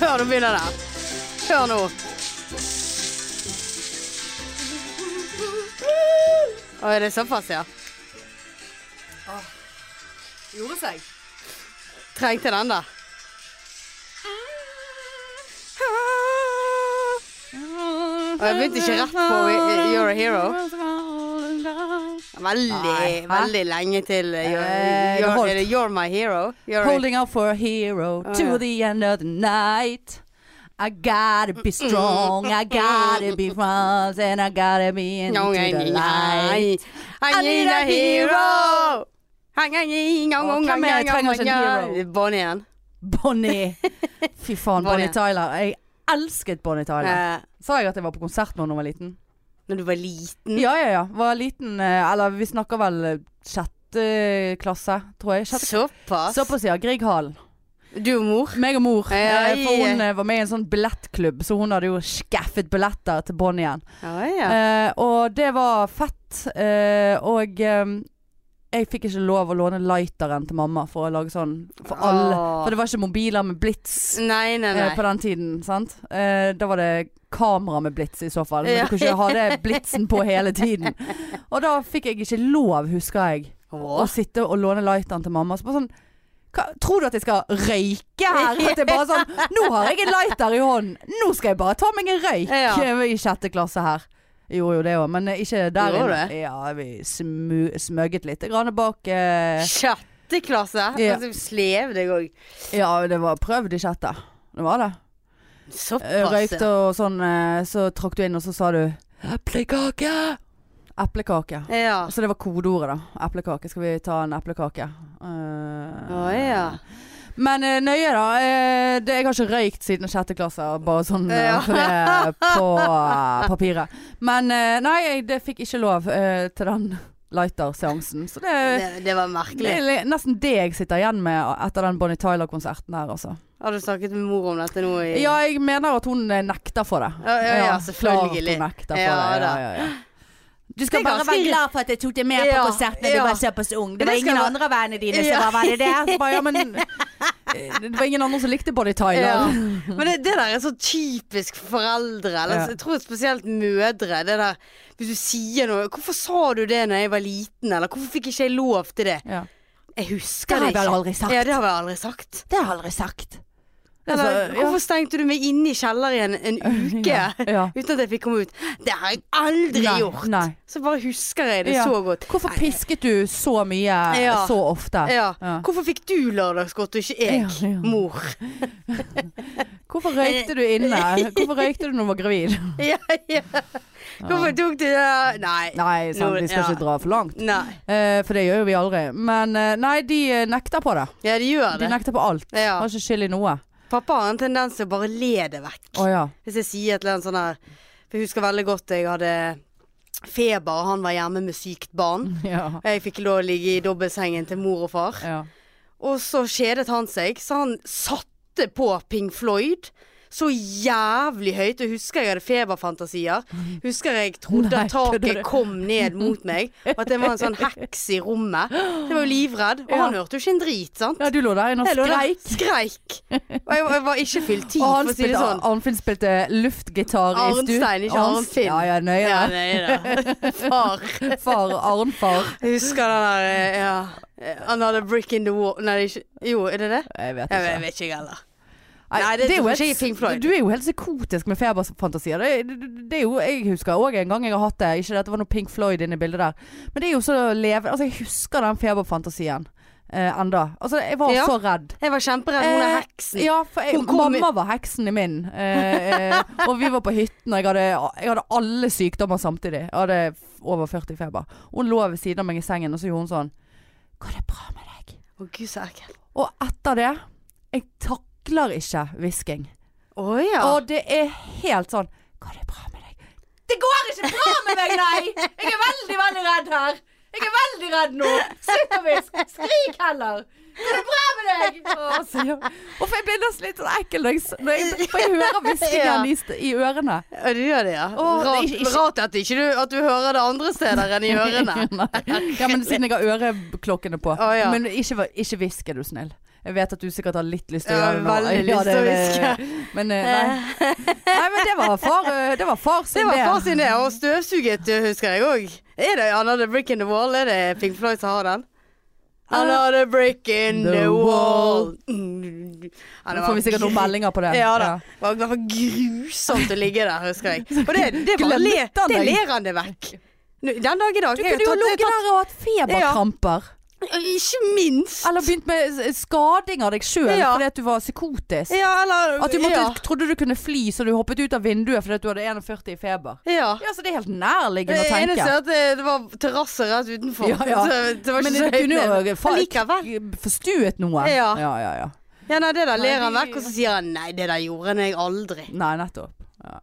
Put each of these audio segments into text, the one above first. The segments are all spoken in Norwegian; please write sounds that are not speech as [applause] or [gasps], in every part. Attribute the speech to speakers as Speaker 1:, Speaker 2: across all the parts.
Speaker 1: Hør, nå begynner det. Hør nå. Å, er det såpass, ja?
Speaker 2: Gjorde seg.
Speaker 1: Trengte den, da. Og jeg begynte ikke rett på eh, You're a Hero. Veldig,
Speaker 2: Nei, hæ?
Speaker 1: veldig lenge til eh, You're,
Speaker 2: Eh, det
Speaker 1: you're,
Speaker 2: holdt.
Speaker 1: er det you're My Hero. You're a
Speaker 2: Holding out for a hero
Speaker 1: Ah, ja.
Speaker 2: to the end of the night. I gotta be strong, I gotta be fast, and I gotta be into
Speaker 1: No, I
Speaker 2: the
Speaker 1: need-
Speaker 2: light.
Speaker 1: I need a hero. Hang, hang, hang, hang,
Speaker 2: Åh,
Speaker 1: hang,
Speaker 2: hvem er
Speaker 1: hang,
Speaker 2: jeg trenger
Speaker 1: hang,
Speaker 2: som
Speaker 1: hang.
Speaker 2: hero?
Speaker 1: Bonnie igjen.
Speaker 2: Bonnie. Fy faen, Bonnie
Speaker 1: Bonnie.
Speaker 2: Tyler. Jeg elsket Bonnie Tyler.
Speaker 1: Eh,
Speaker 2: Sa jeg at jeg var på konsert med henne da hun var liten?
Speaker 1: Når du var liten.
Speaker 2: Ja, ja, ja. Var liten eh, Eller vi snakker vel eh, sjette klasse, tror jeg. Sjette
Speaker 1: Såpass.
Speaker 2: Såpass, ja. Grieghallen.
Speaker 1: Du og mor.
Speaker 2: Meg og mor.
Speaker 1: Ja,
Speaker 2: eh, For
Speaker 1: ja.
Speaker 2: hun eh, var med i en sånn billettklubb, så hun hadde jo skaffet billetter til Bonnie igjen.
Speaker 1: Ja, ja.
Speaker 2: Eh, og det var fett. eh, og eh, jeg fikk ikke lov å låne lighteren til mamma for å lage sånn for alle.
Speaker 1: Åh.
Speaker 2: For det var ikke mobiler med blits
Speaker 1: Nei, nei,
Speaker 2: eh,
Speaker 1: nei.
Speaker 2: på den tiden, sant? Eh, da var det kamera med blits i så fall. Men
Speaker 1: Ja.
Speaker 2: du kunne ikke ha det blitsen på hele
Speaker 1: [laughs]
Speaker 2: tiden. Og da fikk jeg ikke lov, husker jeg, å
Speaker 1: Åh.
Speaker 2: sitte og låne lighteren til mamma. Så bare sånn hva, tror du at jeg skal
Speaker 1: [laughs]
Speaker 2: røyke her? At jeg bare sånn Nå har jeg en lighter i hånden! Nå skal jeg bare ta meg en røyk!
Speaker 1: Ja.
Speaker 2: I sjette klasse her. Gjorde jo det òg, men eh, ikke der
Speaker 1: Gjorde
Speaker 2: inne. Ja, vi smu, smøgget litt grann bak eh,
Speaker 1: Sjette klasse.
Speaker 2: Ja.
Speaker 1: Altså, slev deg òg.
Speaker 2: Ja, det var prøvd i sjette. Det var det. Eh,
Speaker 1: Såpass.
Speaker 2: Røykte og sånn, eh, så trakk du inn, og så sa du Eplekake! Eplekake.
Speaker 1: ja. Ja.
Speaker 2: Så det var kodeordet, da. Eplekake. Skal vi ta en eplekake? Eh,
Speaker 1: Å ja.
Speaker 2: Men eh, nøye, da. Eh, det, jeg har ikke røykt siden sjette klasse, bare sånn eh,
Speaker 1: Ja.
Speaker 2: for det på eh, papiret. Men eh, nei, jeg, det fikk ikke lov eh, til den lighter-seansen. Så det,
Speaker 1: Det, det var
Speaker 2: det
Speaker 1: merkelig.
Speaker 2: er li- nesten det jeg sitter igjen med etter den Bonnie Tyler-konserten her, altså.
Speaker 1: Har du snakket med mor om dette nå i
Speaker 2: Ja, jeg mener at hun eh, nekter for det.
Speaker 1: Ja, ja, ja,
Speaker 2: Klart
Speaker 1: selvfølgelig.
Speaker 2: hun nekter for
Speaker 1: Ja,
Speaker 2: det.
Speaker 1: da.
Speaker 2: Ja, ja, ja. Du
Speaker 3: skal bare være glad for at jeg tok deg med på
Speaker 1: Ja,
Speaker 3: konsert når
Speaker 1: ja.
Speaker 3: du var såpass ung. Det
Speaker 1: Det
Speaker 3: var
Speaker 1: skal
Speaker 3: ingen
Speaker 1: være-
Speaker 3: andre av vennene dine som
Speaker 1: Ja.
Speaker 3: var var det det.
Speaker 2: Jeg bare, [laughs] ja, men eh, Det var ingen andre som likte Bonnie Tyler.
Speaker 1: Ja. Men det, det der er så typisk foreldre. Eller,
Speaker 2: Ja.
Speaker 1: Jeg tror spesielt mødre. Det der, hvis du sier noe 'Hvorfor sa du det når jeg var liten?' Eller 'Hvorfor fikk ikke jeg lov til det?'
Speaker 2: Ja.
Speaker 1: Jeg husker
Speaker 3: Det har
Speaker 1: det
Speaker 3: jeg
Speaker 1: ikke.
Speaker 3: vel aldri sagt.
Speaker 1: Ja, det har jeg aldri sagt.
Speaker 3: Det har jeg aldri sagt.
Speaker 1: Eller,
Speaker 2: Altså, ja.
Speaker 1: Hvorfor stengte du meg inne i kjelleren en, en uke
Speaker 2: [laughs] Ja, ja.
Speaker 1: uten at jeg fikk komme ut? Det har jeg aldri
Speaker 2: Nei,
Speaker 1: gjort!
Speaker 2: nei.
Speaker 1: Så bare husker jeg det
Speaker 2: Ja.
Speaker 1: så godt.
Speaker 2: Hvorfor pisket du så mye
Speaker 1: Ja.
Speaker 2: så ofte?
Speaker 1: Ja.
Speaker 2: Ja.
Speaker 1: Hvorfor fikk du lørdagsgodt og ikke jeg,
Speaker 2: Ja, ja.
Speaker 1: mor? [laughs]
Speaker 2: Hvorfor røykte du inne?
Speaker 3: [laughs]
Speaker 2: Hvorfor røykte du når du var gravid?
Speaker 1: Ja, ja. Hvorfor tok du det? Nei.
Speaker 2: Nei, sant,
Speaker 3: sånn,
Speaker 1: Nå-
Speaker 2: vi
Speaker 1: ja.
Speaker 2: skal ikke dra for langt.
Speaker 1: Nei.
Speaker 2: Eh, for det gjør jo vi aldri. Men eh, nei, de eh, nekter på det.
Speaker 1: Ja, de gjør
Speaker 2: De
Speaker 1: det.
Speaker 2: nekter på alt.
Speaker 1: Ja.
Speaker 2: Har ikke skyld i noe.
Speaker 1: Pappa har en tendens til å bare le det vekk.
Speaker 2: Å
Speaker 1: [laughs]
Speaker 2: ja.
Speaker 1: Hvis jeg sier et eller annet sånn her For jeg husker veldig godt jeg hadde feber, og han var hjemme med sykt barn.
Speaker 2: ja.
Speaker 1: Og Jeg fikk lov å ligge i dobbeltsengen til mor og far.
Speaker 2: ja.
Speaker 1: Og så kjedet han seg, så han satte på Ping Floyd. Så jævlig høyt. Og husker jeg hadde feberfantasier. Husker jeg trodde
Speaker 2: Nei,
Speaker 1: at
Speaker 2: kødder du?
Speaker 1: taket kom ned mot meg. Og at det var en sånn heks i rommet. Så jeg var jo livredd. Og
Speaker 2: Ja.
Speaker 1: han hørte jo ikke en drit, sant.
Speaker 2: ja, du lå der inne og
Speaker 1: Jeg lå der,
Speaker 2: skreik.
Speaker 1: Skreik. Og jeg, jeg var ikke fylt tid,
Speaker 2: Og
Speaker 1: for
Speaker 2: han
Speaker 1: å si det
Speaker 2: spilte,
Speaker 1: sånn.
Speaker 2: Arnfinn spilte eh, luftgitar i stu.
Speaker 1: Arnstein, ikke
Speaker 2: Arns-
Speaker 1: Arnfinn.
Speaker 2: Ja, ja, nøye.
Speaker 1: Ja, nei da. [laughs] Far.
Speaker 2: Far, Arnfar.
Speaker 1: Jeg husker den der eh, ja. Han hadde brick in the wall Nei, det er ikke Jo, er det det?
Speaker 2: Jeg vet
Speaker 1: Jeg
Speaker 2: ikke.
Speaker 1: vet- jeg vet ikke, jeg heller. Nei, det- det var ikke i Pink Floyd.
Speaker 2: Du er jo helt psykotisk med feberfantasier. Det, det, det er jo, jeg husker òg en gang jeg har hatt det. Ikke at det var noe Pink Floyd inne i bildet der. Men det er jo så levende Altså, jeg husker den feberfantasien eh, enda. Altså, jeg var
Speaker 1: Ja.
Speaker 2: så redd.
Speaker 1: Jeg var kjemperedd. Hun er
Speaker 2: Eh,
Speaker 1: heksen.
Speaker 2: Ja, for jeg,
Speaker 1: Hun kom i-
Speaker 2: mamma var heksen i min. Eh, eh, og vi var på hytten, og jeg hadde, jeg hadde alle sykdommer samtidig. Jeg hadde f- over 40 feber. Hun lå ved siden av meg i sengen, og så gjorde hun sånn Går det bra med deg?
Speaker 1: Å gud, så ekkelt.
Speaker 2: Og etter det Jeg takler ikke hvisking.
Speaker 1: Å ja.
Speaker 2: Og det er helt sånn Går det bra med deg? Det går ikke bra med meg, nei! Jeg er veldig, veldig redd her. Jeg er veldig redd nå. Slutt å hviske. Skrik heller. Går det bra med deg? Å, sier- Hvorfor jeg blir nesten litt sånn ekkel når jeg, s- når jeg, for jeg hører
Speaker 1: Ja.
Speaker 2: hviskingen i, st- i ørene.
Speaker 1: Ja, du gjør det, ja.
Speaker 2: Å, det er
Speaker 1: rart,
Speaker 2: ikke- ikke-
Speaker 1: rart at, ikke du, at du hører det andre steder enn i ørene.
Speaker 2: [laughs] Nei. Ja, men siden jeg har øreklokkene på.
Speaker 1: Å, ja.
Speaker 2: Men ikke, ikke hvisk, er du snill. Jeg vet at du sikkert har litt lyst til å
Speaker 1: Ja,
Speaker 2: gjøre det. nå.
Speaker 1: veldig
Speaker 2: Ja,
Speaker 1: lyst til å
Speaker 2: det-
Speaker 1: hviske.
Speaker 2: Men eh, nei. nei, men det var far, eh, det var far
Speaker 1: Det
Speaker 2: sin
Speaker 1: var far sin, det. Og støvsuget eh, husker jeg òg. Er det Another Brick in the Wall? Er det Pink Floyd som har den? Another brick in
Speaker 2: Eh, The
Speaker 1: the, wall. Mm. Ja, det
Speaker 2: Nå
Speaker 1: var
Speaker 2: får vi sikkert noen
Speaker 1: gru-
Speaker 2: meldinger [laughs] på det.
Speaker 1: Ja da. Det var- Det var grusomt å ligge der, husker
Speaker 2: [laughs]
Speaker 1: jeg. Og det, det, var,
Speaker 2: Glemte
Speaker 1: le,
Speaker 2: han
Speaker 1: det
Speaker 2: deg?
Speaker 1: ler han det vekk.
Speaker 2: [laughs]
Speaker 1: Nå, Den dag i dag.
Speaker 2: Du
Speaker 1: Jeg har
Speaker 2: kunne jo
Speaker 1: tatt- jeg
Speaker 2: ligget
Speaker 1: har
Speaker 2: der og hatt feberkramper.
Speaker 1: tatt- Ikke minst.
Speaker 2: Eller begynt med s- skading av deg sjøl
Speaker 1: Ja.
Speaker 2: fordi at du var psykotisk.
Speaker 1: Ja, eller
Speaker 2: At du måtte,
Speaker 1: ja.
Speaker 2: trodde du kunne fly, så du hoppet ut av vinduet fordi at du hadde 41 i feber.
Speaker 1: ja.
Speaker 2: Ja, så det er helt nærliggende
Speaker 1: Det
Speaker 2: å tenke.
Speaker 1: eneste Eh, er at det, det var terrasse rett utenfor.
Speaker 2: [laughs] Ja, ja.
Speaker 1: Så det var ikke
Speaker 2: Men det
Speaker 1: så høyt
Speaker 2: kunne jo
Speaker 1: nede.
Speaker 2: fa-
Speaker 1: Men likevel.
Speaker 2: Forstuet noe.
Speaker 1: Ja.
Speaker 2: ja, ja. ja.
Speaker 1: Ja, nei, det der ler han
Speaker 2: Nei,
Speaker 1: vekk, og så sier han nei, det der gjorde han jeg aldri.
Speaker 2: Nei, nettopp. Ja.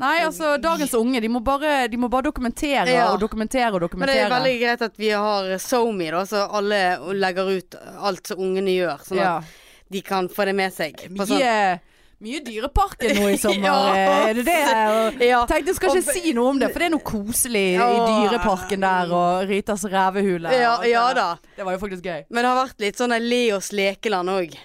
Speaker 2: Nei, altså, dagens unge, de må bare, de må bare dokumentere
Speaker 1: Ja.
Speaker 2: og dokumentere og
Speaker 1: Men det er
Speaker 2: dokumentere.
Speaker 1: veldig greit at vi har SoMe, da, så alle legger ut alt som ungene gjør, sånn at
Speaker 2: ja.
Speaker 1: de kan få det med seg. På sånn.
Speaker 2: Mye, mye dyreparker
Speaker 1: [laughs]
Speaker 2: nå i sommer.
Speaker 1: Ja.
Speaker 2: eh, Er det det? Og
Speaker 1: [laughs] Ja.
Speaker 2: Tenkte jeg skal ikke si noe om det, for det er noe koselig i
Speaker 1: Ja.
Speaker 2: dyreparken der og Ritas revehule.
Speaker 1: Ja,
Speaker 2: og
Speaker 1: ja
Speaker 2: det-
Speaker 1: da.
Speaker 2: Det var jo faktisk gøy.
Speaker 1: Men det har vært litt sånn der Leos lekeland òg.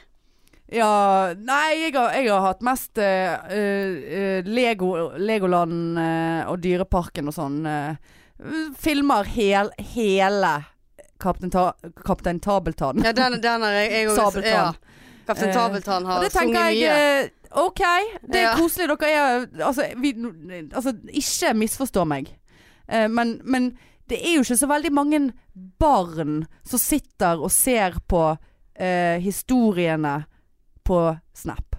Speaker 2: Ja, nei, jeg har, jeg har hatt mest eh, eh, Lego, Legoland eh, og Dyreparken og sånn. eh, filmer hel, hele Kaptein, Ta Kaptein Tabeltann.
Speaker 1: Ja, den, den har jeg, jeg også-
Speaker 2: Sabeltann.
Speaker 1: Ja. Kaptein
Speaker 2: Eh,
Speaker 1: Sabeltann
Speaker 2: Og
Speaker 1: har
Speaker 2: det
Speaker 1: sunget
Speaker 2: tenker
Speaker 1: mye.
Speaker 2: jeg eh, OK, det er
Speaker 1: Ja.
Speaker 2: koselig. Dere er Altså, vi, altså ikke misforstå meg. Eh, men, men det er jo ikke så veldig mange barn som sitter og ser på eh, historiene på Snap.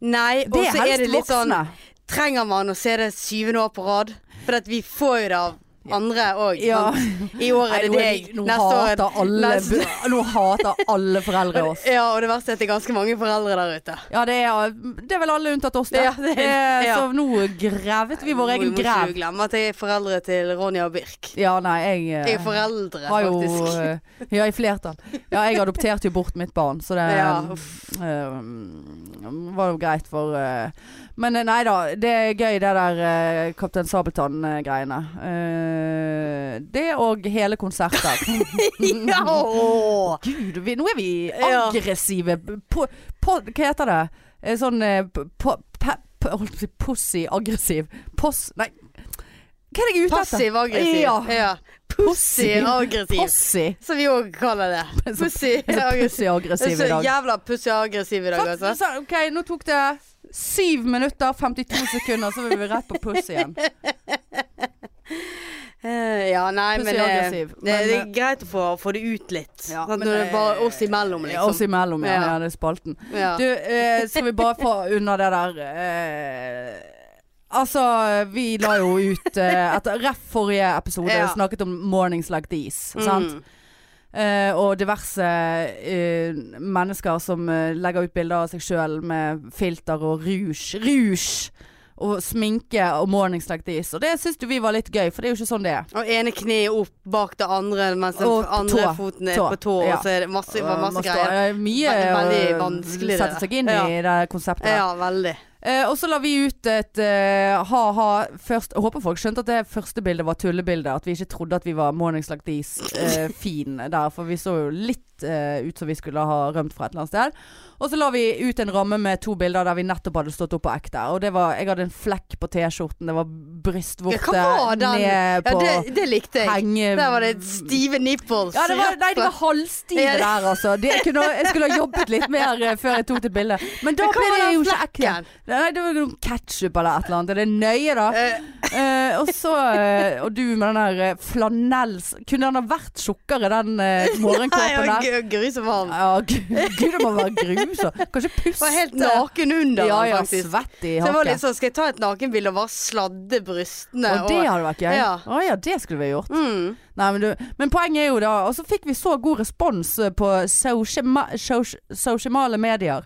Speaker 1: Nei, og
Speaker 2: Det er
Speaker 1: så er
Speaker 2: helst
Speaker 1: det litt sånn
Speaker 2: voksne.
Speaker 1: Trenger man å se det syvende år på rad? For at vi får jo det av andre òg.
Speaker 2: Ja.
Speaker 1: I år er det
Speaker 2: Nei, nå er
Speaker 1: deg.
Speaker 2: vi- Nå
Speaker 1: Neste år er
Speaker 2: hater alle
Speaker 1: [laughs] neste-
Speaker 2: bu- Nå hater alle foreldre
Speaker 1: [laughs]
Speaker 2: oss.
Speaker 1: Ja, og det verste er at det er ganske mange foreldre der ute.
Speaker 2: Ja, det er, det er vel alle unntatt oss, da.
Speaker 1: Ja, det er-
Speaker 2: Eh,
Speaker 1: ja.
Speaker 2: Så nå gravet vi vår egen
Speaker 1: Må ikke
Speaker 2: grev.
Speaker 1: du glemme at jeg er foreldre til Ronja og Birk.
Speaker 2: Ja, nei, jeg
Speaker 1: Jeg
Speaker 2: eh,
Speaker 1: er foreldre,
Speaker 2: har jo
Speaker 1: faktisk.
Speaker 2: eh, Ja, i flertall. Ja, jeg adopterte jo bort mitt barn, så det
Speaker 1: Ja,
Speaker 2: [laughs] eh, var jo greit for eh, Men eh, nei da, det er gøy det der eh, Kaptein Sabeltann-greiene. Eh, det og hele konserter.
Speaker 1: [laughs] ja, åh.
Speaker 2: Gud, vi, nå er vi
Speaker 1: Ja.
Speaker 2: aggressive. På, på, hva heter det? Eh, Sånn eh, på, på, pe- pe- holdt på å si Pussy aggressiv. Poss... Nei. Hva er det jeg er ute etter?
Speaker 1: Passiv aggressiv.
Speaker 2: Ja.
Speaker 1: Pussy
Speaker 2: Pussy.
Speaker 1: aggressiv.
Speaker 2: Possy.
Speaker 1: Som vi òg kaller
Speaker 2: [laughs]
Speaker 1: det. Pussy aggressiv.
Speaker 2: Pussy aggressiv
Speaker 1: Så
Speaker 2: i dag.
Speaker 1: jævla pussy aggressiv i dag,
Speaker 2: Fakt-
Speaker 1: altså.
Speaker 2: så- OK, nå tok det syv minutter, 52 sekunder, så var vi rett på pussy
Speaker 1: [laughs]
Speaker 2: igjen.
Speaker 1: Eh, Ja, nei,
Speaker 2: Pussy
Speaker 1: men, eh,
Speaker 2: aggressiv,
Speaker 1: det,
Speaker 2: men,
Speaker 1: det er greit å få, få det ut litt.
Speaker 2: Ja,
Speaker 1: sånn at
Speaker 2: men
Speaker 1: det
Speaker 2: det-
Speaker 1: er bare oss imellom,
Speaker 2: Oss
Speaker 1: liksom.
Speaker 2: imellom, ja.
Speaker 1: Ja.
Speaker 2: ja. Det er spalten.
Speaker 1: Ja.
Speaker 2: Du, eh, skal vi bare få unna det der eh, Altså, vi la jo ut eh, etter Ref forrige episode
Speaker 1: Ja.
Speaker 2: snakket om 'mornings like these'. Sant?
Speaker 1: Mm.
Speaker 2: Eh, og diverse eh, mennesker som eh, legger ut bilder av seg sjøl med filter og rouge. Rouge! Og sminke og 'mornings like these'. Og det syns du vi var litt gøy, for det er jo ikke sånn det er.
Speaker 1: Og ene kneet opp bak det andre, mens den
Speaker 2: Og på
Speaker 1: andre
Speaker 2: tå.
Speaker 1: foten er
Speaker 2: Tå.
Speaker 1: på tå,
Speaker 2: Ja.
Speaker 1: og så er det masse,
Speaker 2: Eh,
Speaker 1: masse,
Speaker 2: man
Speaker 1: greier.
Speaker 2: står- eh, Mye
Speaker 1: Veldig- veldig
Speaker 2: å
Speaker 1: vanskelig, det
Speaker 2: sette
Speaker 1: der.
Speaker 2: seg inn
Speaker 1: Ja.
Speaker 2: i det konseptet. der.
Speaker 1: Ja, veldig.
Speaker 2: Eh, og så la vi ut et eh, ha-ha først. Jeg håper folk skjønte at det første bildet var tullebildet. At vi ikke trodde at vi var Mornings
Speaker 1: [laughs]
Speaker 2: Like These-fin der. For vi så jo litt eh, ut som vi skulle ha rømt fra et eller annet sted. Og så la vi ut en ramme med to bilder der vi nettopp hadde stått opp på ekte. Og det var, jeg hadde en flekk på T-skjorten. Det var
Speaker 1: Ja,
Speaker 2: brystvorte
Speaker 1: hva var den?
Speaker 2: ned
Speaker 1: Ja,
Speaker 2: på
Speaker 1: det, det likte jeg.
Speaker 2: henge...
Speaker 1: Der var det stive nipples.
Speaker 2: Ja, det var,
Speaker 1: rett
Speaker 2: nei, de
Speaker 1: på-
Speaker 2: var
Speaker 1: [laughs]
Speaker 2: halvstive
Speaker 1: Ja, det-
Speaker 2: der, altså. De, jeg, kunne, jeg skulle ha jobbet litt mer eh, før jeg tok det bildet. Men da
Speaker 1: Men hva
Speaker 2: ble
Speaker 1: var
Speaker 2: det
Speaker 1: den
Speaker 2: jo ikke ekte.
Speaker 1: flekken?
Speaker 2: Nei, det var noe ketchup eller et eller annet. Er det nøye, da?
Speaker 1: Eh,
Speaker 2: Eh, og så eh, Og du med den der eh, flanells... Kunne den ha vært tjukkere, den
Speaker 1: [laughs]
Speaker 2: eh, morgenkåpen
Speaker 1: Nei,
Speaker 2: der?
Speaker 1: jeg var grusom varm.
Speaker 2: Ja, gud, gud, det må være grusomt. Kanskje puste.
Speaker 1: Var helt naken under
Speaker 2: Ja,
Speaker 1: den,
Speaker 2: ja,
Speaker 1: faktisk.
Speaker 2: svett i
Speaker 1: Så jeg var litt
Speaker 2: hakket.
Speaker 1: sånn, skal jeg ta et nakenbilde og bare sladde brystene?
Speaker 2: Og det hadde vært gøy. Å
Speaker 1: Ja.
Speaker 2: ja, det skulle vi gjort.
Speaker 1: mm.
Speaker 2: Nei, men, du, men poenget er jo da Og så fikk vi så god respons eh, på sosiama, sos- sosiale medier.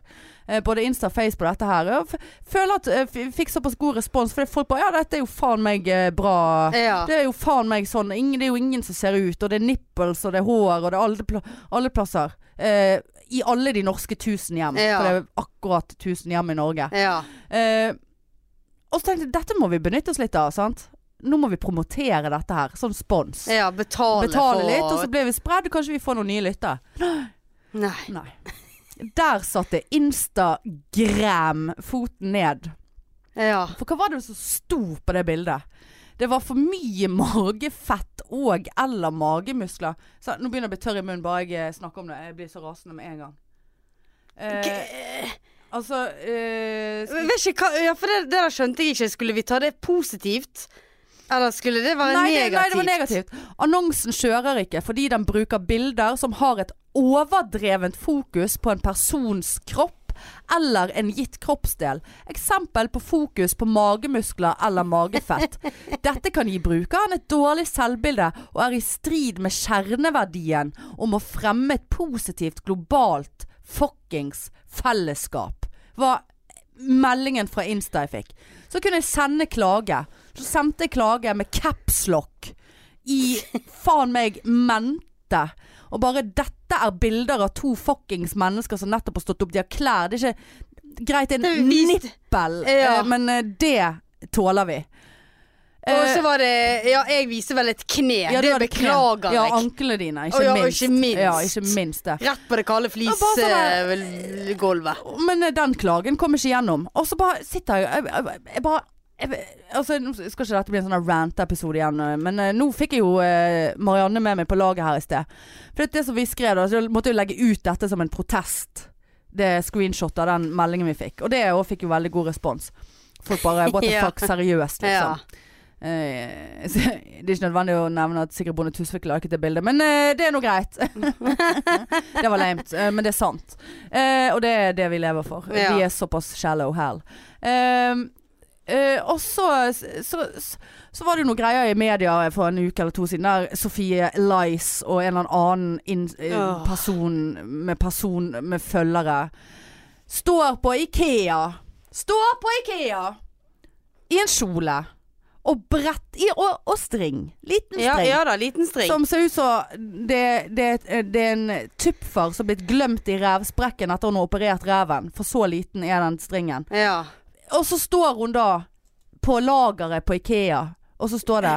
Speaker 2: Eh, både Insta og Face på dette her. Jeg f- føler at eh, f- fikk såpass god respons fordi folk bare Ja, dette er jo faen meg eh, bra.
Speaker 1: ja.
Speaker 2: Det er jo faen meg sånn ingen, Det er jo ingen som ser ut, og det er nipples, og det er hår, og det er alle, pla alle plasser. Eh, I alle de norske tusen hjem.
Speaker 1: Ja.
Speaker 2: For det er akkurat 1000 hjem i Norge.
Speaker 1: ja.
Speaker 2: Eh, og så tenkte jeg dette må vi benytte oss litt av. sant? Nå må vi promotere dette her. Sånn spons.
Speaker 1: Ja, betale,
Speaker 2: Betale
Speaker 1: for
Speaker 2: litt, og så blir vi spredd. Kanskje vi får noen nye lyttere.
Speaker 1: Nei.
Speaker 2: Nei. Der satte Instagram foten ned.
Speaker 1: Ja.
Speaker 2: For hva var det som sto på det bildet? Det var for mye magefett og eller magemuskler. Så, nå begynner jeg å bli tørr i munnen bare jeg eh, snakker om det. Jeg blir så rasende med en gang. Eh, altså eh,
Speaker 1: Jeg
Speaker 2: skal-
Speaker 1: Vet ikke hva Ja, for det, det der skjønte jeg ikke. Skulle vi ta det positivt? Eller skulle det være
Speaker 2: nei, det,
Speaker 1: negativt?
Speaker 2: nei, det var negativt. Annonsen kjører ikke fordi den bruker bilder som har et overdrevent fokus på en persons kropp eller en gitt kroppsdel. Eksempel på fokus på magemuskler eller magefett. Dette kan gi brukeren et dårlig selvbilde og er i strid med kjerneverdien om å fremme et positivt globalt fuckings fellesskap. Var meldingen fra Insta jeg fikk. Så kunne jeg sende klage. Så sendte jeg klage med capslock i faen meg mente. Og bare 'dette er bilder av to fuckings mennesker som nettopp har stått opp'. De har klær. Det er ikke greit, det er
Speaker 1: Det
Speaker 2: en
Speaker 1: viste-
Speaker 2: nippel,
Speaker 1: Ja.
Speaker 2: eh, men eh, det tåler vi.
Speaker 1: Og så
Speaker 2: Eh,
Speaker 1: var det Ja, jeg viser vel et kne.
Speaker 2: ja, du
Speaker 1: det
Speaker 2: hadde
Speaker 1: beklager
Speaker 2: kne. Ja,
Speaker 1: jeg.
Speaker 2: anklene dine,
Speaker 1: Å
Speaker 2: ikke
Speaker 1: ja, og
Speaker 2: minst.
Speaker 1: ikke minst.
Speaker 2: Ja, ikke minst det.
Speaker 1: Rett på det kalde
Speaker 2: Og bare sånn
Speaker 1: flisgulvet.
Speaker 2: Men eh, den klagen kom ikke gjennom. Og så bare sitter jeg Jeg, jeg, jeg bare jeg, altså, nå skal ikke dette bli en sånn her rant-episode igjen, eh, men eh, nå fikk jeg jo eh, Marianne med meg på laget her i sted. For det, det som vi skrev, da, så måtte jeg jo legge ut dette som en protest. Det screenshot av den meldingen vi fikk. Og det òg fikk jo veldig god respons. Folk bare What the
Speaker 1: [laughs] Ja.
Speaker 2: fuck, seriøst,
Speaker 1: Ja.
Speaker 2: liksom. Eh, [laughs] så, det er ikke nødvendig å nevne at Sigrid Bonde Tusvik liket det bildet, men eh, det er nå greit. [laughs] det var lamet, eh, men det er sant. Eh, og det er det vi lever for.
Speaker 1: Ja.
Speaker 2: Vi er såpass shallow hell. Eh, eh, og så, så, så, så var det jo noen greier i media for en uke eller to siden der Sofie Lice og en eller annen inn- eh,
Speaker 1: Åh.
Speaker 2: person med, person med følgere står på Ikea. Står på Ikea i en kjole. Og brett i, og, og string. Liten
Speaker 1: Ja,
Speaker 2: string.
Speaker 1: ja da, liten string.
Speaker 2: Som ser ut som det, det, det er en tupfer som er blitt glemt i revsprekken etter hun har operert reven. For så liten er den stringen.
Speaker 1: Ja.
Speaker 2: Og så står hun da på lageret på Ikea, og så står det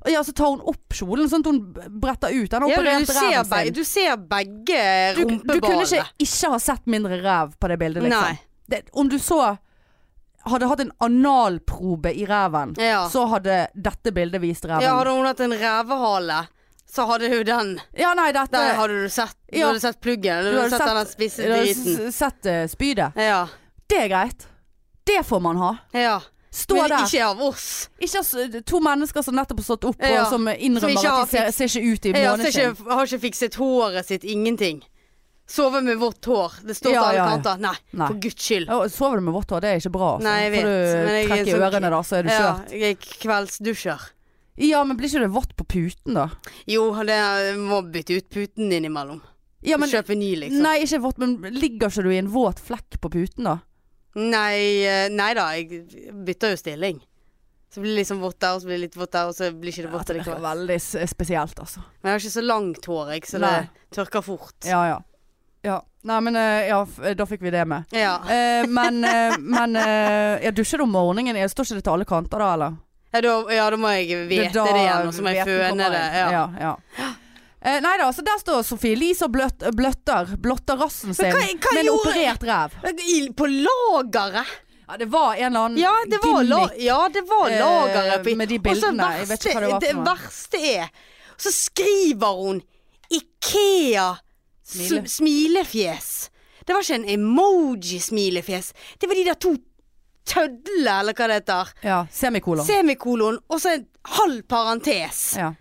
Speaker 2: og ja, så tar hun opp kjolen, sånn at hun b- bretter ut. Den har
Speaker 1: Eh. ja men du,
Speaker 2: operert
Speaker 1: ser
Speaker 2: reven
Speaker 1: be,
Speaker 2: sin.
Speaker 1: du ser begge
Speaker 2: Du, du kunne ikke,
Speaker 1: rumpeballene.
Speaker 2: ikke ha sett mindre ræv på det bildet,
Speaker 1: Nei.
Speaker 2: liksom. Det, om du så hadde hatt en analprobe i reven,
Speaker 1: Ja.
Speaker 2: så hadde dette bildet vist reven.
Speaker 1: ja,
Speaker 2: Ja,
Speaker 1: hadde hun hatt en revehale, så hadde hun den.
Speaker 2: nei, dette
Speaker 1: Den hadde du sett. Du
Speaker 2: Ja.
Speaker 1: hadde sett pluggen. Eller
Speaker 2: Du
Speaker 1: du hadde
Speaker 2: hadde
Speaker 1: sett
Speaker 2: sett-
Speaker 1: den spisse
Speaker 2: Du har
Speaker 1: driten.
Speaker 2: s- sett eh, spydet.
Speaker 1: Ja.
Speaker 2: Det er greit. Det får man ha.
Speaker 1: ja.
Speaker 2: Stå
Speaker 1: men
Speaker 2: der. Ikke,
Speaker 1: ikke av oss.
Speaker 2: s- to mennesker som nettopp har stått opp
Speaker 1: Ja.
Speaker 2: og som innrømmer
Speaker 1: Som ikke har
Speaker 2: at de ser, ser ikke ut i
Speaker 1: Jeg har
Speaker 2: måneskinn.
Speaker 1: ikke, har ikke fikset håret sitt. Ingenting. Sove med vått hår. Det står
Speaker 2: Ja,
Speaker 1: på alle
Speaker 2: ja, ja.
Speaker 1: kanter. Nei,
Speaker 2: Nei.
Speaker 1: for guds skyld.
Speaker 2: Ja, og Sover du med vått hår, det er ikke bra. Altså.
Speaker 1: Nei, jeg vet,
Speaker 2: Får
Speaker 1: men
Speaker 2: du
Speaker 1: jeg er
Speaker 2: trekk i
Speaker 1: sånn-
Speaker 2: ørene da, så er du
Speaker 1: Ja,
Speaker 2: kjørt.
Speaker 1: jeg kveldsdusjer.
Speaker 2: Ja, men blir ikke det vått på puten da?
Speaker 1: Jo, det jeg må bytte ut puten innimellom.
Speaker 2: Ja, men,
Speaker 1: Kjøpe ny, liksom.
Speaker 2: nei, ikke vått, men ligger ikke du i en våt flekk på puten da?
Speaker 1: Nei, eh, nei da, jeg bytter jo stilling. Så blir det liksom vått der, og så blir det litt vått der, og så blir ikke det vått
Speaker 2: det er
Speaker 1: likevel.
Speaker 2: veldig s- spesielt altså.
Speaker 1: Men jeg har ikke så langt hår, jeg, så det
Speaker 2: Nei.
Speaker 1: tørker fort.
Speaker 2: Ja, ja. ja. Nei, men eh, ja, f- da fikk vi det med.
Speaker 1: Ja.
Speaker 2: Eh, men eh, men eh, jeg dusjer om morgenen. Jeg står ikke det til alle kanter da, eller?
Speaker 1: Ja, da, ja, da må jeg
Speaker 2: Det er
Speaker 1: vite det,
Speaker 2: da
Speaker 1: igjen, og så må jeg
Speaker 2: hveten
Speaker 1: føne
Speaker 2: kommer
Speaker 1: det.
Speaker 2: inn.
Speaker 1: Ja.
Speaker 2: ja, ja. Eh, nei da, så der står Sofie Elise og bløtt, bløtter, blotter rassen sin
Speaker 1: hva- hva
Speaker 2: med en
Speaker 1: gjorde-
Speaker 2: operert ræv.
Speaker 1: I- På lageret!
Speaker 2: Ja, det var en eller annen
Speaker 1: Ja, det var, la,
Speaker 2: gimmick.
Speaker 1: ja, det var
Speaker 2: eh,
Speaker 1: lageret. på-
Speaker 2: med de
Speaker 1: Og så
Speaker 2: bildene. Jeg vet ikke hva det var for
Speaker 1: Det
Speaker 2: noe.
Speaker 1: verste er, så skriver hun Ikea
Speaker 2: Smile.
Speaker 1: sm- smilefjes. Det var ikke en emoji-smilefjes. Det var de der to tødlene, eller hva det heter.
Speaker 2: Ja, semikolon.
Speaker 1: Semikolon, og så en halv parentes.
Speaker 2: ja.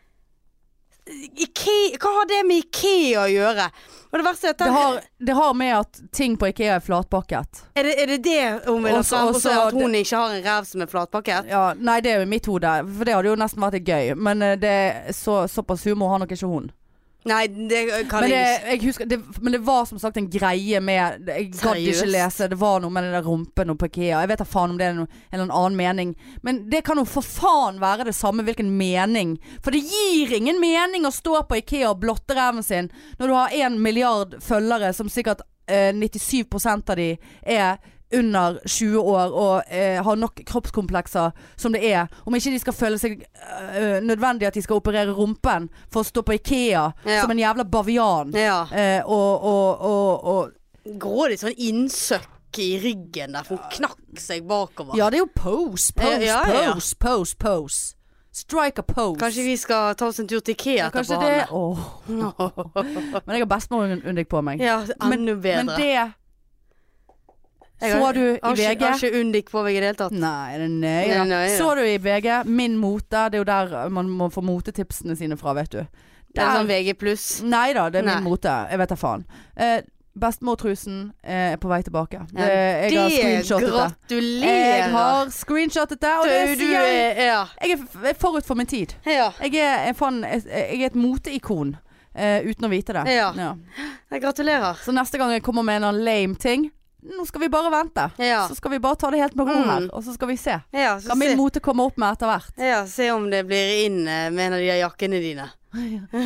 Speaker 1: Ikea, hva har det med Ikea å gjøre? Og det verste er at
Speaker 2: det,
Speaker 1: den-
Speaker 2: har, det har med at ting på Ikea er flatpakket.
Speaker 1: er, det, er det det hun vil ha
Speaker 2: Også-
Speaker 1: frem? Og så
Speaker 2: også
Speaker 1: at hun ikke har en ræv som er flatpakket?
Speaker 2: Ja, nei, det er jo i mitt hode, for det hadde jo nesten vært litt gøy. Men eh, det, er så, såpass humor har nok ikke hun.
Speaker 1: Nei, det kan
Speaker 2: Men det,
Speaker 1: jeg ikke.
Speaker 2: jeg husker, det, men det var som sagt en greie med Jeg gadd ikke
Speaker 1: Seriøst?
Speaker 2: lese. Det var noe med den der rumpen og på Ikea. Jeg vet da faen om det er noe, en eller annen mening. Men det kan jo for faen være det samme hvilken mening. For det gir ingen mening å stå på Ikea og blotte ræven sin når du har en milliard følgere som sikkert eh, 97 av de er under 20 år og eh, har nok kroppskomplekser som det er. Om ikke de skal føle seg eh, nødvendig at de skal operere rumpen for å stå på Ikea
Speaker 1: Ja.
Speaker 2: som en jævla bavian.
Speaker 1: Ja.
Speaker 2: Eh, og, og, og, og
Speaker 1: grådig sånn innsøkk i ryggen der, for hun knakk seg bakover.
Speaker 2: Ja, det er jo pose, pose,
Speaker 1: Eh, Ja, ja, ja.
Speaker 2: pose, pose, pose. Strike a pose.
Speaker 1: Kanskje vi skal ta oss en tur til IKEA
Speaker 2: Ja,
Speaker 1: etterpå?
Speaker 2: kanskje det Åh. Men jeg har bestemorunnig på meg.
Speaker 1: [laughs] Ja, enda bedre.
Speaker 2: Men det
Speaker 1: Jeg har-
Speaker 2: så du i
Speaker 1: har ikke-
Speaker 2: VG?
Speaker 1: Har ikke undik på meg i det hele tatt.
Speaker 2: Nei, det er nøye.
Speaker 1: Nei, nøye, ja.
Speaker 2: Så du i VG, Min mote. Det er jo der man må få motetipsene sine fra, vet du.
Speaker 1: Det er
Speaker 2: Der-
Speaker 1: sånn VG pluss.
Speaker 2: Nei da, det er
Speaker 1: Nei.
Speaker 2: min mote. Jeg vet da faen. Eh, Bestemortrusen eh, er på vei tilbake.
Speaker 1: Ja,
Speaker 2: Eh, jeg har screenshotet det.
Speaker 1: gratulerer!
Speaker 2: Jeg har screenshotet det, og
Speaker 1: Du,
Speaker 2: det
Speaker 1: du
Speaker 2: sier jeg.
Speaker 1: er ja.
Speaker 2: Jeg er f- forut for min tid.
Speaker 1: ja.
Speaker 2: Jeg er, jeg faen, jeg, jeg er et moteikon eh, uten å vite det.
Speaker 1: Ja. Jeg gratulerer.
Speaker 2: Så neste gang jeg kommer med en eller annen lame ting Nå skal vi bare vente.
Speaker 1: Ja.
Speaker 2: Så skal vi bare ta det helt med ro
Speaker 1: Mm.
Speaker 2: her, og så skal vi se.
Speaker 1: Ja, så
Speaker 2: Hva min
Speaker 1: se,
Speaker 2: mote kommer opp med etter hvert.
Speaker 1: ja, se om det blir inn eh, med en av de der jakkene dine.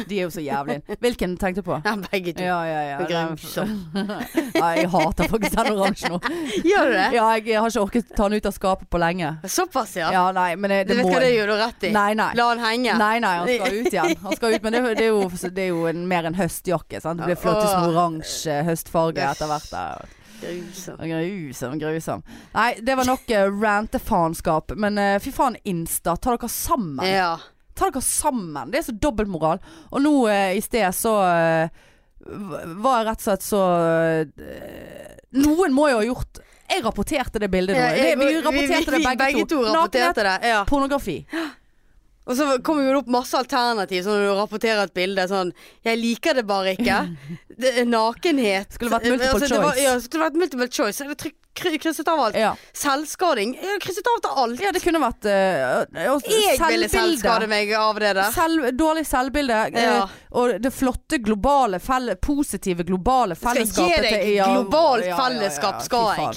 Speaker 2: De er jo så jævlig inn. Hvilken tenkte du på?
Speaker 1: Ja, begge to.
Speaker 2: Ja, ja, ja.
Speaker 1: Det er
Speaker 2: Nei, men-
Speaker 1: grusomt.
Speaker 2: sånn. Nei, jeg hater faktisk den
Speaker 1: [laughs]
Speaker 2: oransje nå.
Speaker 1: Gjør du det?
Speaker 2: Ja, jeg har ikke orket ta den ut av skapet på lenge.
Speaker 1: Såpass, ja.
Speaker 2: Ja, nei, men det,
Speaker 1: Du
Speaker 2: det
Speaker 1: vet
Speaker 2: må
Speaker 1: hva det gjør du rett i?
Speaker 2: Nei, nei.
Speaker 1: La han henge.
Speaker 2: Nei, nei,
Speaker 1: [laughs]
Speaker 2: han skal ut igjen. Han skal ut, men det, det er jo, det er jo en, mer en høstjakke. Sant? Det blir flottest med oransje høstfarge etter hvert. Der.
Speaker 1: Grusomt.
Speaker 2: Grusom, grusom. Nei, det var nok eh, rantefanskap. Men eh, fy faen, Insta. Ta dere sammen.
Speaker 1: Ja.
Speaker 2: Ta dere sammen. Det er så dobbeltmoral. Og nå eh, i sted så eh, v- var jeg rett og slett så eh, Noen må jo ha gjort Jeg rapporterte det bildet nå.
Speaker 1: Ja, jeg-
Speaker 2: det, vi rapporterte det begge,
Speaker 1: to. rapporterte
Speaker 2: Nakenhet,
Speaker 1: det, ja.
Speaker 2: pornografi.
Speaker 1: Og så kommer jo det opp masse alternativ, sånn når du rapporterer et bilde sånn 'Jeg liker det bare
Speaker 2: [laughs]
Speaker 1: ikke'. Det er nakenhet. Altså,
Speaker 2: Skulle vært multiple
Speaker 1: det var-
Speaker 2: choice.
Speaker 1: Ja, skulle vært multiple choice. Så er det tryk- kry- krysset av alt.
Speaker 2: Ja.
Speaker 1: Selvskading. Jeg har krysset av til alt.
Speaker 2: ja, det kunne vært eh, og
Speaker 1: jeg ville
Speaker 2: selvbilde.
Speaker 1: selvskade meg av det der.
Speaker 2: Selv, dårlig selvbilde eh,
Speaker 1: Ja.
Speaker 2: og det flotte globale felle, positive globale
Speaker 1: Skal jeg gi
Speaker 2: fellesskapet
Speaker 1: deg
Speaker 2: til- ja,
Speaker 1: globalt
Speaker 2: ja, ja, ja,
Speaker 1: fellesskap,
Speaker 2: ja, fy
Speaker 1: skal jeg?
Speaker 2: faen.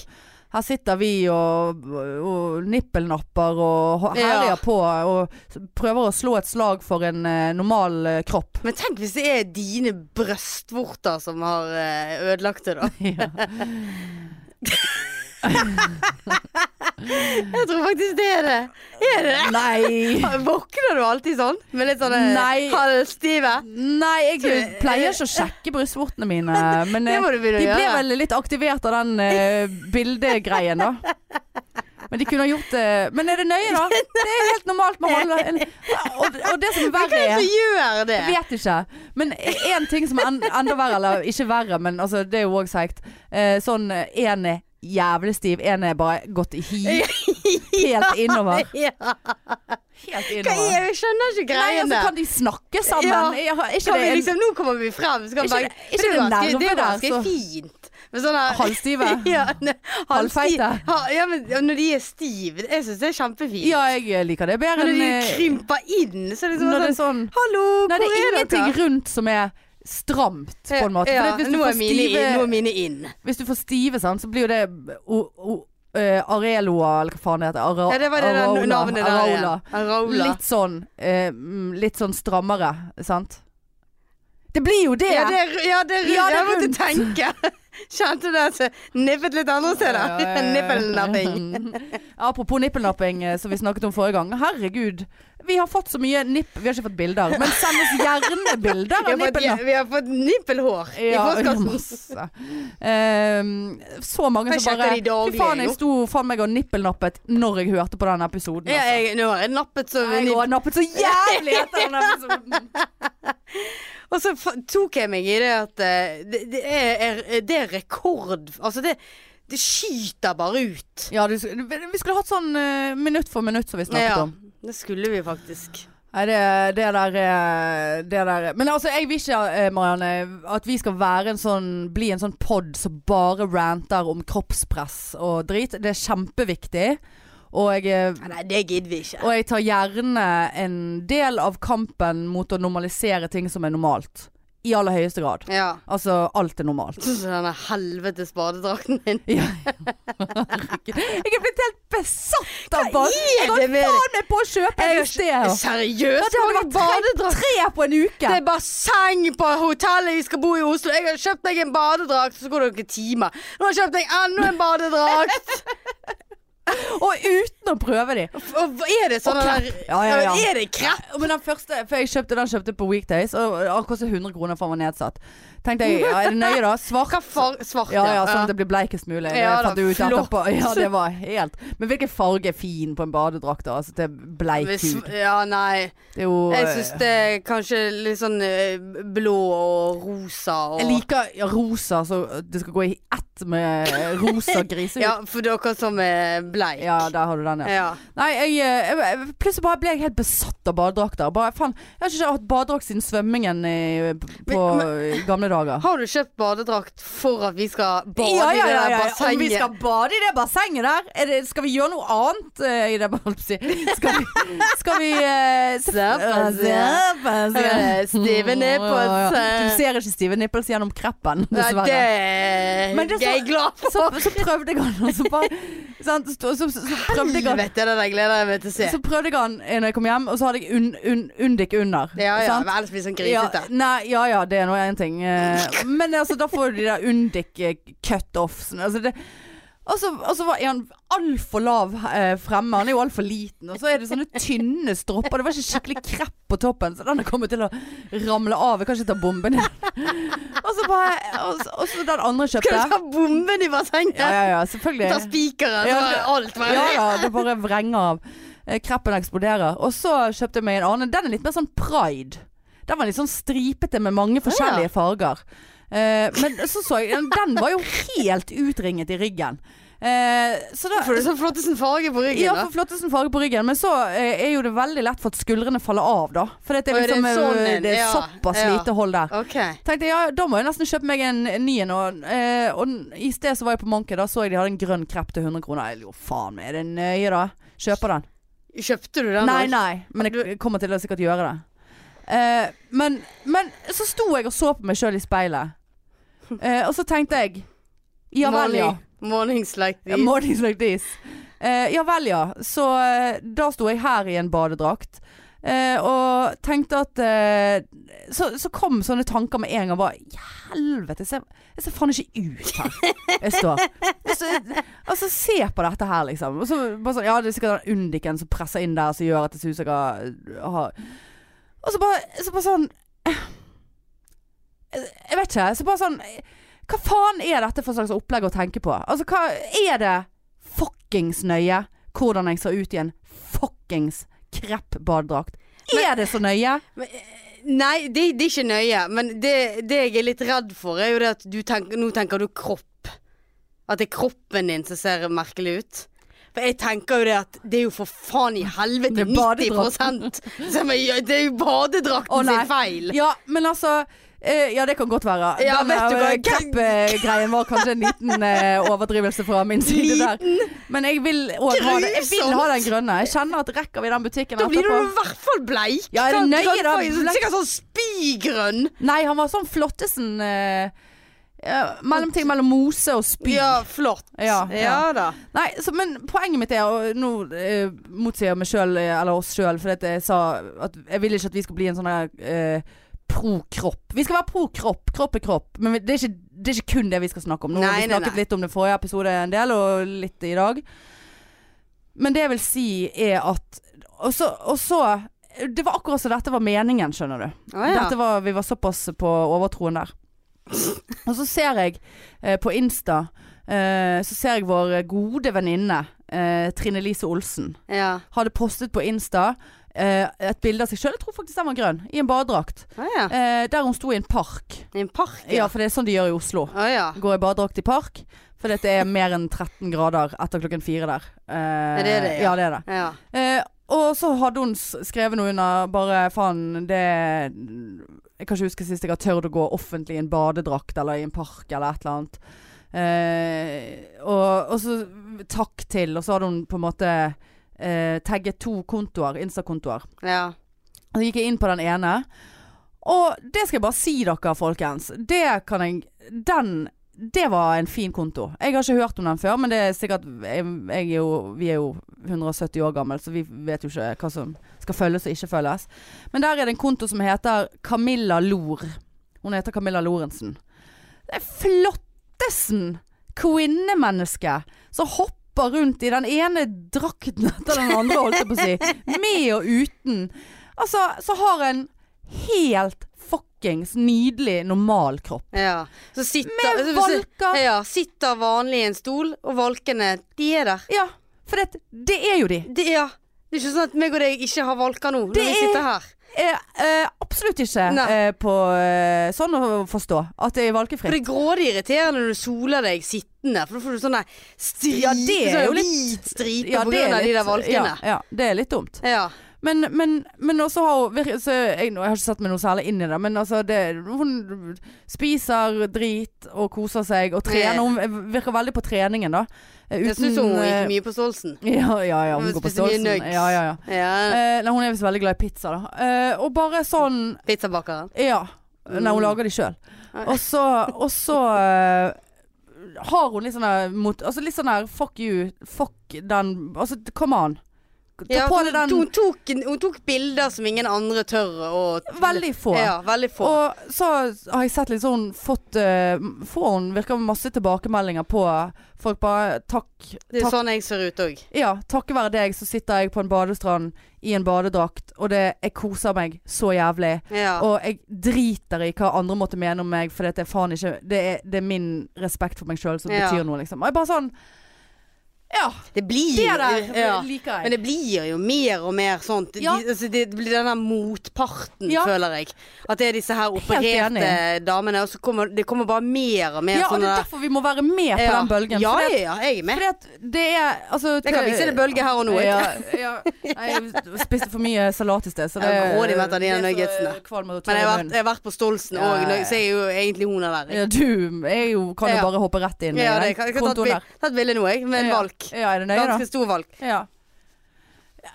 Speaker 2: Her sitter vi og, og nippelnapper og ho- herjer
Speaker 1: Ja.
Speaker 2: på og prøver å slå et slag for en eh, normal eh,
Speaker 1: [laughs]
Speaker 2: kropp.
Speaker 1: Men tenk hvis det er dine brøstvorter som har eh, ødelagt det,
Speaker 2: [laughs]
Speaker 1: da.
Speaker 2: Ja.
Speaker 1: Jeg tror faktisk det er det. Er det det?
Speaker 2: [laughs] Nei.
Speaker 1: Våkner du alltid sånn? Med litt sånn
Speaker 2: Nei.
Speaker 1: halvstive?
Speaker 2: Nei, jeg pleier ikke å sjekke brystvortene mine, men
Speaker 1: Det
Speaker 2: eh,
Speaker 1: må du begynne å
Speaker 2: de ble
Speaker 1: gjøre.
Speaker 2: vel litt aktivert av den
Speaker 1: [laughs]
Speaker 2: eh, bildegreien, da. Men de kunne ha gjort det Men er det nøye,
Speaker 1: [laughs]
Speaker 2: da? Det er helt normalt med å holde en, og, og det som er
Speaker 1: Hva
Speaker 2: verre
Speaker 1: er det
Speaker 2: er
Speaker 1: som gjør det?
Speaker 2: jeg vet ikke. Men én ting som er en, enda verre, eller ikke verre, men altså, det er jo òg seigt. Eh, sånn én er jævlig stiv, én er bare gått i hi. Helt innover.
Speaker 1: [laughs] Ja.
Speaker 2: Helt
Speaker 1: Hva
Speaker 2: innover.
Speaker 1: er Jeg skjønner ikke
Speaker 2: Nei,
Speaker 1: greiene.
Speaker 2: altså, kan de snakke sammen?
Speaker 1: Ja.
Speaker 2: Jeg har- er ikke
Speaker 1: Kan
Speaker 2: det
Speaker 1: vi
Speaker 2: en
Speaker 1: liksom, nå kommer vi frem. Så kan
Speaker 2: Ikke
Speaker 1: bare,
Speaker 2: det-
Speaker 1: Men det
Speaker 2: ikke
Speaker 1: er jo
Speaker 2: det
Speaker 1: ganske-
Speaker 2: nerver
Speaker 1: Det er jo
Speaker 2: der,
Speaker 1: ganske
Speaker 2: så-
Speaker 1: fint. Med sånne
Speaker 2: halvstive?
Speaker 1: [laughs] ja, ne, halvsti-
Speaker 2: Halvfeite?
Speaker 1: Ha, ja, men ja, når de er stive. Jeg syns det er kjempefint.
Speaker 2: Ja, jeg liker det bedre
Speaker 1: Men når
Speaker 2: enn
Speaker 1: de
Speaker 2: eh,
Speaker 1: krymper inn, så er det liksom
Speaker 2: når det
Speaker 1: bare
Speaker 2: er
Speaker 1: sånn
Speaker 2: sånn
Speaker 1: Hallo,
Speaker 2: Nei, det
Speaker 1: hvor
Speaker 2: er
Speaker 1: er
Speaker 2: ingenting
Speaker 1: dere?
Speaker 2: rundt som er stramt, på en måte.
Speaker 1: Ja,
Speaker 2: For hvis, du
Speaker 1: nå,
Speaker 2: får
Speaker 1: er mine
Speaker 2: stive,
Speaker 1: inn, nå er mine inn.
Speaker 2: hvis du får stive, sant, så blir jo det o, o, eh, Areloa, eller hva faen det heter. Ara,
Speaker 1: Ja, det var det der
Speaker 2: Araula,
Speaker 1: navnet der.
Speaker 2: Araula.
Speaker 1: igjen. Araula.
Speaker 2: Litt sånn eh, mm, Litt sånn strammere, sant? Det blir jo det!
Speaker 1: Ja, det er, ja, det er,
Speaker 2: Ja, det
Speaker 1: jeg
Speaker 2: er
Speaker 1: måtte tenke. [laughs] Kjente det at jeg nippet litt andre steder.
Speaker 2: Ja, ja, ja.
Speaker 1: [laughs] Nippelnapping.
Speaker 2: [laughs] Apropos nippelnapping, eh, som vi snakket om forrige gang. Herregud, vi har fått så mye nipp... Vi har ikke fått bilder, men send oss gjerne bilder av
Speaker 1: Vi har,
Speaker 2: nippelnapping.
Speaker 1: fått, vi har fått nippelhår i
Speaker 2: Ja,
Speaker 1: postkassen.
Speaker 2: masse. Ehm, så mange
Speaker 1: Jeg
Speaker 2: som
Speaker 1: sjekker
Speaker 2: bare
Speaker 1: de daglige,
Speaker 2: Fy faen, jeg
Speaker 1: jo.
Speaker 2: sto faen meg og nippelnappet når jeg hørte på den episoden.
Speaker 1: Ja,
Speaker 2: altså.
Speaker 1: jeg, nå har jeg nappet som en
Speaker 2: Jeg
Speaker 1: nipp.
Speaker 2: har nappet så jævlig etter den
Speaker 1: [laughs]
Speaker 2: episoden.
Speaker 1: Og så fa- tok jeg meg i det at eh, det, det, er, er, det er rekord Altså, det, det skyter bare ut.
Speaker 2: Ja, du, vi skulle hatt sånn eh, minutt for minutt som vi snakket
Speaker 1: Ja,
Speaker 2: om.
Speaker 1: det skulle vi faktisk.
Speaker 2: Nei, det, det der er Det der er Men altså, jeg vil ikke, eh, Marianne, at vi skal være en sånn Bli en sånn pod som bare ranter om kroppspress og drit. Det er kjempeviktig. Og jeg eh,
Speaker 1: Ja, Nei, det gidder vi ikke.
Speaker 2: Og jeg tar gjerne en del av kampen mot å normalisere ting som er normalt. I aller høyeste grad.
Speaker 1: Ja.
Speaker 2: Altså, alt er normalt. [laughs]
Speaker 1: Sånn som denne helvetes badedrakten din.
Speaker 2: Ja. Herregud. Jeg er blitt helt besatt av
Speaker 1: Hva
Speaker 2: bad.
Speaker 1: er
Speaker 2: Jeg
Speaker 1: det
Speaker 2: holdt
Speaker 1: med deg?
Speaker 2: faen meg på å kjøpe
Speaker 1: Jeg
Speaker 2: en
Speaker 1: har
Speaker 2: i sted.
Speaker 1: ikke-
Speaker 2: Ja,
Speaker 1: Seriøst?
Speaker 2: det hadde
Speaker 1: Mange
Speaker 2: vært tre,
Speaker 1: badedrakter?
Speaker 2: tre på en uke.
Speaker 1: Det er basseng på hotellet vi skal bo i Oslo. Jeg har kjøpt meg en badedrakt, så går det noen timer. Nå har jeg kjøpt meg enda en badedrakt. [laughs]
Speaker 2: Og uten å prøve de.
Speaker 1: Og hva er det sånn
Speaker 2: Og
Speaker 1: der
Speaker 2: krepp. Ja, ja, ja.
Speaker 1: Er det krepp?
Speaker 2: Men den første, for jeg kjøpte den kjøpte jeg på weekdays, og den kostet 100 kroner for den var nedsatt. Tenkte jeg, ja, er det nøye da? Svart?
Speaker 1: Hva far... Svart,
Speaker 2: Ja, ja, sånn at det blir bleikest mulig. Det
Speaker 1: Ja da,
Speaker 2: fant jeg ut
Speaker 1: flott.
Speaker 2: etterpå. Ja, det var helt Men hvilken farge er fin på en badedrakt, da? Altså til bleik
Speaker 1: Hvis,
Speaker 2: hud.
Speaker 1: ja, nei.
Speaker 2: Det er jo eh,
Speaker 1: Jeg syns det er kanskje litt sånn eh, blå og rosa og
Speaker 2: Jeg liker ja, rosa, så det skal gå i ett med eh,
Speaker 1: [laughs]
Speaker 2: rosa grisehud.
Speaker 1: Ja,
Speaker 2: ja.
Speaker 1: for dere som er bleik.
Speaker 2: der har du den, ja.
Speaker 1: Ja.
Speaker 2: Nei, jeg, eh, jeg, jeg plutselig bare ble jeg helt besatt av badedrakter. Bare, faen, jeg har ikke hatt badedrakt siden svømmingen i, på i gamle dager.
Speaker 1: Har du kjøpt badedrakt for at vi skal bade i det der
Speaker 2: Om vi
Speaker 1: bassenget?
Speaker 2: skal bade i det bassenget der, er det, skal vi gjøre noe annet eh, i det [laughs] holdt på å si. Skal vi, skal vi
Speaker 1: [laughs]
Speaker 2: eh, se-
Speaker 1: Såpass, ja.
Speaker 2: Såpass, ja.
Speaker 1: Eh, [laughs] Stive
Speaker 2: Mm, Ja,
Speaker 1: nipples.
Speaker 2: ja. Du
Speaker 1: eh.
Speaker 2: ser ikke stive nipples gjennom kreppen,
Speaker 1: Nei, det
Speaker 2: dessverre.
Speaker 1: er
Speaker 2: Men det er så-
Speaker 1: jeg er glad for.
Speaker 2: Så, så prøvde jeg han, og så bare
Speaker 1: [laughs]
Speaker 2: sant, så, så, så, så prøvde jeg han
Speaker 1: Helvete, det der gleder jeg meg til å se.
Speaker 2: Så prøvde jeg han eh, når jeg kom hjem, og så hadde jeg unn, unn, Undik under.
Speaker 1: Ja ja,
Speaker 2: sant?
Speaker 1: men ellers blir det sånn
Speaker 2: ja,
Speaker 1: grisete.
Speaker 2: nei, ja ja, det er nå én ting. eh, Men altså, da får du de der Undik eh, cut-offs. Altså det- og så og så var- er han altfor lav eh, fremme. Han er jo altfor liten. Og så er det sånne tynne stropper. Det var ikke skikkelig krepp på toppen, så den kommer til å ramle av. Jeg kan ikke ta bomben [laughs] i den. Og så bare Og så- og så den andre
Speaker 1: Skal du
Speaker 2: kjøpte.
Speaker 1: ta bomben i bassenget?
Speaker 2: Ja, ja, ja,
Speaker 1: Ta
Speaker 2: selvfølgelig.
Speaker 1: spikeren,
Speaker 2: Ja,
Speaker 1: så er alt
Speaker 2: Ja,
Speaker 1: bare
Speaker 2: ja, det bare vrenger av. Eh, Kreppen eksploderer. Og så kjøpte jeg meg en annen. Den er litt mer sånn pride. Den var litt sånn stripete med mange forskjellige farger. Eh, men så så jeg Den var jo helt utringet i ryggen. Eh, så da
Speaker 1: Får du så flottesen farge på ryggen,
Speaker 2: ja,
Speaker 1: da?
Speaker 2: for flottesen farge på ryggen, men så eh, er jo det veldig lett for at skuldrene faller av, da. For det
Speaker 1: Å,
Speaker 2: er
Speaker 1: er det
Speaker 2: liksom eh,
Speaker 1: sånn en?
Speaker 2: det er
Speaker 1: Ja,
Speaker 2: såpass
Speaker 1: ja.
Speaker 2: lite hold der.
Speaker 1: OK.
Speaker 2: Tenkte jeg, ja, da må jeg nesten kjøpe meg en en ny en. Og, eh, og n- i sted så var jeg på Monkey, da så jeg de hadde en grønn krepp til 100 kroner. Jeg, jo, faen meg, er det nøye da? Kjøper den.
Speaker 1: Kjøpte du den?
Speaker 2: Nei,
Speaker 1: da?
Speaker 2: nei, men jeg kommer til å sikkert gjøre det. Eh, men, men så sto jeg og så på meg sjøl i speilet. Eh, og så tenkte jeg Ja vel, ja.
Speaker 1: Morning- Mornings like
Speaker 2: Ja,
Speaker 1: this.
Speaker 2: Mornings like this. Eh, ja vel, ja. Så eh, da sto jeg her i en badedrakt. eh, og tenkte at eh, så, så kom sånne tanker med en gang. Bare helvete, jeg ser, jeg ser faen ikke ut her. Jeg står. Og så, altså, se på dette her, liksom. Og så bare sånn, ja, det er sikkert den undiken som presser inn der, som gjør at det ser ut som jeg har- har Og så bare, så bare sånn eh, Jeg vet ikke. Så bare sånn hva faen er dette for slags opplegg å tenke på? Altså, hva er det fuckings nøye hvordan jeg ser ut i en fuckings krepp badedrakt? Er det så nøye?
Speaker 1: Nei, det, det er ikke nøye. Men det, det jeg er litt redd for, er jo det at du tenker, nå tenker du kropp. At det er kroppen din som ser merkelig ut. For jeg tenker jo det at det er jo for faen i helvete
Speaker 2: Det er badedrakten.
Speaker 1: 90 som er, Det er jo badedrakten
Speaker 2: Å, nei.
Speaker 1: sin feil.
Speaker 2: Ja, men altså eh, Ja, det kan godt være.
Speaker 1: Ja,
Speaker 2: Den
Speaker 1: vet du hva?
Speaker 2: eh, krepp-greien var kanskje en
Speaker 1: [laughs]
Speaker 2: liten eh, overdrivelse fra min side der. Men jeg vil òg ha, det- jeg vil ha den grønne. Jeg kjenner at rekker vi den butikken
Speaker 1: Da blir du
Speaker 2: etterpå
Speaker 1: i hvert fall bleik.
Speaker 2: Ja, er det nøye,
Speaker 1: Grønn-
Speaker 2: da?
Speaker 1: grønn- Sikkert sånn spygrønn.
Speaker 2: Nei, han var sånn flottesen eh, ja, Mellomting mellom mose og spy.
Speaker 1: Ja, flott.
Speaker 2: Ja, ja.
Speaker 1: da.
Speaker 2: Nei, så, men poenget mitt er Og nå eh, motsier jeg meg sjøl, eller oss sjøl, fordi at jeg sa at jeg vil ikke at vi skal bli en sånn der eh, pro-kropp. Vi skal være pro-kropp. Kropp er kropp. Men vi- det er, ikke, det er ikke kun det vi skal snakke om. Nå har
Speaker 1: Nei,
Speaker 2: vi
Speaker 1: nei,
Speaker 2: snakket
Speaker 1: nei.
Speaker 2: litt om det forrige episode en del, og litt i dag. Men det jeg vil si, er at Og så, og så Det var akkurat som dette var meningen, skjønner du.
Speaker 1: Å, ja.
Speaker 2: Dette var, vi var såpass på overtroen der. Og så ser jeg eh, på Insta eh, Så ser jeg vår gode venninne eh, Trine Lise Olsen
Speaker 1: ja.
Speaker 2: hadde postet på Insta eh, et bilde av seg sjøl, jeg tror faktisk den var grønn, i en badedrakt.
Speaker 1: Å, ja.
Speaker 2: Eh, der hun sto i en park.
Speaker 1: I en park,
Speaker 2: Ja, for det er sånn de gjør i Oslo.
Speaker 1: Å ja.
Speaker 2: Går i badedrakt i park, for det er mer enn 13 grader etter klokken fire der. Eh,
Speaker 1: Er det det, ja?
Speaker 2: Ja, det er det.
Speaker 1: ja.
Speaker 2: Eh, og så hadde hun s- skrevet noe under bare faen det Jeg kan ikke huske sist jeg har tørt å gå offentlig i en badedrakt eller i en park eller et eller annet. Eh, og, og så takk til, og så hadde hun på en måte eh, tagget to kontoer, Insta-kontoer.
Speaker 1: ja.
Speaker 2: Så gikk jeg inn på den ene. Og det skal jeg bare si dere, folkens. Det kan jeg Den Det var en fin konto. Jeg har ikke hørt om den før, men det er sikkert jeg, jeg er jo, Vi er jo 170 år gamle, så vi vet jo ikke hva som skal følges og ikke følges. Men der er det en konto som heter Camilla Lor. Hun heter Camilla Lorentzen. Det er flottesen kvinnemenneske som hopper rundt i den ene drakten etter den andre, holdt jeg på å si. Med og uten. Altså, så har en helt fuckings fuckings nydelig, normal kropp.
Speaker 1: Ja. Så sitter,
Speaker 2: Med valker.
Speaker 1: Ja, sitter vanlig i en stol, og valkene, de er der.
Speaker 2: Ja, for det, det er jo de.
Speaker 1: Det, ja. det er ikke sånn at meg og deg ikke har valker nå,
Speaker 2: Det
Speaker 1: når vi
Speaker 2: er-
Speaker 1: sitter her.
Speaker 2: Eh, eh, absolutt ikke
Speaker 1: Nei.
Speaker 2: eh, på eh, sånn å forstå. At det er
Speaker 1: For
Speaker 2: valgfritt.
Speaker 1: det er grådig irriterende når du soler deg sittende, for da får du sånne stri
Speaker 2: Ja, det er
Speaker 1: sånn
Speaker 2: jo litt-
Speaker 1: hvit stripe
Speaker 2: Ja,
Speaker 1: på
Speaker 2: det er
Speaker 1: grunn av de
Speaker 2: litt-
Speaker 1: der valkene.
Speaker 2: Ja, ja, det er litt dumt.
Speaker 1: Ja.
Speaker 2: Men, men, men også har hun virke- så jeg, nå- jeg har ikke satt meg noe særlig inn i det, men altså det, Hun spiser drit og koser seg og trener.
Speaker 1: Ja.
Speaker 2: Hun virker veldig på treningen, da. Eh,
Speaker 1: Det synes hun
Speaker 2: eh,
Speaker 1: gikk mye på Stolsen.
Speaker 2: Ja, ja, ja. Hun
Speaker 1: Hun
Speaker 2: går på
Speaker 1: spiser mye
Speaker 2: ståelsen.
Speaker 1: nugs.
Speaker 2: Ja, ja, ja.
Speaker 1: Ja.
Speaker 2: Eh, nei, hun er visst veldig glad i pizza, da. Eh, og bare sånn
Speaker 1: Pizzabakeren.
Speaker 2: Ja. Nei,
Speaker 1: Mm.
Speaker 2: hun lager de sjøl. Og så, og så eh, har hun litt sånn der mot Altså litt sånn der fuck you, fuck den Altså come on. Ta
Speaker 1: Ja,
Speaker 2: på
Speaker 1: hun,
Speaker 2: deg den.
Speaker 1: hun, tok, hun tok bilder som ingen andre tør å
Speaker 2: Veldig få.
Speaker 1: Ja, veldig få.
Speaker 2: Og så har jeg sett litt sånn fått eh, Får hun virker masse tilbakemeldinger på folk bare Takk.
Speaker 1: det er
Speaker 2: takk
Speaker 1: sånn jeg ser ut òg.
Speaker 2: ja, takket være deg så sitter jeg på en badestrand i en badedrakt, og det, jeg koser meg så jævlig.
Speaker 1: Ja.
Speaker 2: Og jeg driter i hva andre måtte mene om meg, for det er faen ikke Det er, det er min respekt for meg sjøl som
Speaker 1: Ja.
Speaker 2: betyr noe, liksom. Og jeg bare sånn Ja.
Speaker 1: Det blir
Speaker 2: Det der
Speaker 1: ja. Men
Speaker 2: liker jeg.
Speaker 1: det blir jo mer og mer sånt.
Speaker 2: Ja.
Speaker 1: De, altså, det blir den der motparten,
Speaker 2: Ja.
Speaker 1: føler jeg. At det er disse her opererte
Speaker 2: enig.
Speaker 1: damene. Og så kommer det kommer bare mer og mer
Speaker 2: Ja, og det
Speaker 1: sånne
Speaker 2: er derfor vi må være med på den bølgen.
Speaker 1: sånn Ja,
Speaker 2: fordi at-
Speaker 1: ja, ja, jeg er med.
Speaker 2: Fordi at det er altså,
Speaker 1: Jeg kan
Speaker 2: tø-
Speaker 1: vise deg bølge her og nå,
Speaker 2: Ja, ja. Nei, Jeg spiste for mye salat i sted, så det
Speaker 1: Jeg er grådig mett av de her nuggetsene.
Speaker 2: Kvalm
Speaker 1: Men
Speaker 2: og tørr
Speaker 1: jeg
Speaker 2: i
Speaker 1: har vært,
Speaker 2: munnen.
Speaker 1: jeg har vært på Stolsen
Speaker 2: Ja,
Speaker 1: òg,
Speaker 2: ja, ja.
Speaker 1: så jeg er jo egentlig hun er der.
Speaker 2: Ja, du jeg jo, kan jo
Speaker 1: Ja.
Speaker 2: bare hoppe rett inn
Speaker 1: Ja, det,
Speaker 2: i den
Speaker 1: jeg har tatt,
Speaker 2: eh, kontoen der.
Speaker 1: bil- tatt bilde nå, jeg, med en
Speaker 2: Ja.
Speaker 1: valk.
Speaker 2: Ja, er det nøye, da?
Speaker 1: Ganske stor valk.
Speaker 2: Ja.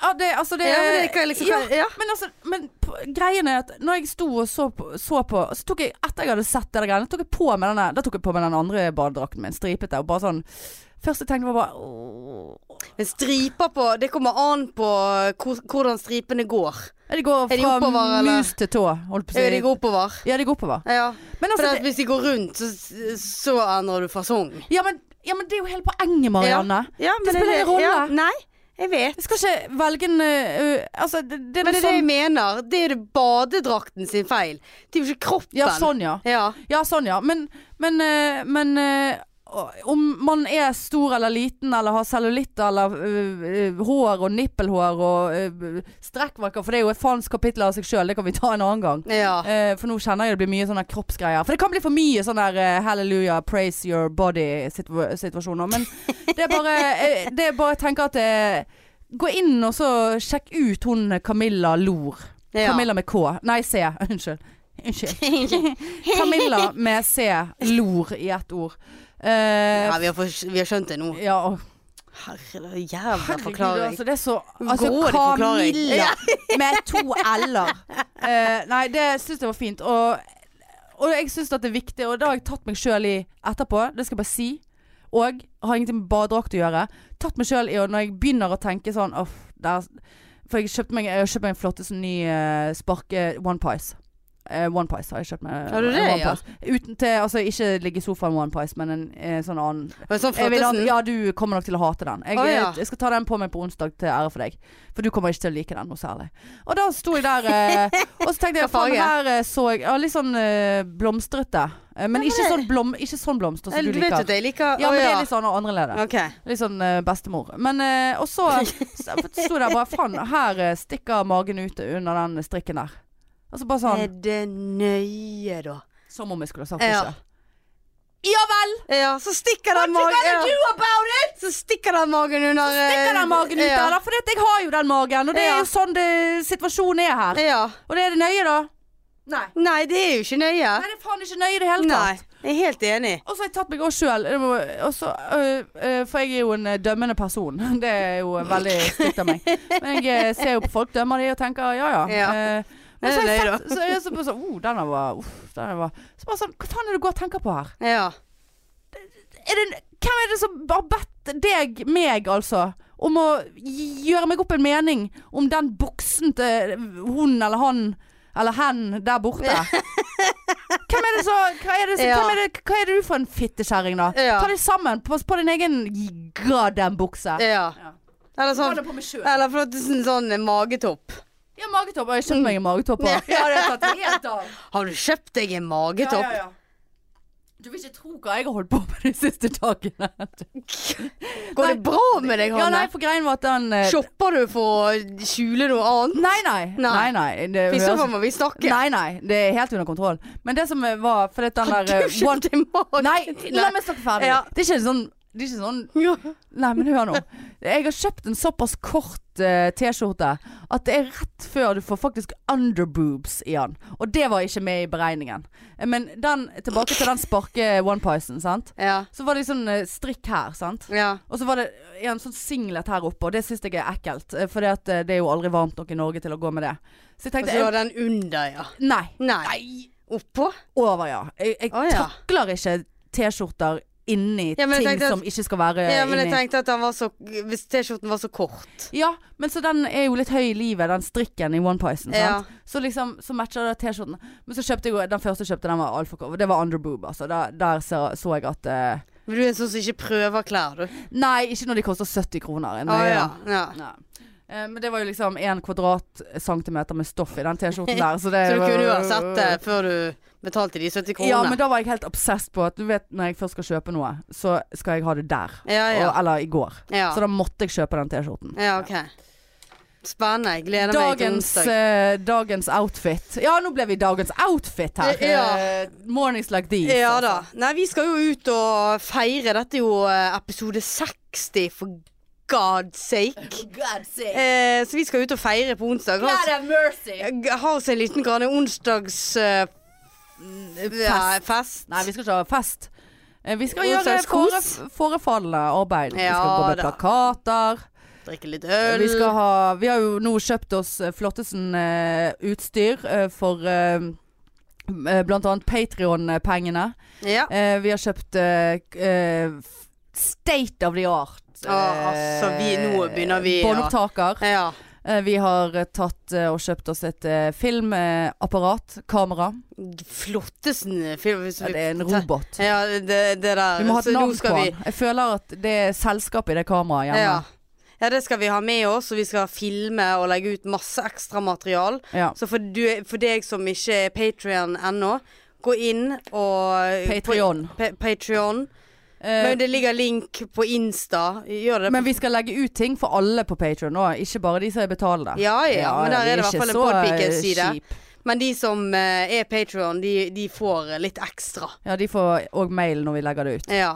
Speaker 2: ja, det altså det,
Speaker 1: Ja, men det kan jeg liksom
Speaker 2: Ja,
Speaker 1: ja.
Speaker 2: men altså, men p- greien er at når jeg sto og så på, så på så tok jeg, Etter jeg hadde sett det der greiene, tok jeg på meg denne, da tok jeg på meg den andre badedrakten min, stripete, og bare sånn Først jeg tenkte var bare åh.
Speaker 1: Men striper på Det kommer an på hvor, hvordan stripene går.
Speaker 2: Det går
Speaker 1: Er de
Speaker 2: fra
Speaker 1: oppover, eller?
Speaker 2: mus til tå, holdt på å si.
Speaker 1: Ja, de går oppover.
Speaker 2: Ja, de går oppover.
Speaker 1: Ja. For
Speaker 2: Men altså,
Speaker 1: at
Speaker 2: det,
Speaker 1: hvis de går rundt, så, så endrer du fasong.
Speaker 2: ja, men, ja, men det er jo hele poenget, Marianne.
Speaker 1: Ja,
Speaker 2: men spiller
Speaker 1: er
Speaker 2: ingen rolle.
Speaker 1: ja, Nei, jeg vet.
Speaker 2: Jeg skal ikke velge en øh, øh, Altså, det, det er
Speaker 1: Men det er
Speaker 2: noe
Speaker 1: det jeg
Speaker 2: sånn
Speaker 1: mener. Det er det badedrakten sin feil. Det er jo ikke kroppen.
Speaker 2: Ja, sånn, ja.
Speaker 1: Ja.
Speaker 2: Ja, sånn, ja. Men, men, øh, men øh, om man er stor eller liten, eller har cellulitt, eller øh, øh, hår og nippelhår og øh, strekkmerker For det er jo et faens kapittel av seg sjøl, det kan vi ta en annen gang.
Speaker 1: ja.
Speaker 2: Eh, for nå kjenner jeg det blir mye sånne kroppsgreier. For det kan bli for mye sånn der eh, hallelujah, praise your body-situasjoner. Men det er bare, eh, det er bare jeg tenker at eh, Gå inn og så sjekk ut hun Camilla Lor.
Speaker 1: Ja.
Speaker 2: Camilla med K. Nei, C. [laughs] Unnskyld.
Speaker 1: [laughs]
Speaker 2: Unnskyld. Camilla med C. Lor i ett ord. Eh,
Speaker 1: ja vi, har for, vi har skjønt det nå.
Speaker 2: ja, og-
Speaker 1: Herregud, jævla
Speaker 2: Herregud,
Speaker 1: forklaring.
Speaker 2: altså. Det er så altså,
Speaker 1: Grådig forklaring.
Speaker 2: Camilla [laughs] med to l-er. Eh, nei, det syns jeg var fint. Og, og jeg syns det er viktig, og det har jeg tatt meg sjøl i etterpå. Det skal jeg bare si. Og har ingenting med badedrakt å gjøre. Tatt meg sjøl i å når jeg begynner å tenke sånn Uff, der For jeg kjøpte meg, jeg har kjøpt meg en flotte sånn ny eh, sparke One Pies. Eh, one Pies har jeg kjøpt meg. Eh,
Speaker 1: Har du det,
Speaker 2: One
Speaker 1: ja?
Speaker 2: Pies. Uten til, altså ikke ligge i sofaen One Pies, men en eh, sånn annen
Speaker 1: Det var sånn
Speaker 2: jeg vil ha,
Speaker 1: flottesen.
Speaker 2: ja, du kommer nok til å hate den. Jeg,
Speaker 1: Å, ja.
Speaker 2: jeg skal ta den på meg på onsdag til ære for deg. For du kommer ikke til å like den noe særlig. Og da sto jeg der, eh, og så tenkte jeg
Speaker 1: Hva
Speaker 2: faen,
Speaker 1: farge?
Speaker 2: her eh, så jeg ja, litt sånn eh, blomstrete. Eh, men ikke sånn, blom, ikke sånn blomster som
Speaker 1: Du
Speaker 2: du
Speaker 1: vet jo
Speaker 2: liker.
Speaker 1: at jeg liker
Speaker 2: Ja,
Speaker 1: Å,
Speaker 2: men det er litt sånn annerledes.
Speaker 1: Ok.
Speaker 2: Litt sånn eh, bestemor. Men eh, Og så
Speaker 1: [laughs]
Speaker 2: sto jeg der bare faen, her eh, stikker magen ut under den strikken der. Og så bare sånn
Speaker 1: Er det nøye, da?
Speaker 2: Som om jeg skulle ha sagt det
Speaker 1: Eh, Ja.
Speaker 2: sjøl. Ja vel!
Speaker 1: Ja, så stikker
Speaker 2: What
Speaker 1: den
Speaker 2: you
Speaker 1: magen
Speaker 2: gonna
Speaker 1: ja.
Speaker 2: do about it?
Speaker 1: Så stikker den magen under eh,
Speaker 2: stikker den magen ut der, da. For det at jeg har jo den magen, og det er
Speaker 1: Ja.
Speaker 2: jo sånn det, situasjonen er her.
Speaker 1: Ja. ja.
Speaker 2: Og det er det nøye, da? Nei.
Speaker 1: Nei, det er jo ikke nøye.
Speaker 2: Nei, det er faen ikke nøye i det hele
Speaker 1: Nei,
Speaker 2: tatt.
Speaker 1: jeg er helt enig.
Speaker 2: Og så har jeg tatt meg òg sjøl. For jeg er jo en øh, dømmende person. [laughs] Det er jo veldig stygt av meg. Men jeg eh, ser jo på folk, dømmer de og tenker ja ja.
Speaker 1: Ja.
Speaker 2: Eh, Men
Speaker 1: Det
Speaker 2: så
Speaker 1: er
Speaker 2: har jeg
Speaker 1: nøye,
Speaker 2: sett så er jeg så bare sånn oh, denne var, uff, denne var. Så bare sånn, Hva faen er det du går og tenker på her?
Speaker 1: Ja.
Speaker 2: er det, hvem er det som har bedt deg, meg altså, om å gjøre meg opp en mening om den buksen til hun eller han eller hen der borte? [laughs] Hvem er det så, hva, er det, som-
Speaker 1: Ja.
Speaker 2: hvem er det, hva er det du for en fittekjerring, da?
Speaker 1: Ja.
Speaker 2: Ta deg sammen. Pass på din egen goddamn bukse.
Speaker 1: ja. Eller
Speaker 2: Ta
Speaker 1: sånn
Speaker 2: det på meg sjøl.
Speaker 1: Eller flottesen sånn magetopp.
Speaker 2: Ja, magetopp. Og Jeg kjøpte meg en magetopp. også.
Speaker 4: Ja, det har tatt helt av.
Speaker 1: [laughs] Har du kjøpt deg en magetopp?
Speaker 4: Ja, ja, ja.
Speaker 2: Du vil ikke tro hva jeg har holdt på med de siste dagene.
Speaker 1: [laughs] Går det bra med deg,
Speaker 2: Ja,
Speaker 1: Hanne?
Speaker 2: nei, for greien var at den eh,
Speaker 1: Shopper du for å skjule noe annet?
Speaker 2: Nei, nei. nei, nei. Det,
Speaker 1: For I så
Speaker 2: høres-
Speaker 1: fall må vi snakke.
Speaker 2: nei, nei. Det er helt under kontroll. Men det som eh, var For det, den
Speaker 1: Har
Speaker 2: der
Speaker 1: [laughs]
Speaker 2: eh,
Speaker 1: du kjøpt en magetopp?
Speaker 2: Nei, la meg snakke ferdig.
Speaker 1: Ja.
Speaker 2: Det er ikke sånn det er ikke sånn
Speaker 1: [laughs] Ja.
Speaker 2: Nei, men hør nå. Jeg har kjøpt en såpass kort eh, T-skjorte at det er rett før du får faktisk underboobs i den. Og det var ikke med i beregningen. Eh, Men den, tilbake til den sparke One Pison, sant.
Speaker 1: Ja.
Speaker 2: Så var det sånn eh, strikk her, sant.
Speaker 1: ja.
Speaker 2: Og så var det en sånn singlet her oppe, og det syns jeg er ekkelt. eh, For det er jo aldri varmt nok i Norge til å gå med det. Så
Speaker 1: Og
Speaker 2: jeg tenkte
Speaker 1: så var den under, ja.
Speaker 2: jeg- Nei.
Speaker 1: Nei. Oppå?
Speaker 2: Over, ja. Jeg, jeg
Speaker 1: Å, ja.
Speaker 2: takler ikke T-skjorter inni
Speaker 1: Ja, men jeg
Speaker 2: ting
Speaker 1: tenkte at-
Speaker 2: som ikke skal være
Speaker 1: Ja, men jeg
Speaker 2: inni.
Speaker 1: tenkte at den var så Hvis T-skjorten var så kort.
Speaker 2: Ja, men så den er jo litt høy i livet, den strikken i One Pison.
Speaker 1: Ja.
Speaker 2: sant? Så liksom, så matcher det T-skjorten. Men så kjøpte jeg jo Den første jeg kjøpte, den var altfor kort. Det var underboob, altså. Der, der så, så jeg at eh,
Speaker 1: Men du er en sånn som ikke prøver klær, du.
Speaker 2: Nei, ikke når de koster 70 kroner.
Speaker 1: Å
Speaker 2: Nei,
Speaker 1: ja. ja.
Speaker 2: Nei. Eh, Men det var jo liksom én kvadratcentimeter med stoff i den T-skjorten der. Så, det
Speaker 1: [laughs] Så du
Speaker 2: var-
Speaker 1: kunne uansett det før du betalte de 70 kronene.
Speaker 2: Ja, men da var jeg helt obsess på at du vet når jeg først skal kjøpe noe, så skal jeg ha det der.
Speaker 1: ja, ja.
Speaker 2: Og, eller i går.
Speaker 1: ja.
Speaker 2: Så da måtte jeg kjøpe den T-skjorten.
Speaker 1: ja, OK. Spennende. Jeg gleder meg til
Speaker 2: Dagens,
Speaker 1: onsdag.
Speaker 2: eh, dagens outfit. Ja, nå ble vi dagens outfit her.
Speaker 1: Ja.
Speaker 2: Eh, mornings like these.
Speaker 1: Ja
Speaker 2: altså.
Speaker 1: da. Nei, vi skal jo ut og feire. Dette er jo eh, episode 60, for god sake.
Speaker 4: For God's sake.
Speaker 1: Eh, så vi skal ut og feire på onsdag.
Speaker 4: God
Speaker 1: Ha,
Speaker 4: have mercy.
Speaker 1: ha oss en liten grann onsdags... eh, ja, fest.
Speaker 2: Nei, vi skal ikke ha fest. Eh, Vi skal gjøre fore,
Speaker 1: Onsdagskos.
Speaker 2: forefallende arbeid. vi skal
Speaker 1: Ja
Speaker 2: gå med
Speaker 1: da.
Speaker 2: plakater.
Speaker 1: Drikke litt øl.
Speaker 2: Eh, Vi, skal ha, vi har jo nå kjøpt oss eh, flottesen eh, utstyr eh, for eh, m- eh, blant annet Patrion-pengene.
Speaker 1: Ja.
Speaker 2: Eh, vi har kjøpt eh, k- eh, f- state of the art.
Speaker 1: Å, altså, vi- nå begynner vi, ja.
Speaker 2: Båndopptaker.
Speaker 1: ja.
Speaker 2: Eh, vi har eh, tatt eh, og kjøpt oss et eh, filmapparat. Kamera.
Speaker 1: Flotteste film hvis
Speaker 2: Ja,
Speaker 1: vi-
Speaker 2: det er en robot.
Speaker 1: Ja, det, det der.
Speaker 2: Vi må ha
Speaker 1: Så
Speaker 2: et
Speaker 1: nå
Speaker 2: navn
Speaker 1: skal
Speaker 2: på
Speaker 1: vi-
Speaker 2: den. Jeg føler at det er selskap i det kameraet hjemme.
Speaker 1: Ja. ja, det skal vi ha med oss, og vi skal filme og legge ut masse ekstra material.
Speaker 2: Ja.
Speaker 1: Så for, du, for deg som ikke er Patrion ennå, gå inn og
Speaker 2: Patreon.
Speaker 1: Pa- Patreon.
Speaker 2: Eh,
Speaker 1: Men det ligger link på Insta. Gjør det.
Speaker 2: Men vi skal legge ut ting for alle på Patreon nå, ikke bare de som betaler.
Speaker 1: Ja, ja, men der
Speaker 2: vi
Speaker 1: er det i hvert
Speaker 2: ikke
Speaker 1: fall en
Speaker 2: så, eh,
Speaker 1: Podpikens-side.
Speaker 2: kjip.
Speaker 1: Men de som eh, er Patreon, de, de får litt ekstra.
Speaker 2: Ja, de får òg mail når vi legger det ut.
Speaker 1: Ja.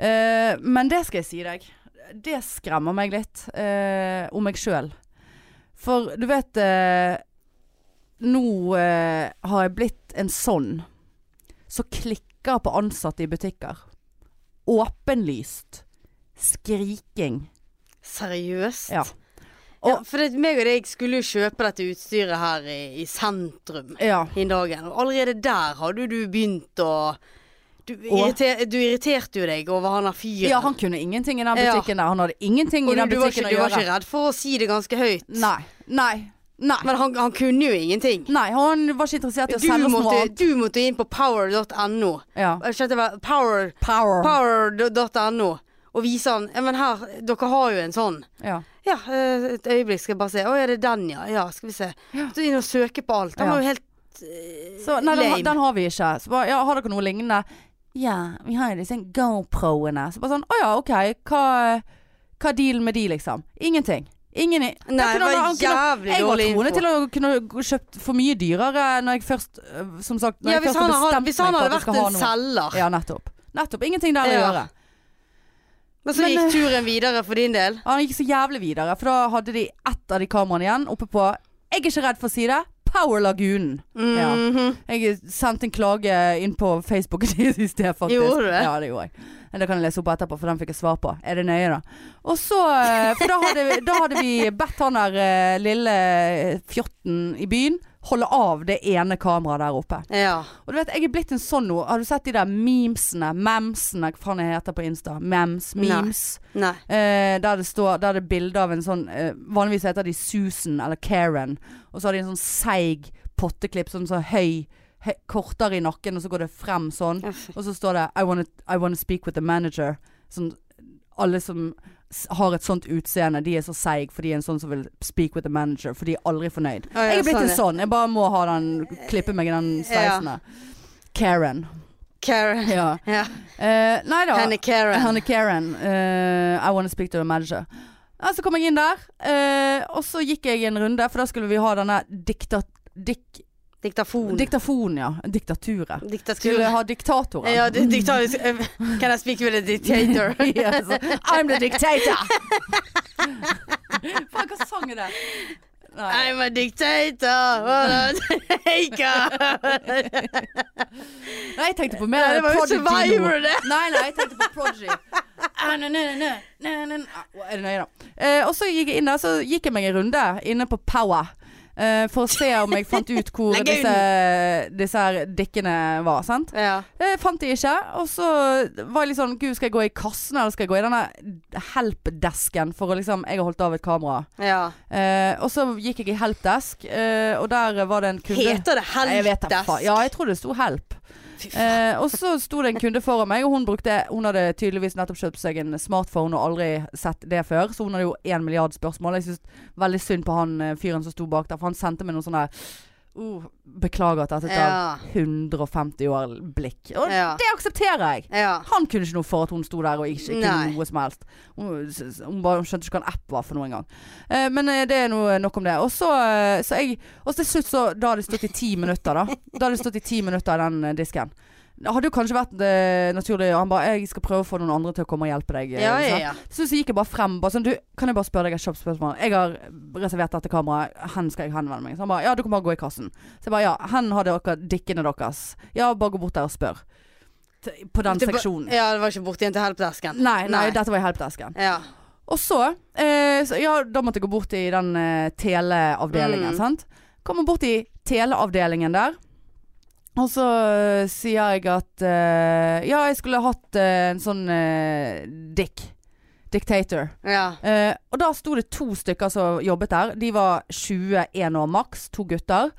Speaker 2: Eh, men det skal jeg si deg. Det skremmer meg litt eh, om meg sjøl. For du vet eh, Nå eh, har jeg blitt en sånn som klikker på ansatte i butikker. Åpenlyst. Skriking.
Speaker 1: Seriøst?
Speaker 2: Ja.
Speaker 1: Ja,
Speaker 2: Og-
Speaker 1: for det, meg og deg skulle jo kjøpe dette utstyret her i, i sentrum
Speaker 2: Ja.
Speaker 1: i dagen. Og allerede der hadde du begynt å du, irriter, du irriterte jo deg over han der fyren.
Speaker 2: ja, han kunne ingenting i den
Speaker 1: Ja.
Speaker 2: butikken der. Han hadde ingenting
Speaker 1: og
Speaker 2: i
Speaker 1: du,
Speaker 2: den
Speaker 1: du, var
Speaker 2: butikken
Speaker 1: ikke, du
Speaker 2: å
Speaker 1: var
Speaker 2: gjøre.
Speaker 1: ikke redd for å si det ganske høyt.
Speaker 2: Nei. Nei. Nei.
Speaker 1: Men han, han kunne jo ingenting.
Speaker 2: Nei, han var ikke interessert i å
Speaker 1: Du
Speaker 2: selge oss noe
Speaker 1: måtte,
Speaker 2: annet.
Speaker 1: du måtte inn på power.no.
Speaker 2: Ja.
Speaker 1: Jeg skjønte det var power-
Speaker 2: Power.
Speaker 1: power.no og vise han Ja, men her, dere har jo en sånn.
Speaker 2: Ja.
Speaker 1: Ja, eh, et øyeblikk skal jeg bare se. Å, er det den, ja? Ja, skal vi se. Så inn og søke på alt. Han
Speaker 2: Ja.
Speaker 1: var jo helt
Speaker 2: Så, nei, den, ha-
Speaker 1: Lame.
Speaker 2: den har vi ikke. Så bare, ja, har dere noe lignende? Ja, vi har jo disse GoPro-ene. Så bare sånn, å ja, ok, hva, hva er dealen med de, liksom? Ingenting. Ingen i
Speaker 1: Nei,
Speaker 2: Da
Speaker 1: det
Speaker 2: kunne han-
Speaker 1: var
Speaker 2: han kunne-
Speaker 1: jævlig
Speaker 2: Jeg var
Speaker 1: dårlig
Speaker 2: troende
Speaker 1: info.
Speaker 2: til å kunne gå- kjøpt for mye dyrere når jeg først øh, Som sagt, når
Speaker 1: Ja,
Speaker 2: jeg
Speaker 1: hvis
Speaker 2: først
Speaker 1: han,
Speaker 2: har
Speaker 1: hadde,
Speaker 2: bestemt
Speaker 1: hvis han
Speaker 2: meg
Speaker 1: hadde
Speaker 2: for at jeg
Speaker 1: vært
Speaker 2: skal ha
Speaker 1: en
Speaker 2: noe.
Speaker 1: selger.
Speaker 2: Ja, nettopp. Nettopp. Ingenting der å
Speaker 1: Ja.
Speaker 2: gjøre.
Speaker 1: Men så
Speaker 2: Men, eh,
Speaker 1: gikk turen videre for din del.
Speaker 2: Han gikk så jævlig videre, for da hadde de ett av de kameraene igjen oppe på Jeg er ikke redd for å si det. Power Lagunen. Ja.
Speaker 1: Mhm.
Speaker 2: Jeg sendte en klage inn på Facebook [laughs] i sted, faktisk.
Speaker 1: Gjorde du det?
Speaker 2: Ja, det gjorde jeg. Men det kan jeg lese opp etterpå, for den fikk jeg svar på. Er det nøye, da? Og så eh, For da hadde, da hadde vi bedt han der eh, lille fjotten i byen holde av det ene kameraet der oppe.
Speaker 1: ja.
Speaker 2: Og du vet, jeg er blitt en sånn nå. Har du sett de der memesene? Memsene, hva faen jeg heter på Insta? Mems.
Speaker 1: Nei.
Speaker 2: Memes.
Speaker 1: Nei.
Speaker 2: Eh, der det står Der det er bilde av en sånn eh, Vanligvis heter de Susan eller Karen. Og så har de en sånn seig potteklipp, sånn så høy, høy Kortere i nakken, og så går det frem sånn.
Speaker 1: Ja, fy.
Speaker 2: Og så står det I wanna, I wanna speak with the manager. Sånn alle som s- har et sånt utseende, de er så seig fordi en sånn som vil speak with the manager, for de er aldri fornøyd.
Speaker 1: Ja, ja,
Speaker 2: jeg er blitt
Speaker 1: sånn
Speaker 2: en
Speaker 1: er.
Speaker 2: sånn. Jeg bare må ha den klippe meg i den sveisen der. Karen.
Speaker 1: Karen.
Speaker 2: Ja.
Speaker 1: Ja.
Speaker 2: Eh, nei da.
Speaker 1: Henne Karen.
Speaker 2: Henne Karen. Eh, I wanna speak to the manager. Ja, så kom jeg inn der, eh, og så gikk jeg en runde, for da skulle vi ha denne dikta... Dik,
Speaker 1: Diktafon.
Speaker 2: diktafon, ja. Diktaturet.
Speaker 1: Diktatur.
Speaker 2: Skulle ha diktatoren.
Speaker 1: Ja, det, diktatisk [laughs] Can I speak with a
Speaker 2: [laughs]
Speaker 1: dictator?
Speaker 2: Yes. [laughs] I'm the dictator! Faen, hva sang er det? Nei.
Speaker 1: I'm a dictator! What [laughs] a
Speaker 2: [laughs]
Speaker 1: taker!
Speaker 2: nei, jeg tenkte på mer
Speaker 1: Det var jo
Speaker 2: Prodigy nå.
Speaker 1: Survivor, det!
Speaker 2: Nei, nei, jeg tenkte på Prodigy. Ah, na, na, na, na, na, na. Ah, Er det nøye, da? Eh, og så gikk jeg inn der, så gikk jeg meg en runde inne på Power. eh, for å se om jeg fant ut hvor
Speaker 1: Legg
Speaker 2: disse, disse her dikkene var. sant?
Speaker 1: Ja.
Speaker 2: Eh, fant de ikke. Og så var jeg litt sånn Gud, skal jeg gå i kassen, eller skal jeg gå i denne helpdesken? For å liksom Jeg har holdt av et kamera.
Speaker 1: ja.
Speaker 2: Eh, og så gikk jeg i helpdesk, eh, og der var det en kunde
Speaker 1: Heter det
Speaker 2: Nei, jeg vet da
Speaker 1: helpdesk?
Speaker 2: faen. Ja, jeg tror det sto help.
Speaker 1: Fy faen.
Speaker 2: Eh, og så sto det en kunde foran meg, og hun brukte Hun hadde tydeligvis nettopp kjøpt seg en smartphone og aldri sett det før, så hun hadde jo én milliard spørsmål. Jeg syns veldig synd på han eh, fyren som sto bak der, for han sendte meg noen sånne uh, Beklager at dette tar
Speaker 1: Ja.
Speaker 2: 150 år blikk. Og
Speaker 1: Ja.
Speaker 2: det aksepterer jeg.
Speaker 1: Ja.
Speaker 2: Han kunne ikke noe for at hun sto der og ikke kunne
Speaker 1: Nei.
Speaker 2: noe som helst. Hun, hun, bare, hun skjønte ikke hva en app var for noe engang. Eh, men eh, det er noe, nok om det. Og så, eh, så jeg Og til slutt, så Da hadde det stått i ti minutter, da. Da hadde det stått i ti minutter i den eh, disken. Det hadde jo kanskje vært eh, naturlig Han bare 'Jeg skal prøve å få noen andre til å komme og hjelpe deg'. eh,
Speaker 1: Ja, ja,
Speaker 2: sant?
Speaker 1: ja.
Speaker 2: Så, så gikk jeg bare frem. Bare sånn, du, 'Kan jeg bare spørre deg et kjapt spørsmål?' 'Jeg har reservert dette kameraet. Hen skal jeg henvende meg?' Så han bare 'Ja, du kan bare gå i kassen'. Så jeg bare 'Ja, hen har dere dikkene deres'. 'Ja, bare gå bort der og spør'. T- På den
Speaker 1: Det var-
Speaker 2: seksjonen.
Speaker 1: Ja, det var ikke borti en til helpdesken.
Speaker 2: Nei, nei,
Speaker 1: Nei.
Speaker 2: dette var i helpdesken.
Speaker 1: Ja.
Speaker 2: Og så, eh, så Ja, da måtte jeg gå bort i den eh, teleavdelingen,
Speaker 1: Mm.
Speaker 2: sant. Kommer bort i teleavdelingen der. Og så eh, sier jeg at eh, Ja, jeg skulle hatt eh, en sånn eh, dick. Dictator.
Speaker 1: ja.
Speaker 2: Eh, og da sto det to stykker som jobbet der. De var 21 år maks, to gutter.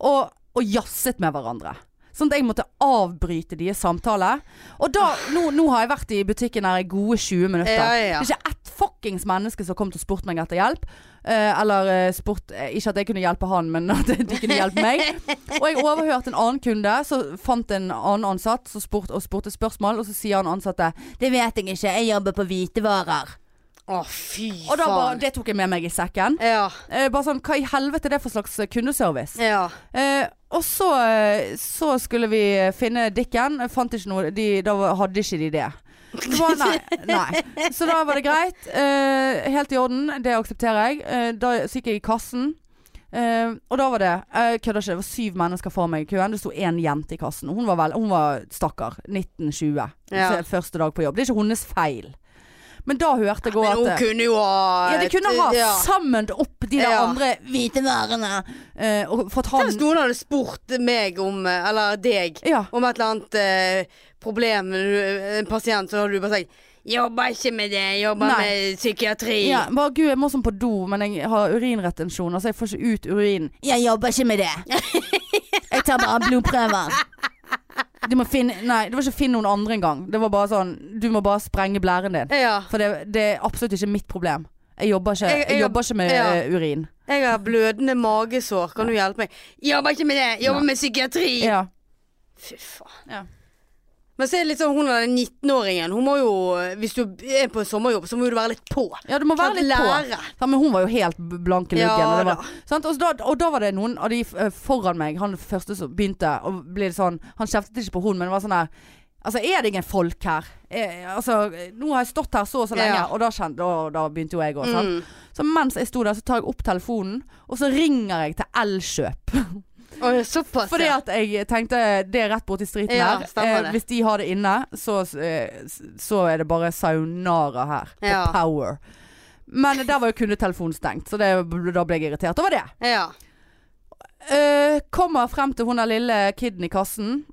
Speaker 2: Og, og jazzet med hverandre. Sånn at jeg måtte avbryte deres samtale. Og da, nå, nå har jeg vært i butikken her i gode 20 minutter.
Speaker 1: Ja, ja.
Speaker 2: Det er ikke ett fuckings menneske som kom til å spurt meg etter hjelp. Eh, eller eh, spurt eh, Ikke at jeg kunne hjelpe han, men at de kunne hjelpe
Speaker 1: [laughs]
Speaker 2: meg. Og jeg overhørte en annen kunde som fant en annen ansatt som spurt, og spurte spørsmål. Og så sier han ansatte 'Det vet jeg ikke, jeg jobber på hvitevarer'.
Speaker 1: Å, fy faen.
Speaker 2: Og da bare, det tok jeg med meg i sekken.
Speaker 1: Ja.
Speaker 2: Eh, bare sånn, Hva i helvete er det for slags eh, kundeservice?
Speaker 1: Ja.
Speaker 2: Eh, og så, eh, så skulle vi eh, finne dikken. Jeg fant ikke noe, de, da hadde ikke de det. Så, bare, nei, nei. så da var det greit. Eh, helt i orden, det aksepterer jeg. Eh, da så gikk jeg i kassen. Eh, og da var det Jeg kødder ikke, det var syv mennesker foran meg i køen. Det sto én jente i kassen. Hun var, vel, hun var stakkar. 1920.
Speaker 1: Ja.
Speaker 2: Så Første dag på jobb. Det er ikke hennes feil. Men da hørte jeg òg
Speaker 1: Men
Speaker 2: at eh,
Speaker 1: hun kunne jo ha
Speaker 2: ja, de kunne ha
Speaker 1: ja.
Speaker 2: sammen opp de der
Speaker 1: Ja.
Speaker 2: andre hvite varene. eh, og fått
Speaker 1: Tenk
Speaker 2: han
Speaker 1: Hvis noen hadde spurt meg om eh, Eller deg
Speaker 2: Ja.
Speaker 1: om et eller annet eh, problem med du- en pasient, så hadde du bare sagt 'Jobber ikke med det. Jobber
Speaker 2: Nei.
Speaker 1: med psykiatri'.
Speaker 2: ja. Bare gud, jeg må sånn på do, men jeg har urinretensjon, altså jeg får ikke ut urin. Jeg jobber ikke med det. [laughs] Jeg tar bare blodprøver. Du må finne Nei, det var ikke finn noen andre engang. Det var bare sånn Du må bare sprenge blæren din.
Speaker 1: Ja.
Speaker 2: For det, det er absolutt ikke mitt problem. Jeg jobber ikke,
Speaker 1: Jeg- jeg
Speaker 2: jeg jobber ikke med
Speaker 1: ja.
Speaker 2: eh, urin.
Speaker 1: Jeg har blødende magesår. Kan du hjelpe meg? Jobber ikke med det. Jobber med psykiatri.
Speaker 2: Ja.
Speaker 1: Fy faen.
Speaker 2: Ja.
Speaker 1: Men så er det litt sånn hun der 19-åringen. Hun må jo eh, Hvis du er på en sommerjobb, så må du være litt på.
Speaker 2: ja, du må være litt på.
Speaker 1: Lære.
Speaker 2: Ja, men hun var jo helt b- blank i luggen.
Speaker 1: Ja,
Speaker 2: og, det var, sant? Og, så da, og da var det noen av de eh, foran meg, han første som begynte å bli sånn Han kjeftet ikke på hun, men var sånn her Altså, er det ingen folk her? Eh, altså, nå har jeg stått her så og så lenge,
Speaker 1: Ja.
Speaker 2: og da, kjente, da, da begynte jo jeg òg, sant.
Speaker 1: Mm.
Speaker 2: Så mens jeg sto der, så tar jeg opp telefonen, og så ringer jeg til Elkjøp.
Speaker 1: Å, ja, Mm. såpass.
Speaker 2: Fordi
Speaker 1: ja.
Speaker 2: at jeg tenkte det er rett borti striden
Speaker 1: Ja,
Speaker 2: her. Eh,
Speaker 1: stemmer det.
Speaker 2: hvis de har det inne, så, eh, så er det bare sayonara her. På
Speaker 1: Ja.
Speaker 2: Power. Men der var jo kundetelefonen stengt, så det, da ble jeg irritert over det.
Speaker 1: ja.
Speaker 2: Eh, kommer frem til hun der lille kiden i kassen.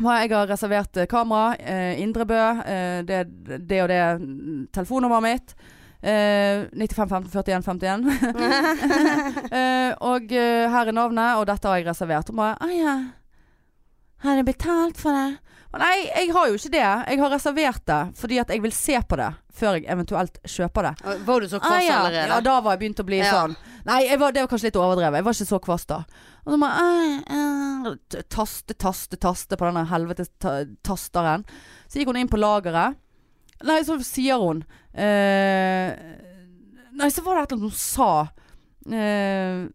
Speaker 2: Hva jeg har reservert eh, kamera. eh, Indrebø. eh, det, det og det mm, telefonnummeret mitt. Eh, 95 15 41 51. Eh, og eh, her er navnet, og dette har jeg reservert. Hun bare Å ja. Har du betalt for det? Å, Nei, jeg har jo ikke det. Jeg har reservert det fordi at jeg vil se på det før jeg eventuelt kjøper det.
Speaker 1: Og Var du så kvass
Speaker 2: Ah, ja.
Speaker 1: allerede?
Speaker 2: Ja, da var jeg begynt å bli
Speaker 1: Ja.
Speaker 2: sånn. Nei, jeg var, det var kanskje litt overdrevet. Jeg var ikke så kvass da. Og så må jeg eh, eh, t- taste, taste, taste på denne helvetes ta- tasteren. Så gikk hun inn på lageret. Nei, så sier hun eh, Nei, så var det et eller annet hun sa. Eh,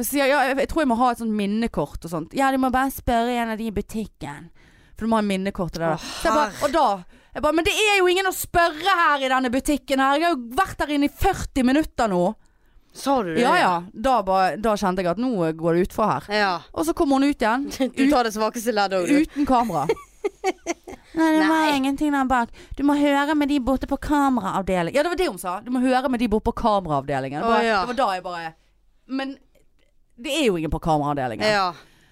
Speaker 2: jeg sier, ja, jeg, jeg tror jeg må ha et sånt minnekort og sånt. Ja, du må bare spørre en av de i butikken. For du må ha minnekort og det der.
Speaker 1: Å,
Speaker 2: Så jeg bare, og da jeg bare, Men det er jo ingen å spørre her i denne butikken her. Jeg har jo vært der inne i 40 minutter nå.
Speaker 1: Sa du det?
Speaker 2: Ja ja. Da, ba- da kjente jeg at nå går det utfor her.
Speaker 1: ja.
Speaker 2: Og så kom hun ut igjen.
Speaker 1: Du tar det svakeste leddet òg, du.
Speaker 2: Uten
Speaker 1: [laughs]
Speaker 2: kamera. Nei, det var ingenting der bak. Du må høre med de borte på kameraavdelingen. Ja, det var det hun sa. Du må høre med de borte på kameraavdelingen. Det,
Speaker 1: Å,
Speaker 2: bare,
Speaker 1: ja.
Speaker 2: det var da jeg bare Men det er jo ingen på kameraavdelingen.
Speaker 1: Ja.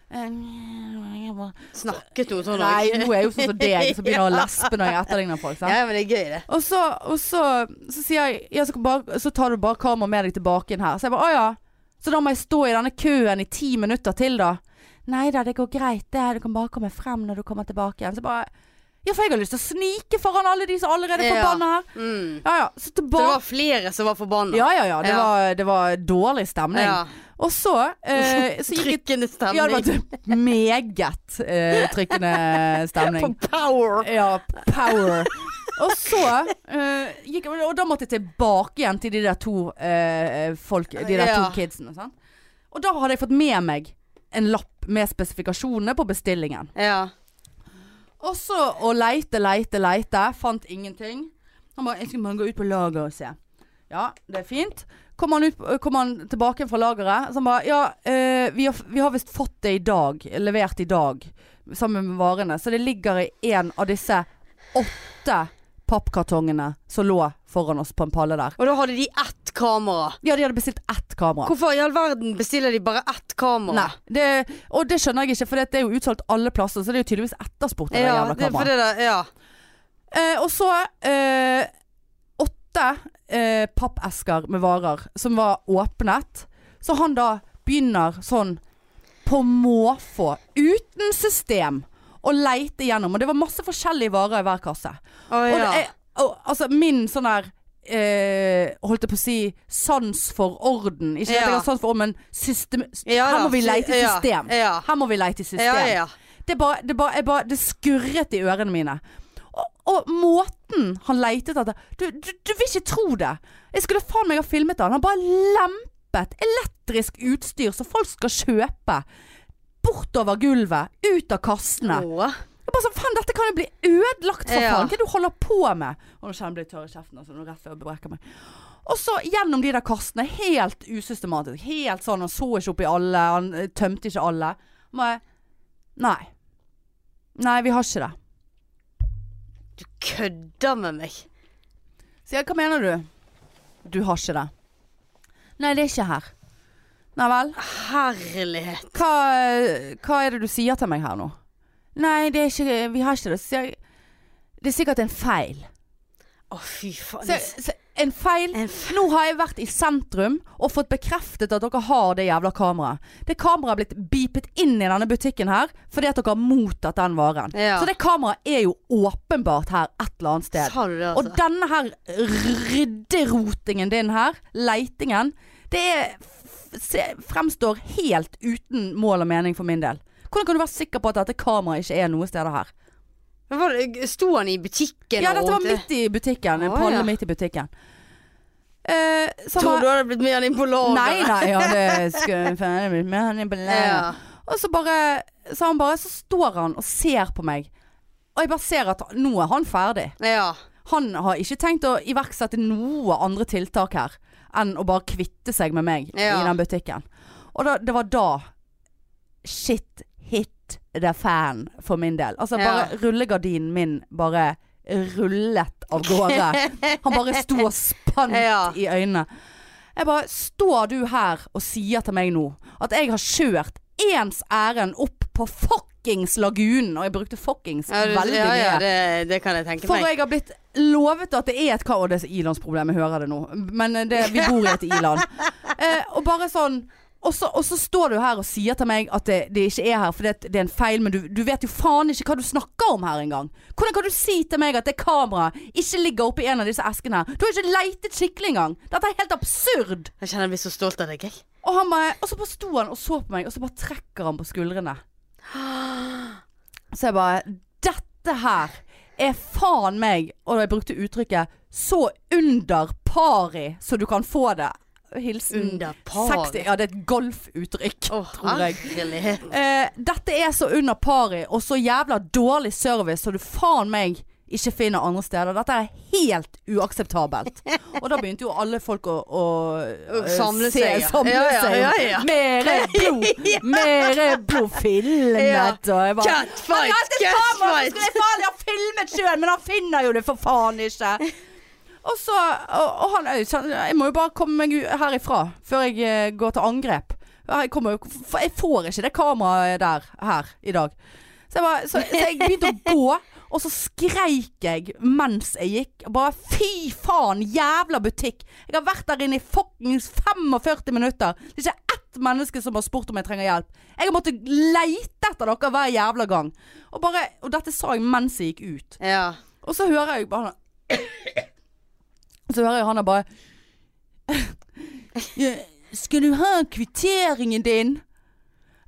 Speaker 2: Eh, jeg bare-
Speaker 1: Snakket hun sånn
Speaker 2: Nei,
Speaker 1: også?
Speaker 2: nå er jeg jo sånn som deg som begynner å
Speaker 1: [laughs] Ja.
Speaker 2: lespe når jeg etterligner folk. Sant?
Speaker 1: Ja, men det er gøy, det.
Speaker 2: Og så, og så, så sier jeg ja, så, kan bare, så tar du bare kameraet med deg tilbake inn her. Så jeg bare å ja. Så da må jeg stå i denne køen i ti minutter til, da. Nei da, det går greit, det. Du kan bare komme frem når du kommer tilbake igjen. Så jeg bare Ja, for jeg har lyst til å snike foran alle de som allerede
Speaker 1: Ja.
Speaker 2: er forbanna her.
Speaker 1: Mm.
Speaker 2: Ja ja. Så
Speaker 1: Så det
Speaker 2: tilbake
Speaker 1: var flere som var forbanna?
Speaker 2: Ja ja ja. Det,
Speaker 1: Ja.
Speaker 2: Var, det var dårlig stemning.
Speaker 1: Ja.
Speaker 2: Og så, eh, så gikk jeg
Speaker 1: Trykkende stemning.
Speaker 2: Ja, det var meget eh, trykkende
Speaker 1: [laughs]
Speaker 2: stemning.
Speaker 1: På power!
Speaker 2: Ja, power. Og så eh, gikk jeg Og da måtte jeg tilbake igjen til de der to eh, folk De der
Speaker 1: Ja.
Speaker 2: to kidsene. Sant? Og da hadde jeg fått med meg en lapp med spesifikasjonene på bestillingen.
Speaker 1: Ja.
Speaker 2: Og så å leite, leite, leite. Fant ingenting. Han bare 'Jeg skal bare gå ut på lageret og se'. Ja, det er fint. Kom han, ut, kom han tilbake fra lageret, så han bare 'Ja, eh, vi har, vi har visst fått det i dag. Levert i dag. Sammen med varene. Så det ligger i en av disse åtte pappkartongene som lå foran oss på en palle der.
Speaker 1: Og da hadde de ett kamera.
Speaker 2: Ja, de hadde bestilt ett kamera.
Speaker 1: Hvorfor i all verden bestiller de bare ett kamera?
Speaker 2: Nei, det, og det skjønner jeg ikke, for det er jo utsolgt alle plasser, så det er jo tydeligvis etterspurt. av det
Speaker 1: Ja,
Speaker 2: jævla
Speaker 1: det,
Speaker 2: kameraet.
Speaker 1: for det der, ja.
Speaker 2: Eh, og så eh, åtte eh, pappesker med varer som var åpnet. Så han da begynner sånn på måfå, uten system, å leite gjennom. Og det var masse forskjellige varer i hver kasse.
Speaker 1: Å,
Speaker 2: Og,
Speaker 1: ja.
Speaker 2: det er, og altså min sånn der eh, holdt jeg på å si sans for orden. Ikke at
Speaker 1: Ja.
Speaker 2: jeg har sans for orden, men system,
Speaker 1: Ja
Speaker 2: her
Speaker 1: da,
Speaker 2: må vi leite i
Speaker 1: ja,
Speaker 2: system.
Speaker 1: ja.
Speaker 2: Her må vi leite i system.
Speaker 1: ja, ja.
Speaker 2: Det, bare, det, bare, jeg bare, det skurret i ørene mine. Og, og måten han leitet etter du, du, du vil ikke tro det! Jeg skulle faen meg ha filmet han. Han bare lempet elektrisk utstyr som folk skal kjøpe. Bortover gulvet, ut av kassene.
Speaker 1: Å.
Speaker 2: Jeg bare sånn, faen Dette kan jo bli ødelagt, for
Speaker 1: Ja.
Speaker 2: faen! Hva er det du holder på med? Og nå kjenner jeg blir tørr i kjeften. Altså, nå rett før jeg brekker meg. Og så gjennom de der kassene, helt usystematisk. Helt sånn, Han så ikke opp i alle, han eh, tømte ikke alle. Men, nei. Nei, vi har ikke det.
Speaker 1: Du kødder med meg.
Speaker 2: Så jeg, hva mener du? Du har ikke det. Nei, det er ikke her. Nei vel.
Speaker 1: Herlighet.
Speaker 2: Hva, hva er det du sier til meg her nå? Nei, det er ikke, vi har ikke det. Så sier jeg, det er sikkert en feil.
Speaker 1: Å, fy faen.
Speaker 2: Så, så, en feil
Speaker 1: En f-
Speaker 2: Nå har jeg vært i sentrum og fått bekreftet at dere har det jævla kameraet. Det kameraet er blitt beepet inn i denne butikken her fordi at dere har mottatt den varen.
Speaker 1: Ja.
Speaker 2: Så det kameraet er jo åpenbart her et eller annet sted.
Speaker 1: Sa du det,
Speaker 2: Og
Speaker 1: altså?
Speaker 2: denne her rydderotingen din her, leitingen, det er, f- se, fremstår helt uten mål og mening for min del. Hvordan kan du være sikker på at dette kameraet ikke er noe steder her?
Speaker 1: Men var det, sto han i butikken?
Speaker 2: Ja,
Speaker 1: og
Speaker 2: dette var
Speaker 1: rådde?
Speaker 2: midt i butikken. En
Speaker 1: Å,
Speaker 2: palle
Speaker 1: ja.
Speaker 2: midt i butikken. Eh, så
Speaker 1: Tror
Speaker 2: var-
Speaker 1: du hadde blitt med han inn på
Speaker 2: Nei,
Speaker 1: lageret?
Speaker 2: nei, ja, det skulle faen meg Men han er belært.
Speaker 1: Ja.
Speaker 2: Og så bare Så han bare Så står han og ser på meg. Og jeg bare ser at nå er han ferdig.
Speaker 1: Ja.
Speaker 2: Han har ikke tenkt å iverksette noe andre tiltak her enn å bare kvitte seg med meg
Speaker 1: Ja.
Speaker 2: i den butikken. Og da, det var da shit hit the fan for min del. Altså bare
Speaker 1: Ja.
Speaker 2: rullegardinen min bare rullet av gårde. Han bare sto og
Speaker 1: [laughs]
Speaker 2: spant
Speaker 1: Ja.
Speaker 2: i øynene. Jeg bare Står du her og sier til meg nå at jeg har kjørt ens ærend opp på fuckings lagunen? Og jeg brukte fuckings
Speaker 1: Ja, du,
Speaker 2: veldig
Speaker 1: ja, ja
Speaker 2: mye.
Speaker 1: det, det kan jeg tenke
Speaker 2: For
Speaker 1: meg.
Speaker 2: jeg har blitt lovet at det er et kamera Og det er så ilandsproblem, jeg hører det nå. Men eh, det, vi bor i et iland. Eh, og bare sånn Og så, og så står du her og sier til meg at det, det ikke er her fordi at det er en feil, men du, du vet jo faen ikke hva du snakker om her engang. Hvordan kan du si til meg at det kameraet ikke ligger oppi en av disse eskene her? Du har ikke leitet skikkelig engang! Dette er helt absurd!
Speaker 1: Jeg kjenner jeg blir så stolt av deg,
Speaker 2: [gasps]
Speaker 1: jeg.
Speaker 2: Og, han bare, og så bare sto han og så på meg, og så bare trekker han på skuldrene. Så jeg bare Dette her er faen meg, og jeg brukte uttrykket, så under pari så du kan få det. Hilsen
Speaker 1: Under pari.
Speaker 2: 60 Mm. Ja, det er et golfuttrykk,
Speaker 1: Å,
Speaker 2: tror jeg.
Speaker 1: herlighet.
Speaker 2: Eh, dette er så under pari og så jævla dårlig service så du faen meg ikke finner andre steder. Dette er helt uakseptabelt. Og da begynte jo alle folk å, å
Speaker 1: Å
Speaker 2: eh,
Speaker 1: samle
Speaker 2: se-
Speaker 1: seg, ja.
Speaker 2: Samle
Speaker 1: Ja, ja,
Speaker 2: seg.
Speaker 1: ja, ja.
Speaker 2: Mere
Speaker 1: [laughs]
Speaker 2: blod! Mere blod filmet! Og jeg bare
Speaker 1: Catfight!
Speaker 2: Catfight!
Speaker 1: Catfight!
Speaker 2: Skulle jeg faen ha filmet sjøl, men han finner jo det for faen ikke. Og så Og, og han Øy, så Jeg må jo bare komme meg u- herifra før jeg eh, går til angrep. Jeg, kommer, jo- for jeg får ikke det kameraet der her i dag. Så jeg, bare, så, så jeg begynte å gå, og så skreik jeg mens jeg gikk. Bare fy faen, jævla butikk. Jeg har vært der inne i fuckings 45 minutter. Det er ikke ett menneske som har spurt om jeg trenger hjelp. Jeg har måttet leite etter dere hver jævla gang. Og, bare, og dette sa jeg mens jeg gikk ut.
Speaker 1: Ja.
Speaker 2: Og så hører jeg bare Så hører jeg han er bare «Ja, Skal du ha kvitteringen din?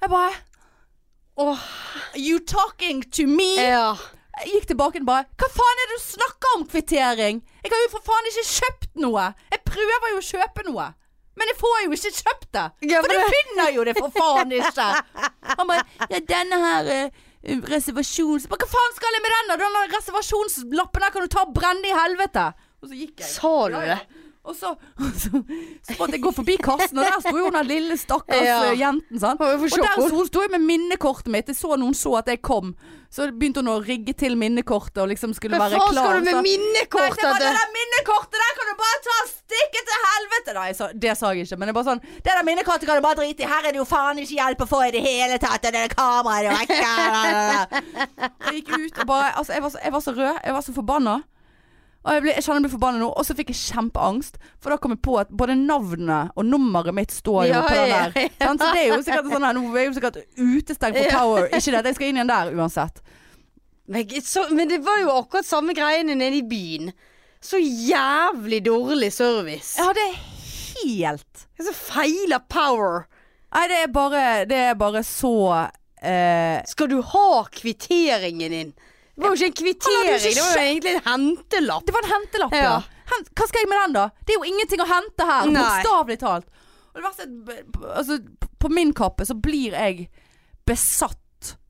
Speaker 2: Jeg bare Åh, you talking to me?
Speaker 1: ja.
Speaker 2: Jeg gikk tilbake og bare Hva faen er det du snakker om kvittering? Jeg har jo for faen ikke kjøpt noe! Jeg prøver jo å kjøpe noe. Men jeg får jo ikke kjøpt det!
Speaker 1: Ja,
Speaker 2: for
Speaker 1: men
Speaker 2: du
Speaker 1: det-
Speaker 2: finner jo det for faen ikke!
Speaker 1: [laughs]
Speaker 2: Han bare Ja, denne her eh, reservasjons... Men hva faen skal jeg med den? da? Den der reservasjonslappen her kan du ta og brenne i helvete! Og så gikk jeg.
Speaker 1: Sa du
Speaker 2: Ja, ja.
Speaker 1: det?
Speaker 2: Og så, [laughs] så, så måtte jeg gå forbi kassen, og der sto jo den lille stakkars
Speaker 1: Ja.
Speaker 2: eh, jenten. Sant?
Speaker 1: Hun var jo
Speaker 2: Og
Speaker 1: for
Speaker 2: der
Speaker 1: sjokk, hun.
Speaker 2: sto- hun sto jeg med minnekortet mitt. Jeg så noen så at jeg kom. Så begynte hun å rigge til minnekortet og liksom skulle
Speaker 1: Hva
Speaker 2: være
Speaker 1: faen
Speaker 2: klar.
Speaker 1: skal du med
Speaker 2: så- Nei,
Speaker 1: minnekort?
Speaker 2: det var
Speaker 1: at
Speaker 2: det
Speaker 1: det-
Speaker 2: der minnekortet der kan du bare ta og stikke til helvete! Nei, så, det sa jeg ikke, men det er bare sånn Det der minnekortet kan du bare drite i. Her er det jo faen ikke hjelp å få i det hele tatt. Og det der kameraet er jo vekk.
Speaker 1: [laughs]
Speaker 2: Jeg gikk ut og bare Altså, jeg var så, jeg var så rød. Jeg var så forbanna. Og jeg, ble, jeg kjenner jeg blir forbanna nå. Og så fikk jeg kjempeangst, for da kom jeg på at både navnet og nummeret mitt står jo
Speaker 1: Ja,
Speaker 2: på den
Speaker 1: ja,
Speaker 2: der. Sant? Så det er jo sikkert sånn her, nå er jeg jo sikkert utestengt på
Speaker 1: Ja.
Speaker 2: Power. Ikke det, at jeg skal inn igjen der uansett.
Speaker 1: Men, så, men det var jo akkurat samme greiene nede i byen. Så jævlig dårlig service.
Speaker 2: Jeg hadde helt
Speaker 1: Det er Så feil av power.
Speaker 2: Nei, det er bare, det er bare så eh,
Speaker 1: Skal du ha kvitteringen din? Det var jo ikke en
Speaker 2: Han
Speaker 1: kvittering,
Speaker 2: hadde jo ikke
Speaker 1: det var jo egentlig en hentelapp.
Speaker 2: Det var en hentelapp, ja.
Speaker 1: Ja.
Speaker 2: Hen- Hva skal jeg med den, da? Det er jo ingenting å hente her,
Speaker 1: Nei.
Speaker 2: bokstavelig talt. Og det verste, er at b- altså, på min kappe så blir jeg besatt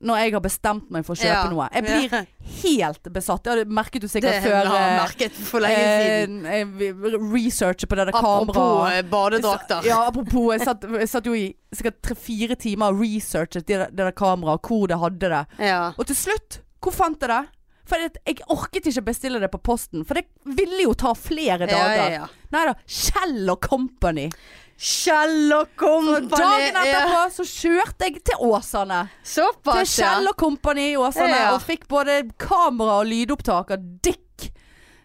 Speaker 2: når jeg har bestemt meg for å kjøpe
Speaker 1: Ja.
Speaker 2: noe. Jeg blir
Speaker 1: Ja.
Speaker 2: helt besatt. Ja, det merket du
Speaker 1: Det
Speaker 2: sikkert
Speaker 1: har
Speaker 2: før.
Speaker 1: jeg
Speaker 2: eh,
Speaker 1: merket for lenge siden.
Speaker 2: eh, vi- researchet på det der
Speaker 1: Apropos
Speaker 2: kameraet.
Speaker 1: eh, badedrakter.
Speaker 2: Ja, apropos, jeg satt, jeg satt jo i sikkert tre-fire timer og researchet det, der- det der kameraet, hvor det hadde det.
Speaker 1: Ja.
Speaker 2: Og til slutt, hvor fant jeg det? For jeg orket ikke bestille det på posten, for det ville jo ta flere
Speaker 1: Ja,
Speaker 2: dager.
Speaker 1: ja, ja.
Speaker 2: Nei da. Shell og Company.
Speaker 1: Shell og company.
Speaker 2: Dagen etterpå så kjørte jeg til Åsane. Til
Speaker 1: Såpass, ja.
Speaker 2: Shell og Company i Åsane,
Speaker 1: Ja.
Speaker 2: og fikk både kamera og lydopptak av Dick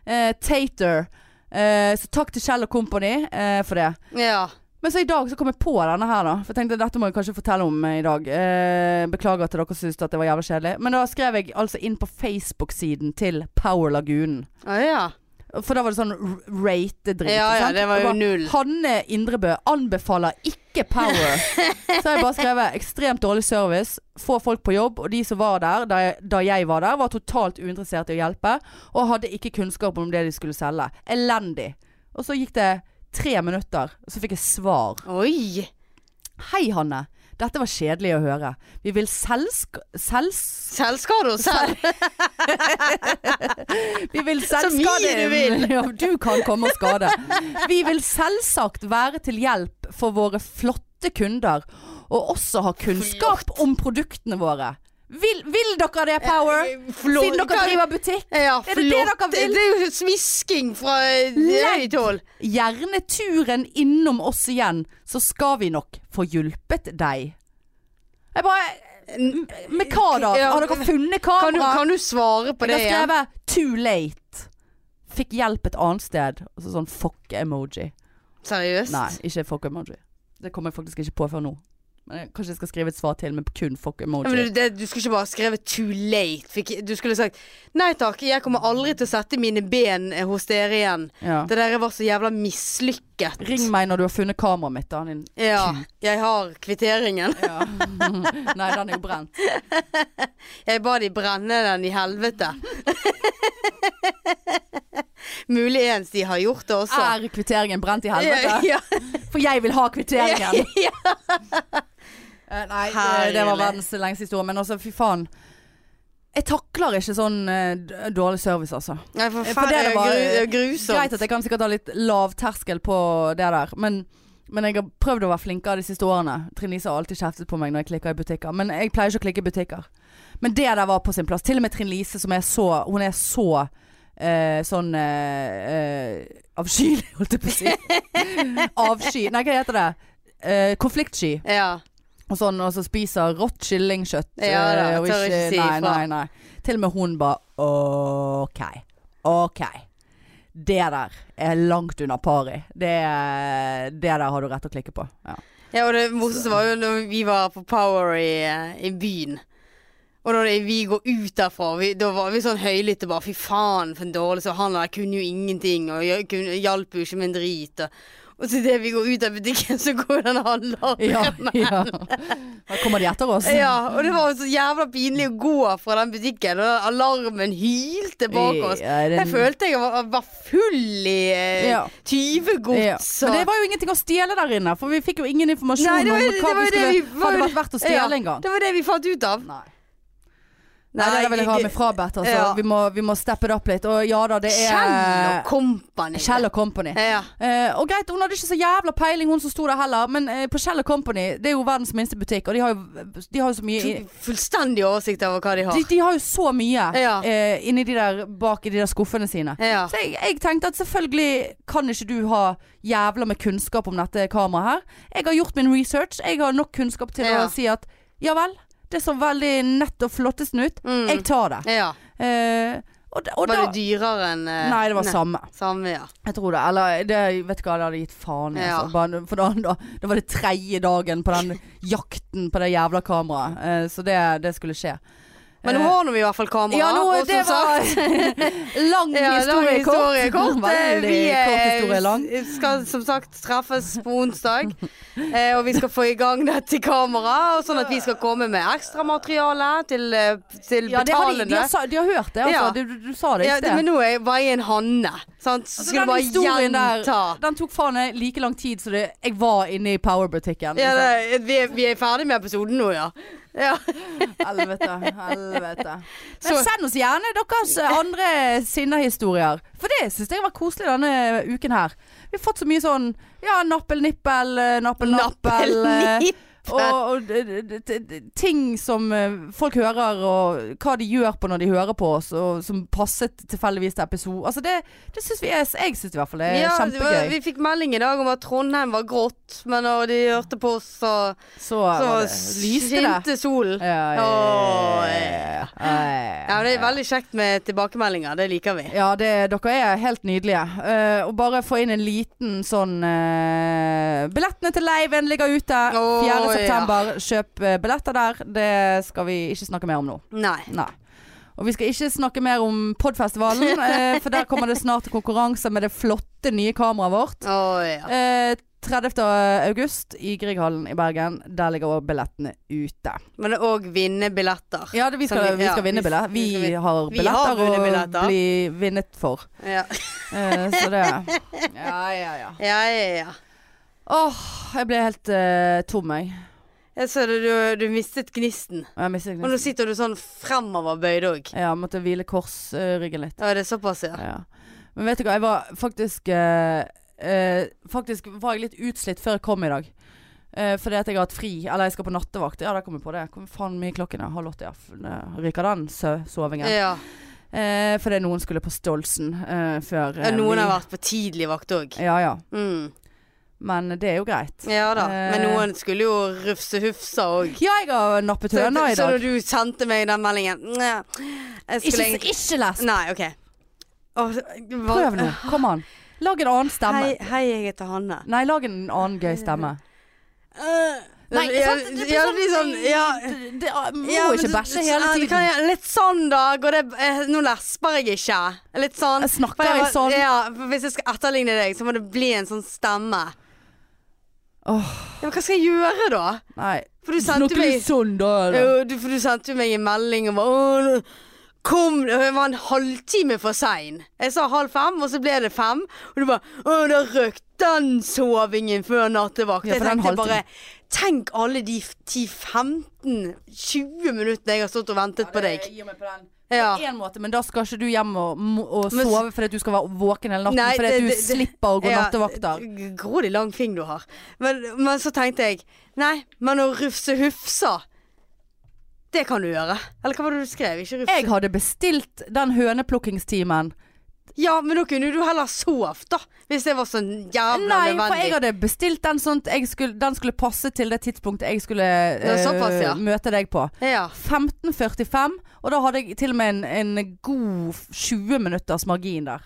Speaker 2: eh, Tater. Eh, så takk til Shell og Company eh, for det.
Speaker 1: ja.
Speaker 2: Men så i dag så kom jeg på denne her, da. For jeg tenkte dette må jeg kanskje fortelle om eh, i dag. Eh, beklager til dere som syntes at det var jævla kjedelig. Men da skrev jeg altså inn på Facebook-siden til Power Lagunen.
Speaker 1: Å ja.
Speaker 2: For da var det sånn r- rate-dritt.
Speaker 1: Ja, ja,
Speaker 2: sant?
Speaker 1: det var jo
Speaker 2: Og bare,
Speaker 1: null.
Speaker 2: Hanne Indrebø anbefaler ikke
Speaker 1: [laughs]
Speaker 2: Power. så har jeg bare skrevet ekstremt dårlig service, få folk på jobb, og de som var der da jeg, da jeg var der, var totalt uinteressert i å hjelpe, og hadde ikke kunnskap om det de skulle selge. Elendig. Og så gikk det tre minutter, og så fikk jeg svar.
Speaker 1: Oi.
Speaker 2: Hei Hanne, dette var kjedelig å høre. Vi vil selsk... Sels...
Speaker 1: Selvskade og selv.
Speaker 2: Vi vil
Speaker 1: [laughs] Så mye
Speaker 2: selvskade
Speaker 1: du vil.
Speaker 2: [laughs] Ja, du kan komme og skade. Vi vil selvsagt være til hjelp for våre flotte kunder, og også ha kunnskap om produktene våre. Vil, vil dere det, Power?
Speaker 1: Flott.
Speaker 2: Siden dere driver butikk?
Speaker 1: Ja,
Speaker 2: Er det det dere
Speaker 1: flott.
Speaker 2: vil?
Speaker 1: Det er jo smisking fra eh,
Speaker 2: Legg.
Speaker 1: høyt hold.
Speaker 2: Gjerne turen innom oss igjen, så skal vi nok få hjulpet deg. Jeg bare Med hva da?
Speaker 1: Ja.
Speaker 2: Har dere funnet
Speaker 1: Kan du,
Speaker 2: kamera?
Speaker 1: kan du svare på det
Speaker 2: Jeg har
Speaker 1: igjen?
Speaker 2: skrevet 'too late'. Fikk hjelp et annet sted. Og så sånn fuck-emoji.
Speaker 1: Seriøst?
Speaker 2: Nei, ikke fuck-emoji. Det kommer jeg faktisk ikke på før nå. Men jeg, kanskje jeg skal skrive et svar til med kun fuck
Speaker 1: Ja,
Speaker 2: emoji.
Speaker 1: men du, det, du skulle ikke bare skrevet 'too late'. Fikk, du skulle sagt 'nei takk, jeg kommer aldri til å sette mine ben eh, hos dere igjen'.
Speaker 2: ja.
Speaker 1: Det der var så jævla mislykket.
Speaker 2: Ring meg når du har funnet kameraet mitt, da. Din.
Speaker 1: Ja, jeg har kvitteringen.
Speaker 2: Ja. Nei, den er jo brent.
Speaker 1: [laughs] Jeg ba de brenne den i helvete. [laughs] Mulig ens de har gjort det også.
Speaker 2: Er kvitteringen brent i helvete?
Speaker 1: Ah. Ja,
Speaker 2: For jeg vil ha
Speaker 1: ja,
Speaker 2: kvitteringen!
Speaker 1: [laughs] ja.
Speaker 2: [laughs] Eh, Nei, det,
Speaker 1: Herlig.
Speaker 2: det var verdens lengste historie. Men altså, fy faen. Jeg takler ikke sånn eh, d- dårlig service, altså.
Speaker 1: Nei, for
Speaker 2: For
Speaker 1: faen, det
Speaker 2: det er
Speaker 1: er
Speaker 2: bare-
Speaker 1: gru, det er grusomt.
Speaker 2: Greit at jeg kan sikkert ha litt lav terskel på det der, men, men jeg har prøvd å være flinkere de siste årene. Trine Lise har alltid kjeftet på meg når jeg klikker i butikker, men jeg pleier ikke å klikke i butikker. Men det der var på sin plass. Til og med Trine Lise, som er så Hun er så eh, sånn eh, eh, avskyelig, [laughs] holdt jeg på å si. Avsky. Nei, hva heter det? Eh, konfliktsky
Speaker 1: Ja.
Speaker 2: og sånn, og så spiser rått kyllingkjøtt.
Speaker 1: Ja da,
Speaker 2: eh, og
Speaker 1: tør ikke si
Speaker 2: nei,
Speaker 1: ifra.
Speaker 2: nei, nei. Til og med hun bare OK. OK. Det der er langt under pari. Det, det der har du rett til å klikke på.
Speaker 1: [laughs]
Speaker 2: Ja.
Speaker 1: ja, og det morsomste var jo når vi var på Power i, eh, i byen. Og da det- vi går ut derfra, vi, da var vi sånn høylytte bare fy faen for en dårlig så han der kunne jo ingenting og jeg kunne, hjalp jo ikke med en drit. Og, og så idet vi går ut av butikken, så går den handleren
Speaker 2: Ja, ja. Da kommer de etter oss.
Speaker 1: Ja, og det var jo så jævla pinlig å gå fra den butikken, og alarmen hylte bak oss.
Speaker 2: Ja, det-
Speaker 1: Jeg følte jeg var, var full i eh,
Speaker 2: Ja. Ja.
Speaker 1: tyvegods.
Speaker 2: Men
Speaker 1: og-
Speaker 2: det var jo ingenting å stjele der inne, for vi fikk jo ingen informasjon
Speaker 1: Nei, det var-
Speaker 2: om
Speaker 1: det
Speaker 2: hva
Speaker 1: var
Speaker 2: vi
Speaker 1: det
Speaker 2: skulle
Speaker 1: vi- var
Speaker 2: Hadde
Speaker 1: det-
Speaker 2: vært verdt å stjele
Speaker 1: Ja,
Speaker 2: en gang.
Speaker 1: Det var det vi fant ut av.
Speaker 2: Nei. Nei, det vil jeg ha med frabedt. Altså.
Speaker 1: Ja.
Speaker 2: Vi, må- vi må steppe det opp litt. Og ja da, det er
Speaker 1: Kjell og Company.
Speaker 2: Kjell og Company.
Speaker 1: Ja.
Speaker 2: Eh, og greit, hun hadde ikke så jævla peiling, hun som sto der heller. Men eh, på Kjell Company, det er jo verdens minste butikk, og de har jo, de har jo så mye
Speaker 1: Tok Fullstendig oversikt over hva de har.
Speaker 2: de, de har jo så mye
Speaker 1: Ja.
Speaker 2: eh, inni de der bak i de der skuffene sine.
Speaker 1: Ja.
Speaker 2: Så jeg, jeg tenkte at selvfølgelig kan ikke du ha jævla med kunnskap om dette kameraet her. Jeg har gjort min research. Jeg har nok kunnskap til
Speaker 1: Ja.
Speaker 2: å si at ja vel, det så veldig nett og flottest ut.
Speaker 1: Mm.
Speaker 2: Jeg tar det.
Speaker 1: ja.
Speaker 2: Eh, og, da- og
Speaker 1: Var
Speaker 2: da
Speaker 1: det dyrere enn eh,
Speaker 2: Nei, det var samme.
Speaker 1: Samme, ja.
Speaker 2: Jeg tror det. Eller det, vet du hva, det hadde gitt faen. i,
Speaker 1: Ja.
Speaker 2: Altså. Bare, for da, da, det var det tredje dagen på den [laughs] jakten på det jævla kameraet. Eh, så det, det skulle skje.
Speaker 1: Men nå har nå vi i hvert fall kamera.
Speaker 2: Eh, ja, nå,
Speaker 1: og som
Speaker 2: det var
Speaker 1: sagt-
Speaker 2: [laughs] lang
Speaker 1: Ja, lang
Speaker 2: historie kort.
Speaker 1: historie kort. Eh,
Speaker 2: [laughs] Veldig
Speaker 1: Vi
Speaker 2: kort
Speaker 1: eh,
Speaker 2: historie lang.
Speaker 1: s- skal som sagt treffes på
Speaker 2: [laughs]
Speaker 1: onsdag. eh, Og vi skal få i gang dette kameraet, og sånn at vi skal komme med ekstramateriale til, eh, til
Speaker 2: Ja, det har de,
Speaker 1: betalende.
Speaker 2: de, har, sa- de har hørt det, altså.
Speaker 1: Ja.
Speaker 2: Du, du, du sa det i
Speaker 1: Ja,
Speaker 2: sted. Altså,
Speaker 1: men nå er jeg bare i en hanne. Sant? Så skal
Speaker 2: den
Speaker 1: du bare
Speaker 2: historien der-
Speaker 1: gjenta.
Speaker 2: Den tok faen meg like lang tid som det jeg var inne i Power-butikken.
Speaker 1: Ja, det, vi, er, vi er ferdig med episoden nå, ja. ja.
Speaker 2: Helvete, helvete. Men
Speaker 1: Så-
Speaker 2: send oss gjerne deres andre sinnehistorier. For det syns jeg var koselig denne uken her. Vi har fått så mye sånn ja, nappel, nippel, eh, nappel,
Speaker 1: [laughs]
Speaker 2: nappel. eh,
Speaker 1: Nipp.
Speaker 2: Og, og d- d- d- d- ting som eh, folk hører, og hva de gjør på når de hører på oss, og som passet tilfeldigvis til episode. Altså det, det syns vi er Jeg syns i hvert fall det
Speaker 1: [laughs]
Speaker 2: er
Speaker 1: Ja, det var,
Speaker 2: eh, kjempegøy.
Speaker 1: vi fikk melding i dag om at Trondheim var grått, men når de hørte på oss, så, så
Speaker 2: Så, var det- lyste det.
Speaker 1: skinte solen.
Speaker 2: Ja, ja, ja, ja, ja.
Speaker 1: Ja, men Det er veldig kjekt med tilbakemeldinger. Det liker vi.
Speaker 2: Ja, det, dere er helt nydelige. Eh, og bare få inn en liten sånn eh, Billettene til Leiven ligger ute. 4.
Speaker 1: Å,
Speaker 2: september. Kjøp eh, billetter der. Det skal vi ikke snakke mer om nå.
Speaker 1: Nei.
Speaker 2: Nei. Og vi skal ikke snakke mer om Podfestivalen,
Speaker 1: [laughs]
Speaker 2: eh, for der kommer det snart konkurranse med det flotte nye kameraet vårt.
Speaker 1: Å ja.
Speaker 2: Eh, 30. august i Grieghallen i Bergen. Der ligger også billettene ute.
Speaker 1: Men det er òg vinne billetter.
Speaker 2: Ja, det, vi,
Speaker 1: Som
Speaker 2: skal,
Speaker 1: vi-
Speaker 2: vi
Speaker 1: ja,
Speaker 2: skal vinne
Speaker 1: vi-
Speaker 2: billetter. Vi
Speaker 1: vi skal vin-
Speaker 2: har
Speaker 1: Vi har
Speaker 2: billetter
Speaker 1: vunnet
Speaker 2: å
Speaker 1: billetter.
Speaker 2: bli vinnet for.
Speaker 1: Ja,
Speaker 2: Eh, så det Ja, ja, ja.
Speaker 1: ja, ja. ja.
Speaker 2: Åh, jeg ble helt eh, tom, jeg.
Speaker 1: Jeg så det, du, du mistet gnisten.
Speaker 2: Og Jeg mistet
Speaker 1: Og nå
Speaker 2: gnisten.
Speaker 1: sitter du sånn fremoverbøyd òg.
Speaker 2: Ja, jeg måtte hvile korsryggen litt.
Speaker 1: Ja, det er såpass, ja.
Speaker 2: Ja. Men vet du hva, jeg var faktisk eh, eh, Faktisk var jeg litt utslitt før jeg kom i dag. Eh, fordi at jeg har hatt fri. Eller jeg skal på nattevakt. Ja, der kom jeg på det. Hvor faen mye klokken er? Halv åtte, ja. F- det Ryker den sø sovingen?
Speaker 1: ja.
Speaker 2: Eh, fordi noen skulle på Stolsen eh, før
Speaker 1: Ja,
Speaker 2: eh,
Speaker 1: noen
Speaker 2: vi-
Speaker 1: har vært på tidlig vakt òg.
Speaker 2: Ja ja.
Speaker 1: Mm.
Speaker 2: Men det er jo greit.
Speaker 1: Ja da. Men
Speaker 2: Eh.
Speaker 1: noen skulle jo rufse hufsa òg.
Speaker 2: Ja, jeg har nappet
Speaker 1: Så,
Speaker 2: høna i
Speaker 1: så
Speaker 2: dag.
Speaker 1: når du sendte meg den meldingen "Nja, jeg skulle
Speaker 2: Ikke,
Speaker 1: egentlig-
Speaker 2: ikke les!
Speaker 1: Nei, OK. Å, det var-
Speaker 2: Prøv nå, kom an. Lag en annen stemme.
Speaker 1: Hei, hei, jeg heter Hanne.
Speaker 2: Nei, lag en annen gøy stemme. Nei, sant? Eh, Det blir
Speaker 1: ja,
Speaker 2: sånn,
Speaker 1: det blir sånn Ja,
Speaker 2: Det- det- Må
Speaker 1: ja, men
Speaker 2: ikke
Speaker 1: så-
Speaker 2: bæsje
Speaker 1: så-
Speaker 2: hele
Speaker 1: ja, det
Speaker 2: tiden.
Speaker 1: kan jeg- Litt sånn, da. Går det eh, Nå lesper jeg ikke. Litt sånn.
Speaker 2: Jeg snakker
Speaker 1: For jeg
Speaker 2: i
Speaker 1: var-
Speaker 2: sånn.
Speaker 1: Ja, for hvis jeg skal etterligne deg, så må det bli en sånn stemme.
Speaker 2: Åh,
Speaker 1: Ja, men hva skal jeg gjøre, da?
Speaker 2: nei.
Speaker 1: For du sendte
Speaker 2: Snakker du
Speaker 1: meg
Speaker 2: sånn, da? eller?
Speaker 1: Jo, du, for du sendte jo meg en melding og bare Åh, nå- Kom, og jeg var en halvtime for sein. Jeg sa halv fem, og så ble det fem. Og du bare Å, da røk den sovingen før nattevakt.
Speaker 2: Ja,
Speaker 1: jeg
Speaker 2: for den
Speaker 1: tenkte
Speaker 2: halvtimen.
Speaker 1: bare Tenk alle de 10-15-20 minuttene jeg har stått og ventet på deg.
Speaker 2: Gi meg på den.
Speaker 1: Ja.
Speaker 2: På en måte, men da skal ikke du hjem og, må- og
Speaker 1: Men s-
Speaker 2: sove fordi at du skal være våken hele natten.
Speaker 1: Nei,
Speaker 2: fordi
Speaker 1: det-
Speaker 2: at du
Speaker 1: det- det-
Speaker 2: slipper å gå
Speaker 1: Ja,
Speaker 2: nattevakter.
Speaker 1: g- Grådig lang fing du har. Men, men så tenkte jeg Nei, men å rufse hufsa Det kan du gjøre. Eller hva var det du skrev? Ikke rufse.
Speaker 2: Jeg hadde bestilt den høneplukkingstimen.
Speaker 1: Ja, men da kunne du heller sovet, da. Hvis det var sånn jævla
Speaker 2: Nei, for jeg
Speaker 1: nødvendig.
Speaker 2: hadde bestilt den sånn at jeg skulle, den skulle passe til det tidspunktet jeg skulle eh,
Speaker 1: såpass, ja.
Speaker 2: møte deg på.
Speaker 1: Ja.
Speaker 2: 15.45, og da hadde jeg til og med en, en god 20 minutters margin der.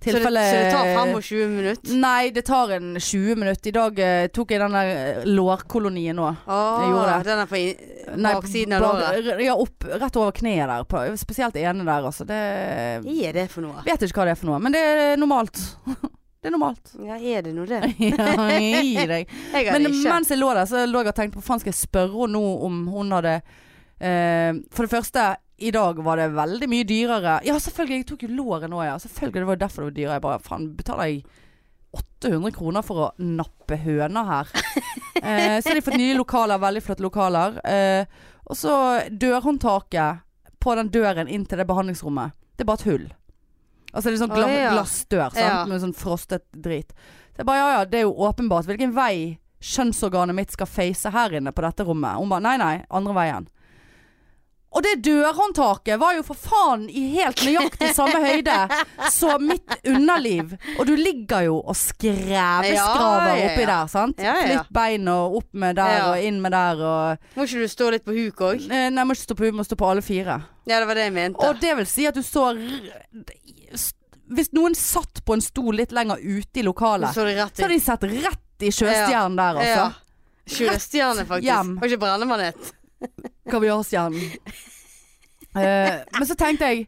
Speaker 1: Så, det, så det tar
Speaker 2: Tilfelle- Mm,
Speaker 1: 25 minutter.
Speaker 2: Nei, det tar en 20 minutter. I dag eh, tok jeg den der eh, lårkolonien nå. Jeg
Speaker 1: Åh,
Speaker 2: gjorde det.
Speaker 1: den er på in
Speaker 2: Nei,
Speaker 1: baksiden av
Speaker 2: bak-
Speaker 1: låret.
Speaker 2: r- Ja, opp, rett over kneet der. På, spesielt det ene der, altså. Det
Speaker 1: Hva er det for noe?
Speaker 2: Vet ikke hva det er for noe, men det er normalt. [laughs] det
Speaker 1: [laughs]
Speaker 2: er normalt.
Speaker 1: Ja, er det nå det?
Speaker 2: ja, gi deg.
Speaker 1: Jeg har
Speaker 2: Men
Speaker 1: det ikke.
Speaker 2: mens jeg lå der, så lå jeg og tenkte på faen skal jeg spørre henne nå om hun hadde eh, For det første, i dag var det veldig mye dyrere. Ja, selvfølgelig. Jeg tok jo låret nå, ja. Selvfølgelig, Det var jo derfor det var dyrere. Jeg bare faen, betaler jeg 800 kroner for å nappe
Speaker 1: [laughs]
Speaker 2: høner her? eh, så har de fått nye lokaler. Veldig flotte lokaler. Eh, og så dørhåndtaket på den døren inn til det behandlingsrommet. Det er bare et hull. Altså det er sånn gla
Speaker 1: Å, ja.
Speaker 2: glassdør sant?
Speaker 1: Ja.
Speaker 2: med sånn frostet drit. Så jeg bare ja ja, det er jo åpenbart hvilken vei kjønnsorganet mitt skal face her inne på dette rommet. Hun bare nei nei, andre veien. Og det dørhåndtaket var jo for faen i helt nøyaktig samme høyde som mitt underliv. Og du ligger jo og skreveskraver
Speaker 1: Ja, ja, ja.
Speaker 2: oppi der, sant?
Speaker 1: Ja, ja, ja.
Speaker 2: Flytt bein og opp med der
Speaker 1: Ja.
Speaker 2: og inn med der og
Speaker 1: Må ikke du stå litt på huk òg?
Speaker 2: Nei, må ikke stå på, må stå på alle fire.
Speaker 1: Ja, det var det jeg mente.
Speaker 2: Og det vil si at du så r- s- Hvis noen satt på en stol litt lenger ute i
Speaker 1: Nå
Speaker 2: lokalet,
Speaker 1: så det rett
Speaker 2: så hadde
Speaker 1: ut.
Speaker 2: de sett rett i sjøstjernen der, altså.
Speaker 1: Ja. Sjøstjerne, faktisk.
Speaker 2: hjem.
Speaker 1: Har ikke brennemanet. [laughs]
Speaker 2: Kaviarstjernen. Eh, men så tenkte jeg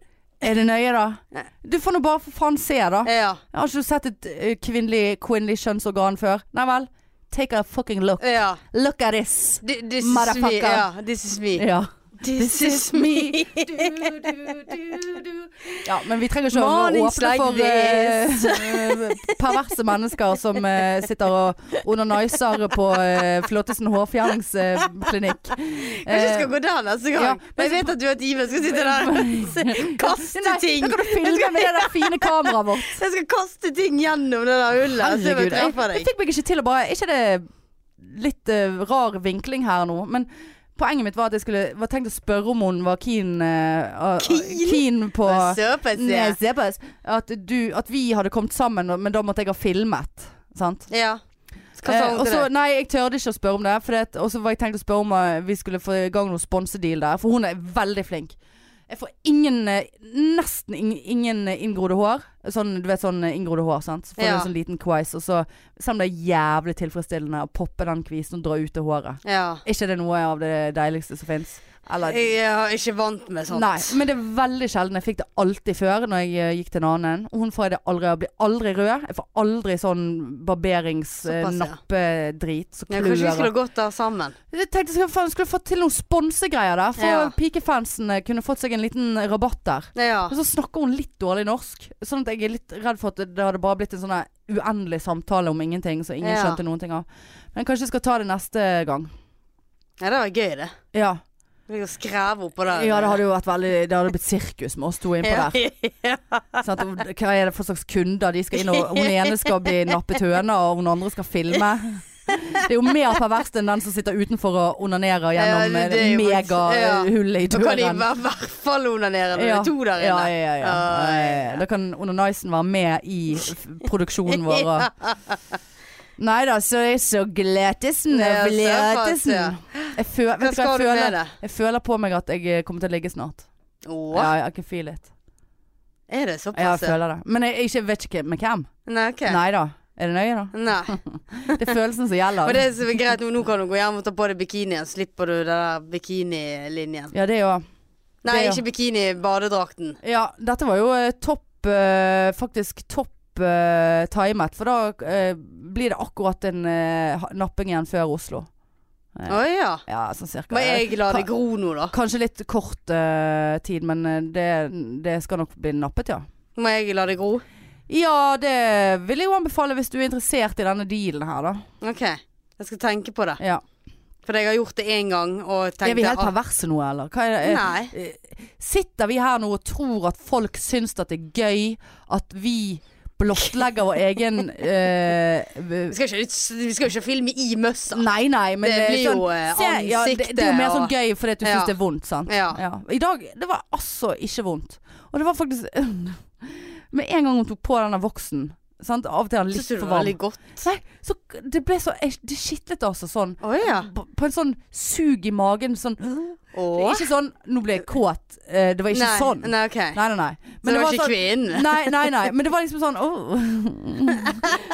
Speaker 2: Er det nøye, da? Du får nå bare for faen se, da.
Speaker 1: Ja.
Speaker 2: Jeg har ikke du sett et eh, kvinnelig, kvinnelig kjønnsorgan før? Nei vel? Take a fucking look.
Speaker 1: ja.
Speaker 2: Look at this.
Speaker 1: Thi- This is me.
Speaker 2: Motherfucker.
Speaker 1: Ja, this is me.
Speaker 2: Ja.
Speaker 1: This is
Speaker 2: [laughs]
Speaker 1: me.
Speaker 2: Ja, men vi trenger ikke å
Speaker 1: Mornings
Speaker 2: åpne
Speaker 1: like
Speaker 2: for eh, [laughs] perverse mennesker som eh, sitter og onaniser på eh, Flåttesen hårfjerningsklinikk.
Speaker 1: Kanskje jeg skal gå der neste gang.
Speaker 2: Eh, ja,
Speaker 1: men jeg vet at du har time. Jeg skal sitte
Speaker 2: [laughs]
Speaker 1: der og kaste ting.
Speaker 2: Da Eh, kan du filme med det der fine kameraet vårt.
Speaker 1: Jeg skal kaste ting gjennom det der hullet. og Se om jeg
Speaker 2: Herregud. Jeg,
Speaker 1: treffer
Speaker 2: jeg
Speaker 1: deg.
Speaker 2: fikk meg ikke til å bare Er ikke det litt eh, rar vinkling her nå? Men poenget mitt var at jeg skulle var tenkt å spørre om hun var keen, eh, eh,
Speaker 1: Keen?
Speaker 2: keen på
Speaker 1: Såpass, ja.
Speaker 2: Nei, se på oss. At, du, at vi hadde kommet sammen, og- men da måtte jeg ha filmet. Sant?
Speaker 1: Ja. Hva sa
Speaker 2: Eh,
Speaker 1: hun
Speaker 2: og
Speaker 1: til
Speaker 2: så-
Speaker 1: deg?
Speaker 2: nei, jeg tørde ikke å spørre om det. For det at- og så var jeg tenkt å spørre om eh, vi skulle få i gang noen sponsedeal der. For hun er veldig flink. Jeg får ingen eh, Nesten ing, ingen eh, inngrodde hår. Sånn, du vet sånn eh, inngrodde hår, sant. Så får du
Speaker 1: Ja.
Speaker 2: en sånn liten quiz, og så Selv om det er jævlig tilfredsstillende å poppe den kvisen og dra ut det håret.
Speaker 1: Ja.
Speaker 2: Er ikke det noe av det deiligste som fins? Eller
Speaker 1: Jeg er ikke vant med sånt.
Speaker 2: Nei, men det er veldig sjelden. Jeg fikk det alltid før når jeg eh, gikk til en annen. Og hun får jeg det aldri. Jeg blir aldri rød. Jeg får aldri sånn
Speaker 1: Såpass, ja.
Speaker 2: barberingsnappedrit som
Speaker 1: Ja, kanskje vi
Speaker 2: klør.
Speaker 1: skulle gått der sammen.
Speaker 2: Jeg tenkte jeg faen, skulle fått til noen sponsegreier der. For
Speaker 1: Ja.
Speaker 2: pikefansene kunne fått seg en liten rabatt der.
Speaker 1: Ja.
Speaker 2: Og så snakker hun litt dårlig norsk, sånn at jeg er litt redd for at det hadde bare blitt en sånn her uendelig samtale om ingenting som ingen
Speaker 1: Ja.
Speaker 2: skjønte noen ting av. Men kanskje jeg skal ta det neste gang.
Speaker 1: ja, det var gøy, det.
Speaker 2: Ja.
Speaker 1: Ligge og skreve oppå der.
Speaker 2: ja, det hadde jo vært veldig Det hadde blitt sirkus med oss to innpå der.
Speaker 1: [laughs] Ja.
Speaker 2: Sant? Og Hva er det for slags kunder de skal inn og Hun ene skal bli nappet høna, og hun andre skal filme. Det er jo mer perverst enn den som sitter utenfor og onanerer gjennom
Speaker 1: Ja, det- det er jo faktisk- ja.
Speaker 2: megahullet i
Speaker 1: Da kan de i
Speaker 2: døren.
Speaker 1: hver- hvert fall onanere når det er to der
Speaker 2: Ja,
Speaker 1: inne.
Speaker 2: ja, ja, ja.
Speaker 1: Ah,
Speaker 2: Ja, ja, ja. Da kan onanisen være med i f- produksjonen vår.
Speaker 1: [laughs]
Speaker 2: Og... Nei da, så er jeg så gletesen og
Speaker 1: Ja, såpass,
Speaker 2: fletesen.
Speaker 1: ja.
Speaker 2: Jeg føl-
Speaker 1: Hva
Speaker 2: Vet du hva
Speaker 1: skal du
Speaker 2: jeg
Speaker 1: med
Speaker 2: føler?
Speaker 1: det?
Speaker 2: Jeg føler på meg at jeg eh, kommer til å ligge snart.
Speaker 1: Åh,
Speaker 2: Ja, jeg kan feel it.
Speaker 1: Er det
Speaker 2: Ja, jeg
Speaker 1: såpass? ja?
Speaker 2: føler det. Men jeg, jeg vet ikke med hvem.
Speaker 1: Nei, ok.
Speaker 2: Nei da. Er det nøye, da?
Speaker 1: Nei.
Speaker 2: Det er følelsen som
Speaker 1: [laughs]
Speaker 2: gjelder.
Speaker 1: Og det som er greit nå, nå kan du gå hjem og ta på deg bikinien. Slipper du den der bikinilinjen.
Speaker 2: Ja, det er jo
Speaker 1: Nei,
Speaker 2: Det, ja.
Speaker 1: ikke bikini, badedrakten.
Speaker 2: Ja, dette var jo eh, topp eh, Faktisk topp eh, timet, for da eh, blir det akkurat en eh, ha- napping igjen før Oslo.
Speaker 1: Å ja.
Speaker 2: Ja, sånn cirka.
Speaker 1: Må jeg la det gro nå, da?
Speaker 2: Kanskje litt kort eh, tid, men eh, det, det skal nok bli nappet, ja.
Speaker 1: Må jeg la det gro?
Speaker 2: Ja, det vil jeg jo anbefale hvis du er interessert i denne dealen her, da.
Speaker 1: OK. Jeg skal tenke på det.
Speaker 2: Ja.
Speaker 1: For jeg har gjort det én gang og tenkte
Speaker 2: Er vi helt
Speaker 1: ah,
Speaker 2: perverse nå, eller? Hva er det? Eh,
Speaker 1: Nei.
Speaker 2: Sitter vi her nå og tror at folk syns at det er gøy at vi blottlegger vår egen eh,
Speaker 1: [laughs] Vi skal jo ikke, vi skal jo ikke filme i møssa.
Speaker 2: Nei, nei, men
Speaker 1: Det
Speaker 2: eh,
Speaker 1: blir jo, eh,
Speaker 2: ja, det, det er jo mer
Speaker 1: ansiktet
Speaker 2: sånn
Speaker 1: og-
Speaker 2: gøy fordi at du
Speaker 1: Ja.
Speaker 2: syns det er vondt, sant.
Speaker 1: Ja.
Speaker 2: I dag Det var altså ikke vondt. Og det var faktisk [laughs] Med en gang hun tok på denne voksen, sant? av og til er den
Speaker 1: Syns
Speaker 2: litt
Speaker 1: du det
Speaker 2: for
Speaker 1: var
Speaker 2: varm.
Speaker 1: veldig godt?
Speaker 2: Nei, så det ble så Det skitlet altså sånn.
Speaker 1: Å ja.
Speaker 2: På på en sånn sug i magen. Sånn Det er
Speaker 1: Å?
Speaker 2: Ikke sånn 'nå ble jeg kåt'. eh, Det var ikke
Speaker 1: nei,
Speaker 2: sånn. Nei,
Speaker 1: Nei, ok.
Speaker 2: nei, nei.
Speaker 1: Så det, var ikke
Speaker 2: sånn,
Speaker 1: kvinnen?
Speaker 2: Nei, nei, nei. Men det var liksom sånn åh.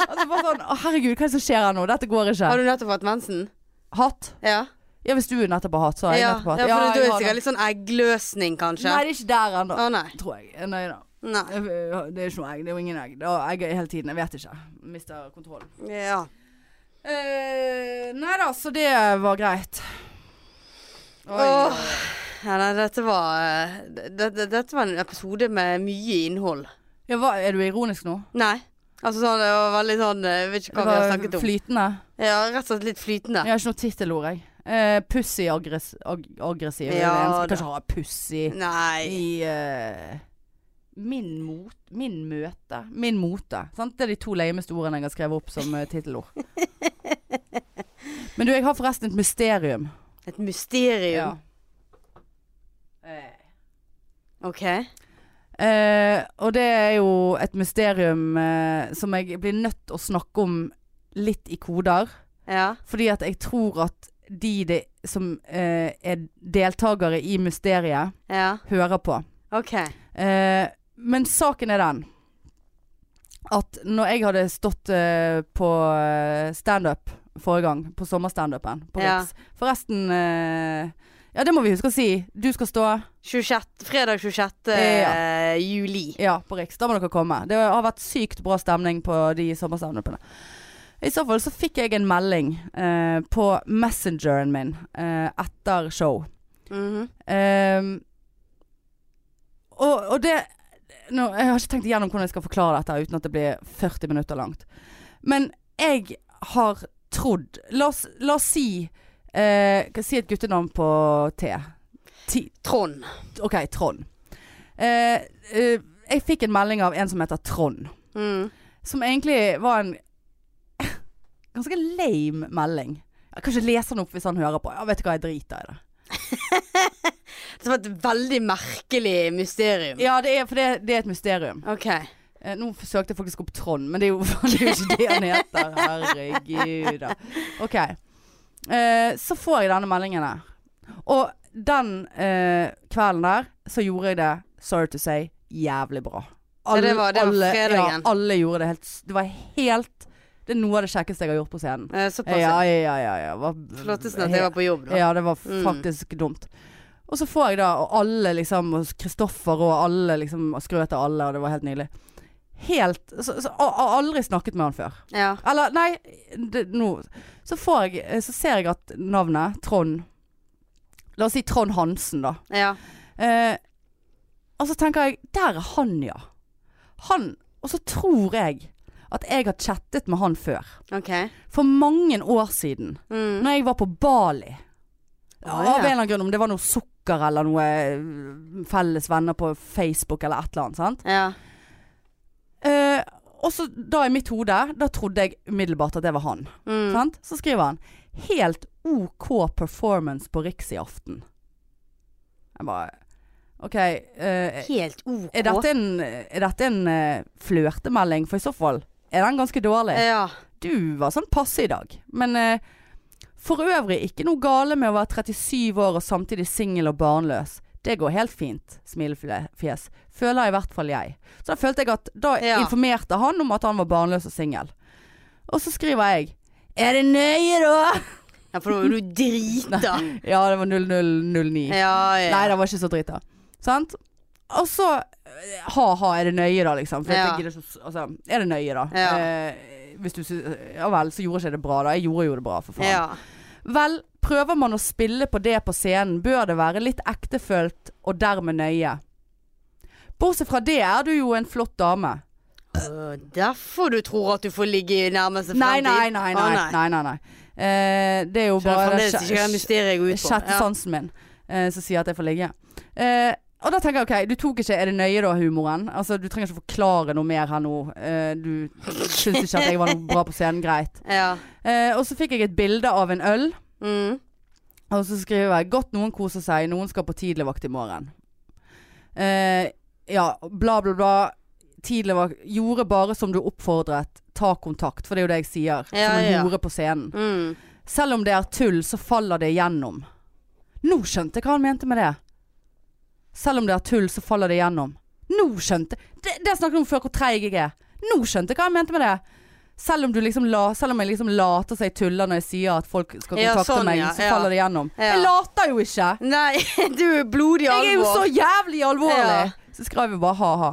Speaker 2: altså, bare sånn Å, herregud, hva er det som skjer her nå? Dette går ikke.
Speaker 1: Har du nettopp hatt mensen?
Speaker 2: Hatt?
Speaker 1: Ja.
Speaker 2: Ja, hvis du nettopp har hatt, så har jeg
Speaker 1: ja.
Speaker 2: nettopp hatt.
Speaker 1: ja, for du
Speaker 2: jeg
Speaker 1: er
Speaker 2: har
Speaker 1: sikkert
Speaker 2: det.
Speaker 1: litt sånn eggløsning, kanskje?
Speaker 2: Nei, det er ikke der ennå.
Speaker 1: Å nei.
Speaker 2: Tror jeg. Nei da.
Speaker 1: Nei.
Speaker 2: Det er ikke noe egg. Det er jo ingen egg. Det er egg hele tiden. Jeg vet ikke. Mister kontrollen.
Speaker 1: Ja.
Speaker 2: Eh, nei da, så det var greit. Oi.
Speaker 1: Åh. ja nei, dette var eh, det, det, Dette var en episode med mye innhold.
Speaker 2: Ja, hva, er du ironisk nå?
Speaker 1: Nei. Altså sånn, det var veldig sånn eh, Jeg vet ikke hva vi har snakket om.
Speaker 2: flytende.
Speaker 1: Ja, rett og slett litt flytende.
Speaker 2: Jeg har ikke noe tittelord, jeg. Eh, pussy aggress ag aggressiv.
Speaker 1: Ja,
Speaker 2: Ja,
Speaker 1: da.
Speaker 2: skal ikke ha pussy
Speaker 1: Nei.
Speaker 2: i eh, min, mot, min møte. Min mote. Sant? Det er de to leimeste ordene jeg har skrevet opp som uh,
Speaker 1: [laughs]
Speaker 2: tittelord. Men du, jeg har forresten et mysterium.
Speaker 1: Et mysterium.
Speaker 2: Eh,
Speaker 1: OK.
Speaker 2: Eh, og det er jo et mysterium eh, som jeg blir nødt til å snakke om litt i koder.
Speaker 1: Ja.
Speaker 2: Fordi at jeg tror at de, det- som eh, er deltakere i mysteriet,
Speaker 1: Ja.
Speaker 2: hører på.
Speaker 1: OK.
Speaker 2: Eh, men saken er den at når jeg hadde stått eh, på eh, standup forrige gang, på sommerstandupen på
Speaker 1: Ja.
Speaker 2: Riks Forresten eh, Ja, det må vi huske å si. Du skal stå
Speaker 1: 26, fredag 26.
Speaker 2: Ja.
Speaker 1: juli.
Speaker 2: ja, på Riks. Da må dere komme. Det har vært sykt bra stemning på de sommerstandupene. I så fall så fikk jeg en melding eh, på messengeren min eh, etter show.
Speaker 1: Mhm.
Speaker 2: Ehm, og, og det nå, Jeg har ikke tenkt igjennom hvordan jeg skal forklare dette uten at det blir 40 minutter langt. Men jeg har trodd La oss, la oss si eh, hva- Si et guttenavn på T. Ti,
Speaker 1: Trond.
Speaker 2: OK, Trond. Eh, eh, jeg fikk en melding av en som heter Trond.
Speaker 1: Mm. [laughs]
Speaker 2: Som egentlig var en [laughs] ganske lame melding. Jeg kan ikke lese den opp hvis han hører på. Ja, vet du hva, jeg driter i det.
Speaker 1: Det var et veldig merkelig mysterium.
Speaker 2: Ja, det er, for det, det er et mysterium.
Speaker 1: OK.
Speaker 2: Eh, nå søkte jeg faktisk opp Trond, men det er jo, [laughs] det er jo ikke det han heter. Herregud, da. Ok. Eh, så får jeg denne meldingen her. Og den eh, kvelden der så gjorde jeg det, sorry to say, jævlig bra.
Speaker 1: Ja, det var- det var
Speaker 2: alle,
Speaker 1: fredagen.
Speaker 2: Ja, alle gjorde det helt s- Det var helt Det er noe av det kjekkeste jeg har gjort på scenen.
Speaker 1: Eh, Såpass.
Speaker 2: Ja,
Speaker 1: Ja.
Speaker 2: ja, ja. ja, ja. Var,
Speaker 1: Flottesten at jeg var på jobb, da.
Speaker 2: ja, det var
Speaker 1: Mm.
Speaker 2: faktisk dumt. Og så får jeg da, og alle liksom, og Kristoffer og alle liksom, og skrøt av alle, og det var helt nydelig. Helt så, så, og, og Aldri snakket med han før.
Speaker 1: Ja.
Speaker 2: Eller, nei, det, nå Så får jeg eh, Så ser jeg at navnet, Trond La oss si Trond Hansen, da.
Speaker 1: ja.
Speaker 2: Eh, og så tenker jeg Der er han, ja. Han Og så tror jeg at jeg har chattet med han før.
Speaker 1: OK.
Speaker 2: For mange år siden.
Speaker 1: Mm.
Speaker 2: Når jeg var på Bali
Speaker 1: Å,
Speaker 2: Av en
Speaker 1: ja.
Speaker 2: eller annen grunn Om det var noe sukker eller noe eh, Felles venner på Facebook eller et eller annet sant?
Speaker 1: Ja.
Speaker 2: Eh, Og så da i mitt hode Da trodde jeg umiddelbart at det var han
Speaker 1: Mm.
Speaker 2: sant? Så skriver han Helt OK performance på Riks i aften Jeg bare Ok eh,
Speaker 1: Helt OK.
Speaker 2: Er dette en, er dette en eh, flørtemelding? For i så fall er den ganske dårlig
Speaker 1: Ja.
Speaker 2: du var sånn passe i dag. Men eh, for øvrig ikke noe gale med å være 37 år og samtidig singel og barnløs. Det går helt fint, smilefjes. Føler i hvert fall jeg. Så da følte jeg at da
Speaker 1: Ja.
Speaker 2: informerte han om at han var barnløs og singel. Og så skriver jeg Er det nøye, da? [laughs]
Speaker 1: Ja, for da var jo du drita.
Speaker 2: Ja, det var 0009.
Speaker 1: Ja, ja.
Speaker 2: Nei, det var ikke så dritt da. Sant? Og så eh, ha-ha, er det nøye da, liksom? For
Speaker 1: Ja.
Speaker 2: jeg gidder ikke, å s- altså, er det nøye da?
Speaker 1: Ja.
Speaker 2: Eh, hvis du sy- Ja vel, så gjorde ikke jeg det bra da. Jeg gjorde jo det bra, for faen.
Speaker 1: ja.
Speaker 2: Vel, prøver man å spille på det på scenen, bør det være litt ektefølt og dermed nøye. Bortsett fra det er du jo en flott dame.
Speaker 1: Øh, Derfor du tror at du får ligge i nærmeste
Speaker 2: Nei,
Speaker 1: fremtid?
Speaker 2: nei, nei.
Speaker 1: Å,
Speaker 2: nei, nei, nei, nei. Eh, det er jo
Speaker 1: Skjønner
Speaker 2: bare
Speaker 1: fremdeles ikke hva mysteriet jeg går ut på.
Speaker 2: sjette
Speaker 1: Ja.
Speaker 2: sansen min eh, som sier at jeg får ligge. Eh, og da tenker jeg ok, du tok ikke 'er det nøye da', humoren. Altså, Du trenger ikke forklare noe mer her nå. Eh, du syns ikke at jeg var noe bra på scenen. Greit.
Speaker 1: Ja.
Speaker 2: Eh, og så fikk jeg et bilde av en øl,
Speaker 1: Mm.
Speaker 2: og så skriver jeg 'godt noen koser seg, noen skal på tidligvakt i morgen'. Eh, ja, bla, bla, bla. Tidligvakt Gjorde bare som du oppfordret. Ta kontakt. For det er jo det jeg sier.
Speaker 1: Ja,
Speaker 2: som en
Speaker 1: ja.
Speaker 2: hore på scenen.
Speaker 1: Mm.
Speaker 2: Selv om det er tull, så faller det igjennom. Nå skjønte jeg hva han mente med det. Selv om det er tull, så faller det igjennom. Nå skjønte Det, det snakket vi om før, hvor treig jeg er. Nå skjønte jeg hva han mente med det. Selv om, du liksom la, selv om jeg liksom later som jeg tuller når jeg sier at folk skal
Speaker 1: Ja,
Speaker 2: kontakte
Speaker 1: sånn,
Speaker 2: meg,
Speaker 1: ja,
Speaker 2: så
Speaker 1: ja.
Speaker 2: faller det igjennom.
Speaker 1: Ja.
Speaker 2: Jeg later jo ikke!
Speaker 1: Nei, [laughs] du er blodig alvor.
Speaker 2: Jeg er jo så jævlig alvorlig!
Speaker 1: Ja.
Speaker 2: Så skrev jeg bare ha-ha.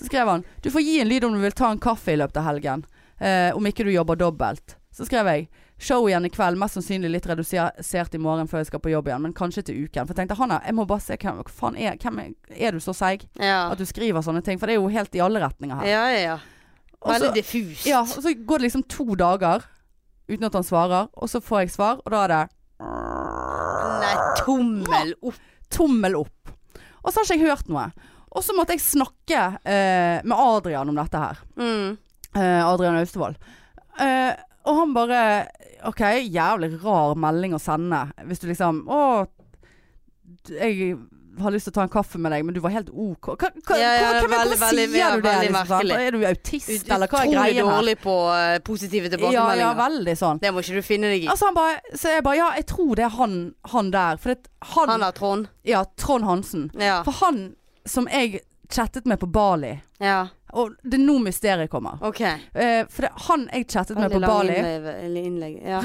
Speaker 2: Så skrev han du får gi en lyd om du vil ta en kaffe i løpet av helgen. Eh, om ikke du jobber dobbelt. Så skrev jeg show igjen i kveld, mest sannsynlig litt redusert i morgen før jeg skal på jobb igjen, men kanskje til uken. For jeg tenkte Hanna, jeg må bare se hvem, hva faen er, hvem er, er du så seig
Speaker 1: ja.
Speaker 2: at du skriver sånne ting? For det er jo helt i alle retninger her.
Speaker 1: ja, ja, ja.
Speaker 2: Og så-
Speaker 1: Veldig diffust.
Speaker 2: ja, og så går det liksom to dager uten at han svarer, og så får jeg svar, og da er det
Speaker 1: Nei, tommel opp.
Speaker 2: tommel opp. Og så har ikke jeg hørt noe. Og så måtte jeg snakke eh, med Adrian om dette her.
Speaker 1: Mm.
Speaker 2: Eh, Adrian Austevoll. Eh, og han bare OK, jævlig rar melding å sende. Hvis du liksom Å, jeg har lyst til å ta en kaffe med deg, men du var helt OK. Hva, hva,
Speaker 1: Ja, ja,
Speaker 2: hva- hvem-
Speaker 1: veldig,
Speaker 2: hvordan
Speaker 1: veldig-
Speaker 2: sier
Speaker 1: ja,
Speaker 2: du det?
Speaker 1: veldig
Speaker 2: Liksom, sant?
Speaker 1: merkelig.
Speaker 2: Er du autist,
Speaker 1: Ut-
Speaker 2: eller hva er
Speaker 1: Utrolig
Speaker 2: greia her?
Speaker 1: dårlig på eh, positive
Speaker 2: Ja,
Speaker 1: tilbakemeldinger.
Speaker 2: ja, veldig sånn.
Speaker 1: Det må ikke du finne deg i.
Speaker 2: Altså han bare, så jeg bare Ja, jeg tror det er han, han der. For det, han,
Speaker 1: Han har Trond.
Speaker 2: Ja, Trond Hansen.
Speaker 1: Ja.
Speaker 2: For han som jeg chattet med på Bali
Speaker 1: ja.
Speaker 2: Og det er nå mysteriet kommer.
Speaker 1: OK.
Speaker 2: Eh, for det, han jeg chattet med på
Speaker 1: Veldig lang
Speaker 2: Bali
Speaker 1: innlev- eller innlegg.
Speaker 2: [laughs]
Speaker 1: Ja.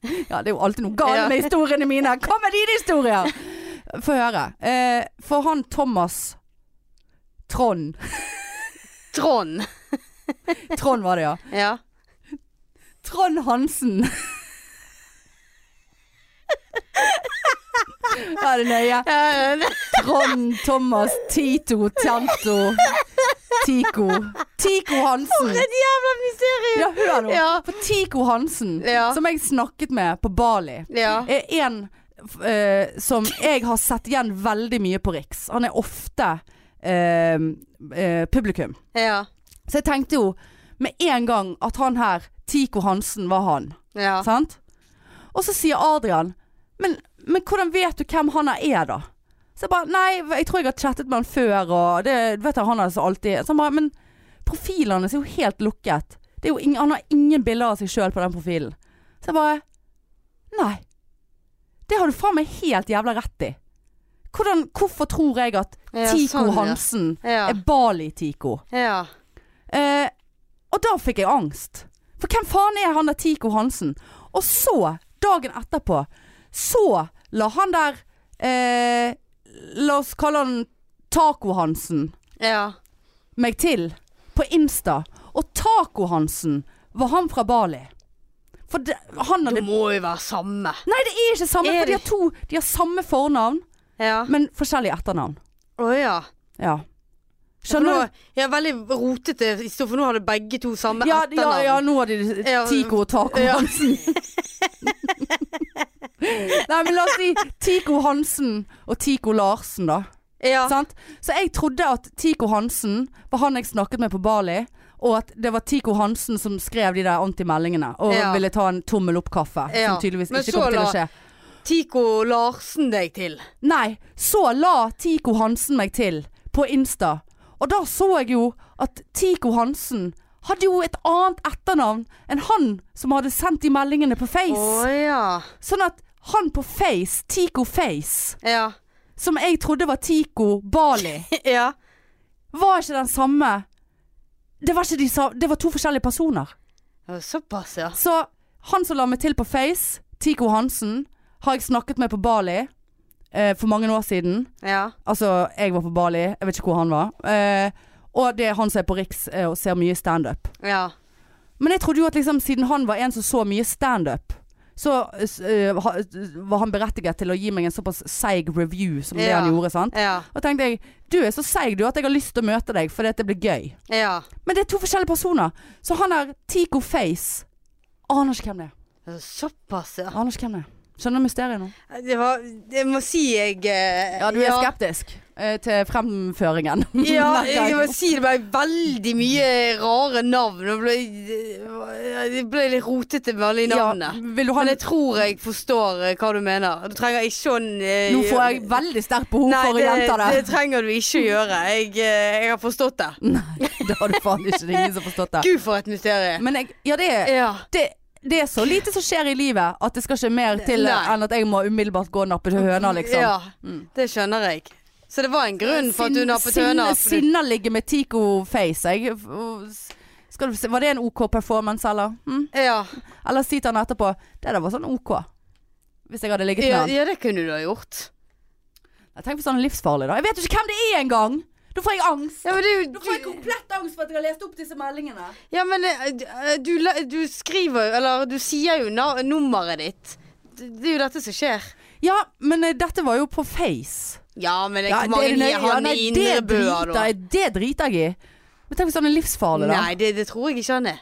Speaker 2: Ja, det er jo alltid noe galt
Speaker 1: Ja. [laughs]
Speaker 2: med historiene mine! Hva med dine historier? Få høre. Eh, for han Thomas Trond.
Speaker 1: Trond.
Speaker 2: Trond var det, ja.
Speaker 1: Ja.
Speaker 2: Trond Hansen. Ja, det er nøye. Trond, Thomas, Tito, Tanto, Tico. Tico Hansen.
Speaker 1: Et jævla mysterium!
Speaker 2: Ja, hør nå.
Speaker 1: Ja.
Speaker 2: For Tico Hansen,
Speaker 1: Ja.
Speaker 2: som jeg snakket med på Bali,
Speaker 1: Ja.
Speaker 2: er en f- eh, som jeg har sett igjen veldig mye på Riks. Han er ofte eh, eh, publikum.
Speaker 1: Ja.
Speaker 2: Så jeg tenkte jo med en gang at han her, Tico Hansen, var han.
Speaker 1: ja.
Speaker 2: Sant? Og så sier Adrian men, men hvordan vet du hvem han her er, da? Så jeg bare Nei, jeg tror jeg har chattet med han før, og det vet jeg han har så alltid Så han bare Men profilen hans er jo helt lukket. Det er jo ingen, han har ingen bilder av seg sjøl på den profilen. Så jeg bare Nei. Det har du faen meg helt jævla rett i. Hvordan, hvorfor tror jeg at
Speaker 1: Ja,
Speaker 2: Tico
Speaker 1: sånn, ja.
Speaker 2: Hansen
Speaker 1: Ja.
Speaker 2: er Bali-Tico?
Speaker 1: ja.
Speaker 2: Eh, og da fikk jeg angst. For hvem faen er han der Tico Hansen? Og så, dagen etterpå, så la han der eh, La oss kalle han Taco-Hansen
Speaker 1: Ja.
Speaker 2: meg til på Insta. Og Taco-Hansen var han fra Bali. For det, han
Speaker 1: Det
Speaker 2: hadde
Speaker 1: må jo være samme.
Speaker 2: Nei, det er ikke samme,
Speaker 1: Er
Speaker 2: for de
Speaker 1: det
Speaker 2: har to De har samme fornavn,
Speaker 1: Ja.
Speaker 2: men forskjellig etternavn.
Speaker 1: Å ja.
Speaker 2: Ja.
Speaker 1: For nå,
Speaker 2: Skjønner du?
Speaker 1: ja, veldig rotete historie, for nå hadde begge to samme
Speaker 2: Ja, ja,
Speaker 1: etternavn.
Speaker 2: ja, nå har de
Speaker 1: Ja.
Speaker 2: Tico og Taco.
Speaker 1: Ja. [laughs]
Speaker 2: Nei, men la oss si Tico Hansen og Tico Larsen, da.
Speaker 1: Ja.
Speaker 2: Sant? Så jeg trodde at Tico Hansen var han jeg snakket med på Bali, og at det var Tico Hansen som skrev de der antimeldingene og
Speaker 1: Ja.
Speaker 2: ville ta en tommel opp-kaffe.
Speaker 1: Ja.
Speaker 2: Som tydeligvis
Speaker 1: Men
Speaker 2: ikke
Speaker 1: så
Speaker 2: kom til å
Speaker 1: la-
Speaker 2: skje.
Speaker 1: Tico Larsen deg til.
Speaker 2: Nei, så la Tico Hansen meg til på Insta. Og da så jeg jo at Tico Hansen hadde jo et annet etternavn enn han som hadde sendt de meldingene på
Speaker 1: Å
Speaker 2: Face.
Speaker 1: ja.
Speaker 2: Sånn at han på Face, Tico Face
Speaker 1: Ja.
Speaker 2: [laughs] som jeg trodde var Tico Bali,
Speaker 1: ja.
Speaker 2: var ikke den samme. Det var, ikke de sa det var to forskjellige personer.
Speaker 1: Ja, Såpass, ja.
Speaker 2: Så han som la meg til på Face, Tico Hansen, har jeg snakket med på Bali eh, for mange år siden.
Speaker 1: ja.
Speaker 2: Altså, jeg var på Bali, jeg vet ikke hvor han var. Eh, og det er han som er på Riks eh, og ser mye standup.
Speaker 1: Ja.
Speaker 2: Men jeg trodde jo at liksom, siden han var en som så mye standup, så eh, ha, var han berettiget til å gi meg en såpass seig review som det
Speaker 1: Ja.
Speaker 2: han gjorde. sant?
Speaker 1: Ja.
Speaker 2: Og tenkte jeg, du er så seig du at jeg har lyst til å møte deg fordi at det blir gøy.
Speaker 1: ja.
Speaker 2: Men det er to forskjellige personer. Så han er Tico Face. Aner ikke hvem det er.
Speaker 1: Ja, Såpass, ja.
Speaker 2: Aner ikke hvem det er. Skjønner du mysteriet nå?
Speaker 1: Det var Jeg må si jeg eh,
Speaker 2: Ja, du er skeptisk eh, til fremføringen. [laughs]
Speaker 1: Ja,
Speaker 2: Hver gang.
Speaker 1: jeg må si det ble veldig mye rare navn. Og ble, jeg ble litt rotete med alle de navnene.
Speaker 2: Ja, vil du ha
Speaker 1: Men
Speaker 2: en
Speaker 1: jeg tror jeg forstår eh, hva du mener. Du trenger ikke sånn eh,
Speaker 2: Nå får jeg veldig sterkt behov
Speaker 1: Nei,
Speaker 2: for å
Speaker 1: det,
Speaker 2: gjenta det.
Speaker 1: det trenger du ikke gjøre. Jeg, eh, jeg har forstått det.
Speaker 2: [laughs] Nei, det har du faen ikke. Det er ingen som har forstått det.
Speaker 1: Gud, Eh. for et mysterium.
Speaker 2: Men jeg, ja, det er,
Speaker 1: Ja.
Speaker 2: det, det er så lite som skjer i livet at det skal ikke mer til eh,
Speaker 1: Nei.
Speaker 2: enn at jeg må umiddelbart gå og nappe til høna, liksom.
Speaker 1: ja. Det skjønner jeg. Så det var en grunn for at du nappet
Speaker 2: Sin-
Speaker 1: høna? for du-
Speaker 2: Sinna ligger med Tico-face. jeg. Skal du se- Var det en OK performance, eller? Hm?
Speaker 1: Ja.
Speaker 2: Eller si til han etterpå Det der var sånn OK. Hvis jeg hadde ligget med
Speaker 1: Ja,
Speaker 2: han.
Speaker 1: ja, det kunne du ha gjort.
Speaker 2: Tenk hvis han er sånn livsfarlig, da. Jeg vet jo ikke hvem det er engang! Da får jeg angst.
Speaker 1: Ja, men du,
Speaker 2: Da får jeg komplett angst for at jeg har lest opp disse meldingene.
Speaker 1: Ja, men eh, du, eh, du, la- du skriver jo Eller du sier jo na nummeret ditt. Det, det er jo dette som skjer.
Speaker 2: Ja, men eh, dette var jo på Face.
Speaker 1: Ja, men det,
Speaker 2: Ja,
Speaker 1: hvor mange
Speaker 2: det-
Speaker 1: gir
Speaker 2: ja,
Speaker 1: han
Speaker 2: nei,
Speaker 1: i
Speaker 2: det
Speaker 1: Indre Bø, da?
Speaker 2: driter jeg- Det driter jeg i. Men tenk hvis han er livsfarlig, da.
Speaker 1: Nei, det, det tror jeg ikke han er.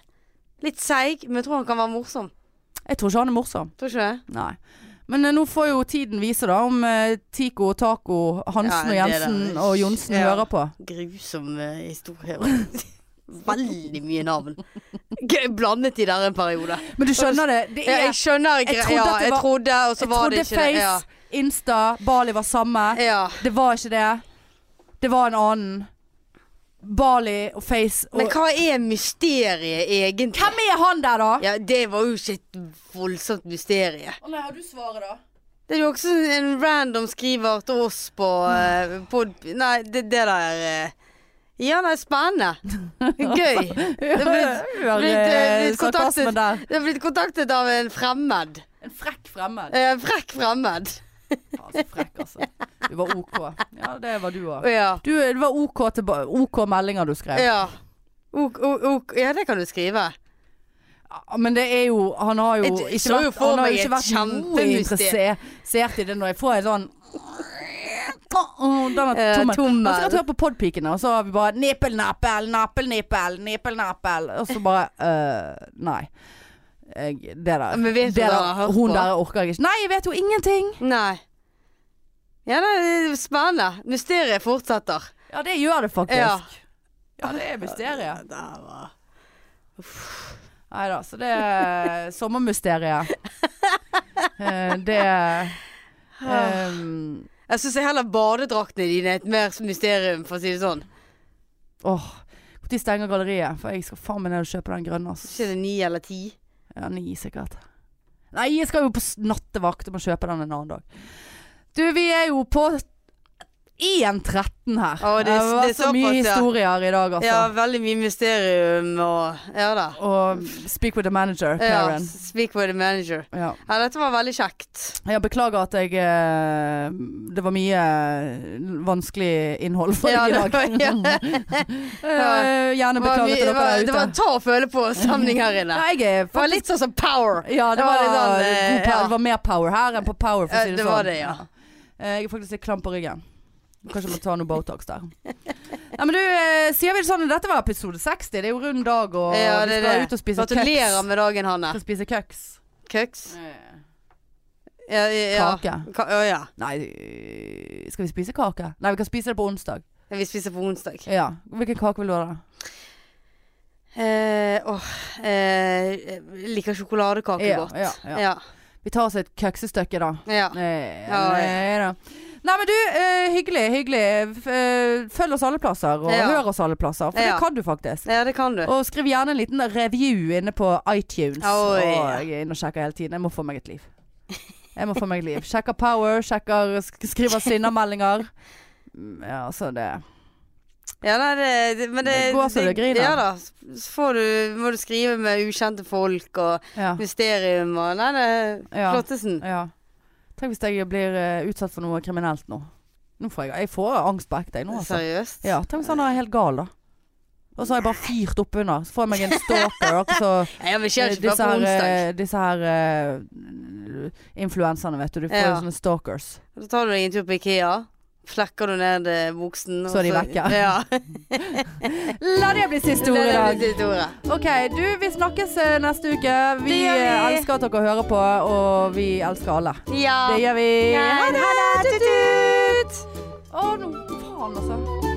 Speaker 1: Litt seig, men jeg tror han kan være morsom.
Speaker 2: Jeg tror ikke han er morsom.
Speaker 1: Tror ikke det?
Speaker 2: Nei. Men eh, nå får jo tiden vise, da, om eh, Tico og Taco, Hansen
Speaker 1: Ja,
Speaker 2: og
Speaker 1: det er
Speaker 2: Jensen
Speaker 1: det.
Speaker 2: og Johnsen
Speaker 1: Ja.
Speaker 2: hører på.
Speaker 1: Grusom eh, historie. [laughs] Veldig mye navn. Gøy, Blandet i der en periode.
Speaker 2: Men du skjønner det? det
Speaker 1: Ja,
Speaker 2: er,
Speaker 1: jeg skjønner
Speaker 2: Jeg
Speaker 1: gre-
Speaker 2: trodde
Speaker 1: ja,
Speaker 2: at det
Speaker 1: jeg
Speaker 2: var-
Speaker 1: trodde, og så
Speaker 2: jeg
Speaker 1: var det
Speaker 2: trodde
Speaker 1: ikke
Speaker 2: Face,
Speaker 1: det. Ja.
Speaker 2: Insta, Bali var samme.
Speaker 1: ja.
Speaker 2: Det var ikke det. Det var en annen. Bali og Face og
Speaker 1: Men hva er mysteriet egentlig?
Speaker 2: Hvem er han der, da?
Speaker 1: Ja, det var jo ikke et voldsomt mysterie.
Speaker 2: Å nei, har du svaret, da?
Speaker 1: Det er jo også en random skriver til oss på, eh, på Nei, det, det der eh. Ja, nei, [laughs] spennende. Gøy.
Speaker 2: Det
Speaker 1: blitt, eh,
Speaker 2: blir
Speaker 1: litt kontaktet.
Speaker 2: sarkasmen der.
Speaker 1: Jeg er blitt kontaktet av en fremmed.
Speaker 2: En frekk fremmed.
Speaker 1: Eh, frekk fremmed.
Speaker 2: Faen, så frekk, altså. Du var OK. Ja, det var du òg.
Speaker 1: Ja.
Speaker 2: Du, det var OK, tilba- OK meldinger du skrev.
Speaker 1: Ja. Ok, ok, ok. ja, det kan du skrive.
Speaker 2: Ja, Men det er jo Han har jo
Speaker 1: Jeg
Speaker 2: ikke
Speaker 1: så jo
Speaker 2: vært,
Speaker 1: for
Speaker 2: han har
Speaker 1: meg
Speaker 2: jo ikke
Speaker 1: et
Speaker 2: vært noe
Speaker 1: kjempemysterium.
Speaker 2: interessert i det når jeg får en sånn Åh, Den er
Speaker 1: Eh,
Speaker 2: tommel.
Speaker 1: tommel.
Speaker 2: Jeg har sikkert hørt på podpikene, og så har vi bare Nippel, nappel, nappel, nippel, nippel, nappel. Og så bare øh, Nei. Jeg, det der,
Speaker 1: Men vet du
Speaker 2: det
Speaker 1: hva
Speaker 2: der
Speaker 1: jeg har hørt
Speaker 2: hun
Speaker 1: på?
Speaker 2: der orker jeg ikke. Nei, jeg vet jo ingenting!
Speaker 1: Nei. Ja, nei, det er spennende. Mysteriet fortsetter.
Speaker 2: Ja, det gjør det faktisk.
Speaker 1: Ja.
Speaker 2: Ja, det er mysteriet.
Speaker 1: Der var
Speaker 2: Nei da, så det
Speaker 1: [laughs]
Speaker 2: er sommermysteriet. Eh, det
Speaker 1: Eh,
Speaker 2: ehm,
Speaker 1: Jeg syns heller badedraktene dine er et mer mysterium, for å si det sånn.
Speaker 2: Åh, når stenger galleriet? For jeg skal faen meg ned og kjøpe den grønne. ass.
Speaker 1: Ikke det ni eller ti?
Speaker 2: Ja, ni sikkert. Nei, jeg skal jo på s- nattevakt og må kjøpe den en annen dag. Du, vi er jo på 1.13 her.
Speaker 1: Å, det er- det
Speaker 2: var
Speaker 1: er
Speaker 2: så mye
Speaker 1: såpass, ja.
Speaker 2: historier i dag, altså.
Speaker 1: Ja, veldig mye mysterium og Ja da.
Speaker 2: Og speak with the manager,
Speaker 1: Ja,
Speaker 2: Karen.
Speaker 1: speak with the manager.
Speaker 2: Ja.
Speaker 1: Ja, dette var veldig kjekt.
Speaker 2: Jeg beklager at jeg eh, Det var mye eh, vanskelig innhold for
Speaker 1: Ja, [laughs]
Speaker 2: deg i
Speaker 1: det var-
Speaker 2: dag.
Speaker 1: ja.
Speaker 2: Eh, Gjerne
Speaker 1: Det var,
Speaker 2: beklager
Speaker 1: mye- det
Speaker 2: til dere
Speaker 1: var,
Speaker 2: der
Speaker 1: det var en
Speaker 2: ute.
Speaker 1: ta og føle på-stemning her inne.
Speaker 2: [laughs] Nei, jeg er
Speaker 1: Det var
Speaker 2: faktisk
Speaker 1: litt sånn som power.
Speaker 2: Ja, det,
Speaker 1: Det
Speaker 2: var,
Speaker 1: var litt sånn, eh,
Speaker 2: god power.
Speaker 1: ja.
Speaker 2: Det var mer power her enn på power, for å
Speaker 1: Eh,
Speaker 2: si det,
Speaker 1: det
Speaker 2: sånn.
Speaker 1: var det, ja.
Speaker 2: Eh, Jeg er faktisk litt klam på ryggen. Kanskje jeg må ta noe Botox der. Nei, men du, eh, sier vi det sånn Dette var episode 60. Det er jo rund dag, og
Speaker 1: Ja,
Speaker 2: vi
Speaker 1: det er
Speaker 2: skal
Speaker 1: det.
Speaker 2: ut og spise
Speaker 1: Gratulerer
Speaker 2: kjeks.
Speaker 1: med dagen, Hanne.
Speaker 2: Skal spise kjeks.
Speaker 1: Køks. Ja, ja, ja.
Speaker 2: Kake.
Speaker 1: Ka å, ja.
Speaker 2: Nei, skal vi spise kake? Nei, vi kan spise det på onsdag.
Speaker 1: Vi spiser på onsdag.
Speaker 2: Ja. Hvilken kake vil du ha, da?
Speaker 1: Eh, åh, eh, jeg liker sjokoladekake
Speaker 2: Ja,
Speaker 1: godt.
Speaker 2: ja, ja.
Speaker 1: ja.
Speaker 2: Vi tar oss et køksestykke, da.
Speaker 1: ja.
Speaker 2: Nei,
Speaker 1: Ja,
Speaker 2: nei, da. Nei, men du, eh, hyggelig, hyggelig. F- eh, Følg oss alle plasser, og
Speaker 1: Ja.
Speaker 2: hør oss alle plasser. For
Speaker 1: Ja.
Speaker 2: det kan du faktisk.
Speaker 1: ja, det kan du.
Speaker 2: Og skriv gjerne en liten review inne på iTunes.
Speaker 1: Oi.
Speaker 2: Å, jeg er inne og sjekker hele tiden. Jeg må få meg et liv. Jeg må få meg et liv. Sjekker Power, sjekker, sk- skriver sinnameldinger. Mm, Ja, altså det
Speaker 1: Ja, nei, det, det, men det,
Speaker 2: Det går så det griner.
Speaker 1: Ja da. Så får du, må du skrive med ukjente folk og
Speaker 2: Ja.
Speaker 1: mysterium og Nei, det
Speaker 2: Ja.
Speaker 1: Flottesen.
Speaker 2: ja. Tenk hvis jeg blir eh, utsatt for noe kriminelt nå. Nå får jeg, jeg får angst på ekte, jeg nå. Altså.
Speaker 1: Seriøst.
Speaker 2: Ja, tenk hvis han er helt gal, da. Og så har jeg bare fyrt oppunder. Så får jeg meg en stalker.
Speaker 1: [laughs]
Speaker 2: og så
Speaker 1: Nei, ja, men skjer det ikke
Speaker 2: disse
Speaker 1: bare på
Speaker 2: her,
Speaker 1: onsdag.
Speaker 2: eh, disse her eh, influenserne, vet du. Du får
Speaker 1: Ja.
Speaker 2: jo sånne stalkers.
Speaker 1: Så tar du deg en tur på Ikea. Flekker du ned eh, buksen.
Speaker 2: Så er de vekk, ja. [laughs]
Speaker 1: ja.
Speaker 2: La det bli siste ord i
Speaker 1: Det er
Speaker 2: dag.
Speaker 1: det siste ordet.
Speaker 2: Ok, du, vi snakkes eh, neste uke. Vi,
Speaker 1: Det gjør vi.
Speaker 2: eh, elsker at dere hører på, og vi elsker alle.
Speaker 1: Ja.
Speaker 2: Det gjør vi.
Speaker 1: Ja,
Speaker 2: Ha det!
Speaker 1: Tut-tut!
Speaker 2: Å, nå, faen altså.